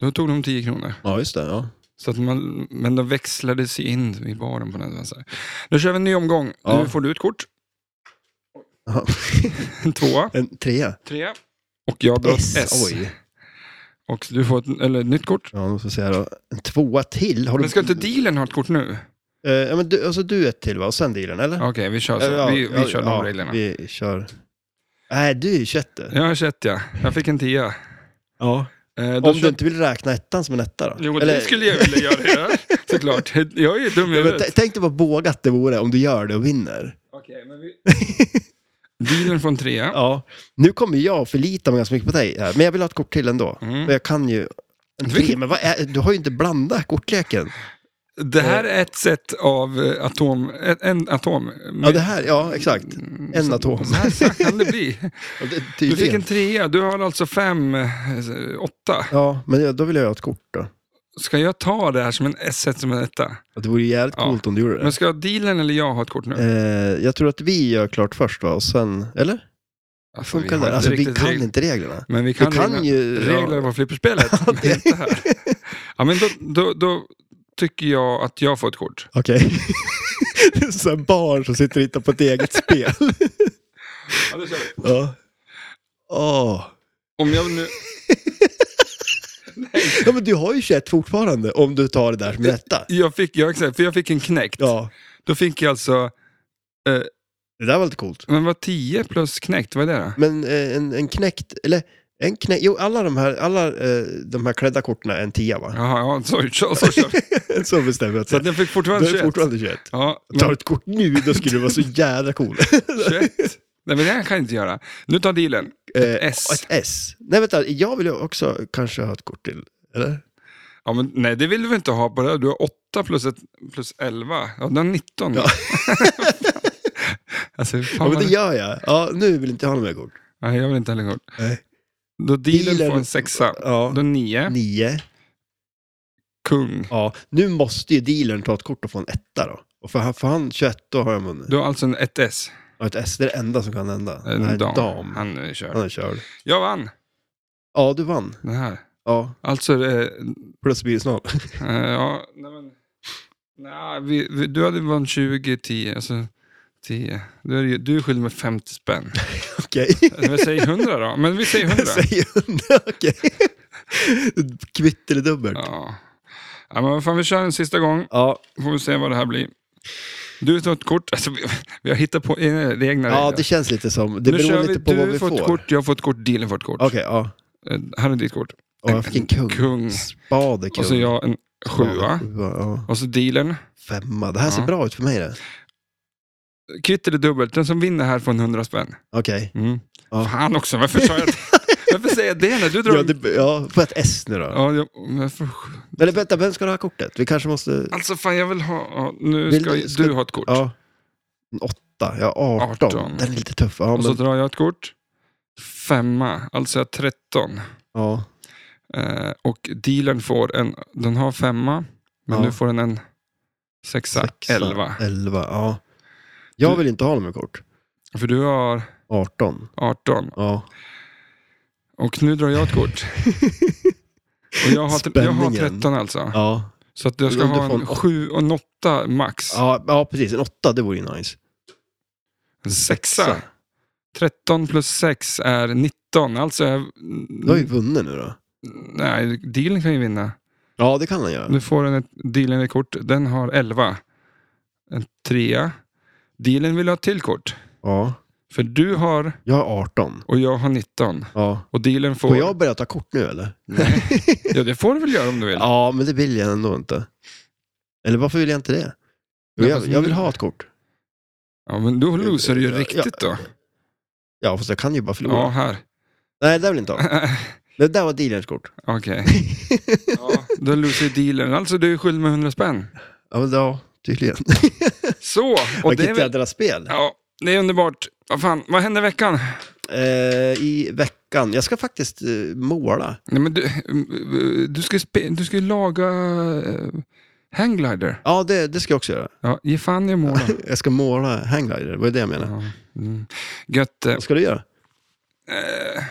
S1: då tog de 10 kronor.
S2: Ja, just det. Ja.
S1: Så att man, men de växlades in i baren på den. Så här. Nu kör vi en ny omgång.
S2: Ja.
S1: Nu får du ett kort.
S2: Ja.
S1: En tvåa.
S2: en trea.
S1: Tre. Och jag drar
S2: S.
S1: ett S.
S2: Oj.
S1: Och du får ett, eller, ett nytt kort.
S2: Ja, då får vi se här då. En tvåa till. Har du...
S1: Men ska inte dealen ha ett kort nu?
S2: Eh, ja, men du, alltså du ett till va? Och sen dealern, eller?
S1: Okej, vi kör
S2: Eller,
S1: så. Alltså, Vi, vi kör de
S2: ja,
S1: reglerna.
S2: Vi kör... Nej, du är ju 21.
S1: Jag har ett ja. Jag fick en tia.
S2: Ja.
S1: Eh, då
S2: Om
S1: kör-
S2: du inte vill räkna ettan som en etta då?
S1: Jo, det skulle jag vilja göra. ja. Såklart. Jag är ju dum i
S2: Ja, men
S1: huvudet.
S2: t- tänk dig vad vågat det vore om du gör det och vinner.
S1: Okej, men vi... Dealen från trea.
S2: Ja. Nu kommer jag förlita mig ganska mycket på dig här, men jag vill ha ett kort till ändå.
S1: Mm.
S2: Och jag kan ju... En
S1: Du-
S2: tre, men vad är... du har ju inte blandat kortleken.
S1: Det här är ett sätt av eh, atom... En, en atom.
S2: Ja, det här, ja exakt.
S1: Mm,
S2: En
S1: så-
S2: atom.
S1: Så här, så här kan det bli.
S2: Och det-
S1: Du fick
S2: Tydligen.
S1: en trea, du har alltså fem, eh, åtta.
S2: Ja, men jag- då vill jag ha ett kort då.
S1: Ska jag ta det här som en S1 som en etta?
S2: Och Det vore ju jävligt
S1: Ja.
S2: coolt om du gjorde det.
S1: Men ska dealen eller jag ha ett kort nu?
S2: Eh, jag tror att vi gör klart först va, och sen... Eller?
S1: Alltså,
S2: Funkar
S1: har
S2: det?
S1: inte
S2: Alltså vi
S1: riktigt
S2: kan
S1: reg-
S2: inte reglerna.
S1: Men vi
S2: Du
S1: kan,
S2: kan
S1: reglerna-
S2: ju...
S1: regler
S2: Ja.
S1: på flipperspelet. men inte här. Ja, men då, då, då tycker jag att jag får ett kort.
S2: Okej. det är så här barn som sitter och hittar på ett eget spel.
S1: Ja, det kör vi.
S2: Ja. Åh.
S1: Om jag nu...
S2: Ja, men du har ju 21 fortfarande om du tar det där som rätta.
S1: Jag fick, jag, exakt, för jag fick en knäckt.
S2: Ja.
S1: Då fick jag alltså,
S2: Det där var lite coolt.
S1: men vad 10 plus knäckt, vad är det då?
S2: Men eh, en, en knäckt, eller en knäckt, jo alla de här, alla, eh, de här klädda korten är en tia va?
S1: Jaha, ja, så, så, så, så.
S2: så bestämmer jag.
S1: så
S2: Så
S1: att jag fick
S2: du
S1: fortfarande
S2: är
S1: 21.
S2: fortfarande 21.
S1: Ja,
S2: Tar du
S1: men
S2: ett kort nu, då skulle du vara så jävla cool.
S1: 21. Nej, men det här kan jag inte göra. Nu tar dealen.
S2: Eh,
S1: S.
S2: och Ett S. Nej vänta, jag vill ju också kanske ha ett kort till. Eller?
S1: Ja, men, nej, det vill du väl inte ha på det? Du har 8 plus, ett, plus 11. Ja, du har 19.
S2: Ja.
S1: alltså, hur fan
S2: Ja, men
S1: var
S2: det
S1: det?
S2: gör jag. Ja, nu vill inte jag ha några mer kort.
S1: Nej, jag vill inte heller kort.
S2: Nej.
S1: Då dealen,
S2: Dealen-
S1: får en sexa.
S2: Ja.
S1: Då nio.
S2: Nio.
S1: Kung.
S2: Ja, nu måste ju dealern ta ett kort och få en etta då. Och för han, för han 21, då har jag munnen.
S1: Du har alltså en 1S.
S2: Och ett S, det är det enda som kan hända.
S1: En
S2: Nej,
S1: dam.
S2: dam. Han,
S1: Han eh, kör.
S2: är körd.
S1: Jag vann
S2: Ja, du vann.
S1: den här.
S2: Ja,
S1: Alltså, eh,
S2: plus minus
S1: eh, ja, nej men. Nej, vi, vi, du hade vann 20, 10, alltså 10. Du är, ju- du är skyldig mig 50 spänn.
S2: Okej.
S1: Eller vi säger 100 då, men vi säger 100.
S2: Säg hundra, okej. Kvitt eller dubbelt. Ja.
S1: Ja. ja, men vad fan, vi kör en sista gång.
S2: Ja,
S1: Får vi se vad det här blir. Du tar ett kort, alltså vi, vi har hittat på egna regler.
S2: det känns lite som... Det
S1: nu
S2: beror
S1: kör
S2: lite på
S1: du
S2: vad vi
S1: får
S2: får.
S1: ett kort, jag får ett kort, dealen får ett kort.
S2: Okej, ja.
S1: Eh, Här är ditt kort.
S2: Och jag fick en kung.
S1: Kung.
S2: Spade kung.
S1: Och så jag en
S2: Ja,
S1: sjua.
S2: ja.
S1: Och så dealen.
S2: Femma. Det här ser
S1: Ja.
S2: bra ut för mig det.
S1: Kvitt eller dubbelt, den som vinner här får en 100 spänn.
S2: Okej.
S1: Mm.
S2: Ja.
S1: Fan också, varför sa jag det? Varför säger jag det när du drar...
S2: Ja, det, ja, får jag ett S nu då?
S1: Ja, jag, men för-
S2: Eller vänta, vem ska ha det här kortet? Vi kanske måste...
S1: Alltså fan, jag vill ha... Ja, nu
S2: Vill
S1: ska,
S2: du-
S1: du,
S2: ska-
S1: ha ett kort.
S2: Ja. En åtta, ja 18.
S1: 18.
S2: Den är lite tuff. Ja,
S1: och så
S2: men,
S1: drar jag ett kort. Femma, alltså jag har 13.
S2: ja.
S1: Eh, och dealern får en... Den har femma, men
S2: Ja.
S1: nu får den en sexa,
S2: Sexa,
S1: elva.
S2: elva, ja. Jag
S1: Du-
S2: vill inte ha dem i kort.
S1: För du har
S2: 18.
S1: 18.
S2: Ja.
S1: Och nu drar jag ett kort. och jag har, jag har
S2: Spänningen.
S1: 13 alltså.
S2: Ja.
S1: Så att jag ska
S2: Om du
S1: ha
S2: får
S1: en
S2: en
S1: 7 och en 8 max.
S2: Ja, ja, precis. En åtta, det vore ju nice.
S1: En sexa. 13 plus 6 är 19. Alltså, jag-
S2: Du
S1: Mm.
S2: har ju vunnit nu då.
S1: nej, dealen kan ju vinna.
S2: Ja, det kan han göra.
S1: Nu får den ett, dealen ett kort. Den har 11. En trea. Dealen vill ha ett till kort.
S2: Ja.
S1: För du har
S2: Jag har 18.
S1: och jag har 19.
S2: Ja.
S1: Och dealen får...
S2: Får jag börja ta kort nu eller?
S1: Ja, det får du väl göra om du vill.
S2: Ja, men det vill jag ändå inte. Eller varför vill jag inte det? Jo,
S1: Nej,
S2: jag,
S1: fast
S2: jag vill
S1: nu-
S2: ha ett kort.
S1: Ja, men då losar du ju
S2: Ja,
S1: riktigt då.
S2: Ja, fast jag kan ju bara förlora.
S1: Ja, här.
S2: Nej, det vill jag inte ha. Det där var dealerns kort.
S1: Okej. Ja, då losar ju dealen. Alltså, du är skyldig med 100 spänn.
S2: Ja, men ja, tydligen.
S1: Så! Och det är
S2: Vilket
S1: väl...
S2: jädra spel.
S1: Ja, det är underbart. Vad fan, vad hände i veckan?
S2: Eh, I veckan. Jag ska faktiskt eh, måla.
S1: Nej, men du, du, ska ju spe, du ska ju laga eh, hangglider.
S2: Ja, det, det ska jag också göra.
S1: Ja, ge fan i att måla.
S2: Jag ska måla hangglider, vad är det jag menar?
S1: Ja. Mm. Gött. eh,
S2: Vad ska du göra?
S1: Eh,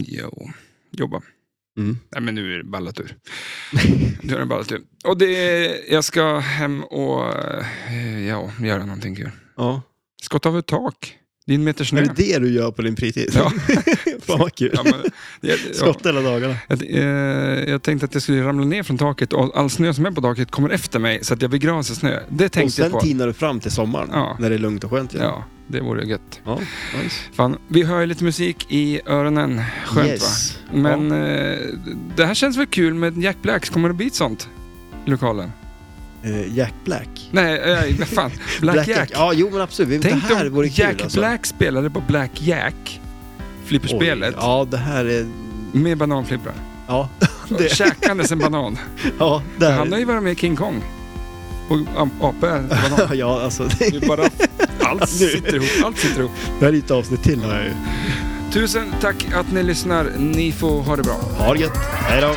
S1: jo, jobba.
S2: Mm.
S1: Nej, men nu är det ballat ur. nu är det ballat ur. Och det är, jag ska hem och eh, ja, göra någonting kul.
S2: Ja.
S1: Skotta av ett tak. Det är en meter snö.
S2: Är det det du gör på din fritid?
S1: Mm. Ja.
S2: Fan vad kul.
S1: Ja, men, jag, ja,
S2: Skotta hela dagarna.
S1: jag, eh, jag tänkte att jag skulle ramla ner från taket och all snö som är på taket kommer efter mig så att jag begravs i snö. Det
S2: Och
S1: tänkte jag
S2: sen
S1: på.
S2: tinar du fram till sommaren,
S1: Ja.
S2: när det är lugnt och skönt igen.
S1: Ja, det vore gött.
S2: Ja, nice.
S1: Fan, vi hör ju lite musik i öronen. Skönt va?
S2: yes.
S1: Men eh, det här känns väl kul med Jack Blacks. Kommer det bli ett sånt i lokalen?
S2: Ja. Eh, Jack Black.
S1: Nej, eh, vad fan. Black, Jack.
S2: Ja, jo men absolut. Vi-
S1: Tänk
S2: det här
S1: om
S2: vore kul
S1: Jack
S2: alltså.
S1: Black spelade på Black Jack,
S2: Oj,
S1: flipperspelet,
S2: Ja, det här är...
S1: med bananflipprar.
S2: Ja, det,
S1: Käkandes en banan.
S2: ja, det här
S1: Han har ju varit med i King Kong. Och am- ape, en banan.
S2: är... Ja, alltså
S1: Det
S2: det,
S1: är bara... Allt sitter ihop, allt sitter ihop.
S2: det här är lite avsnitt till. Nej.
S1: Tusen tack att ni lyssnar. Ni får ha det bra.
S2: Ha det gött. Hej då.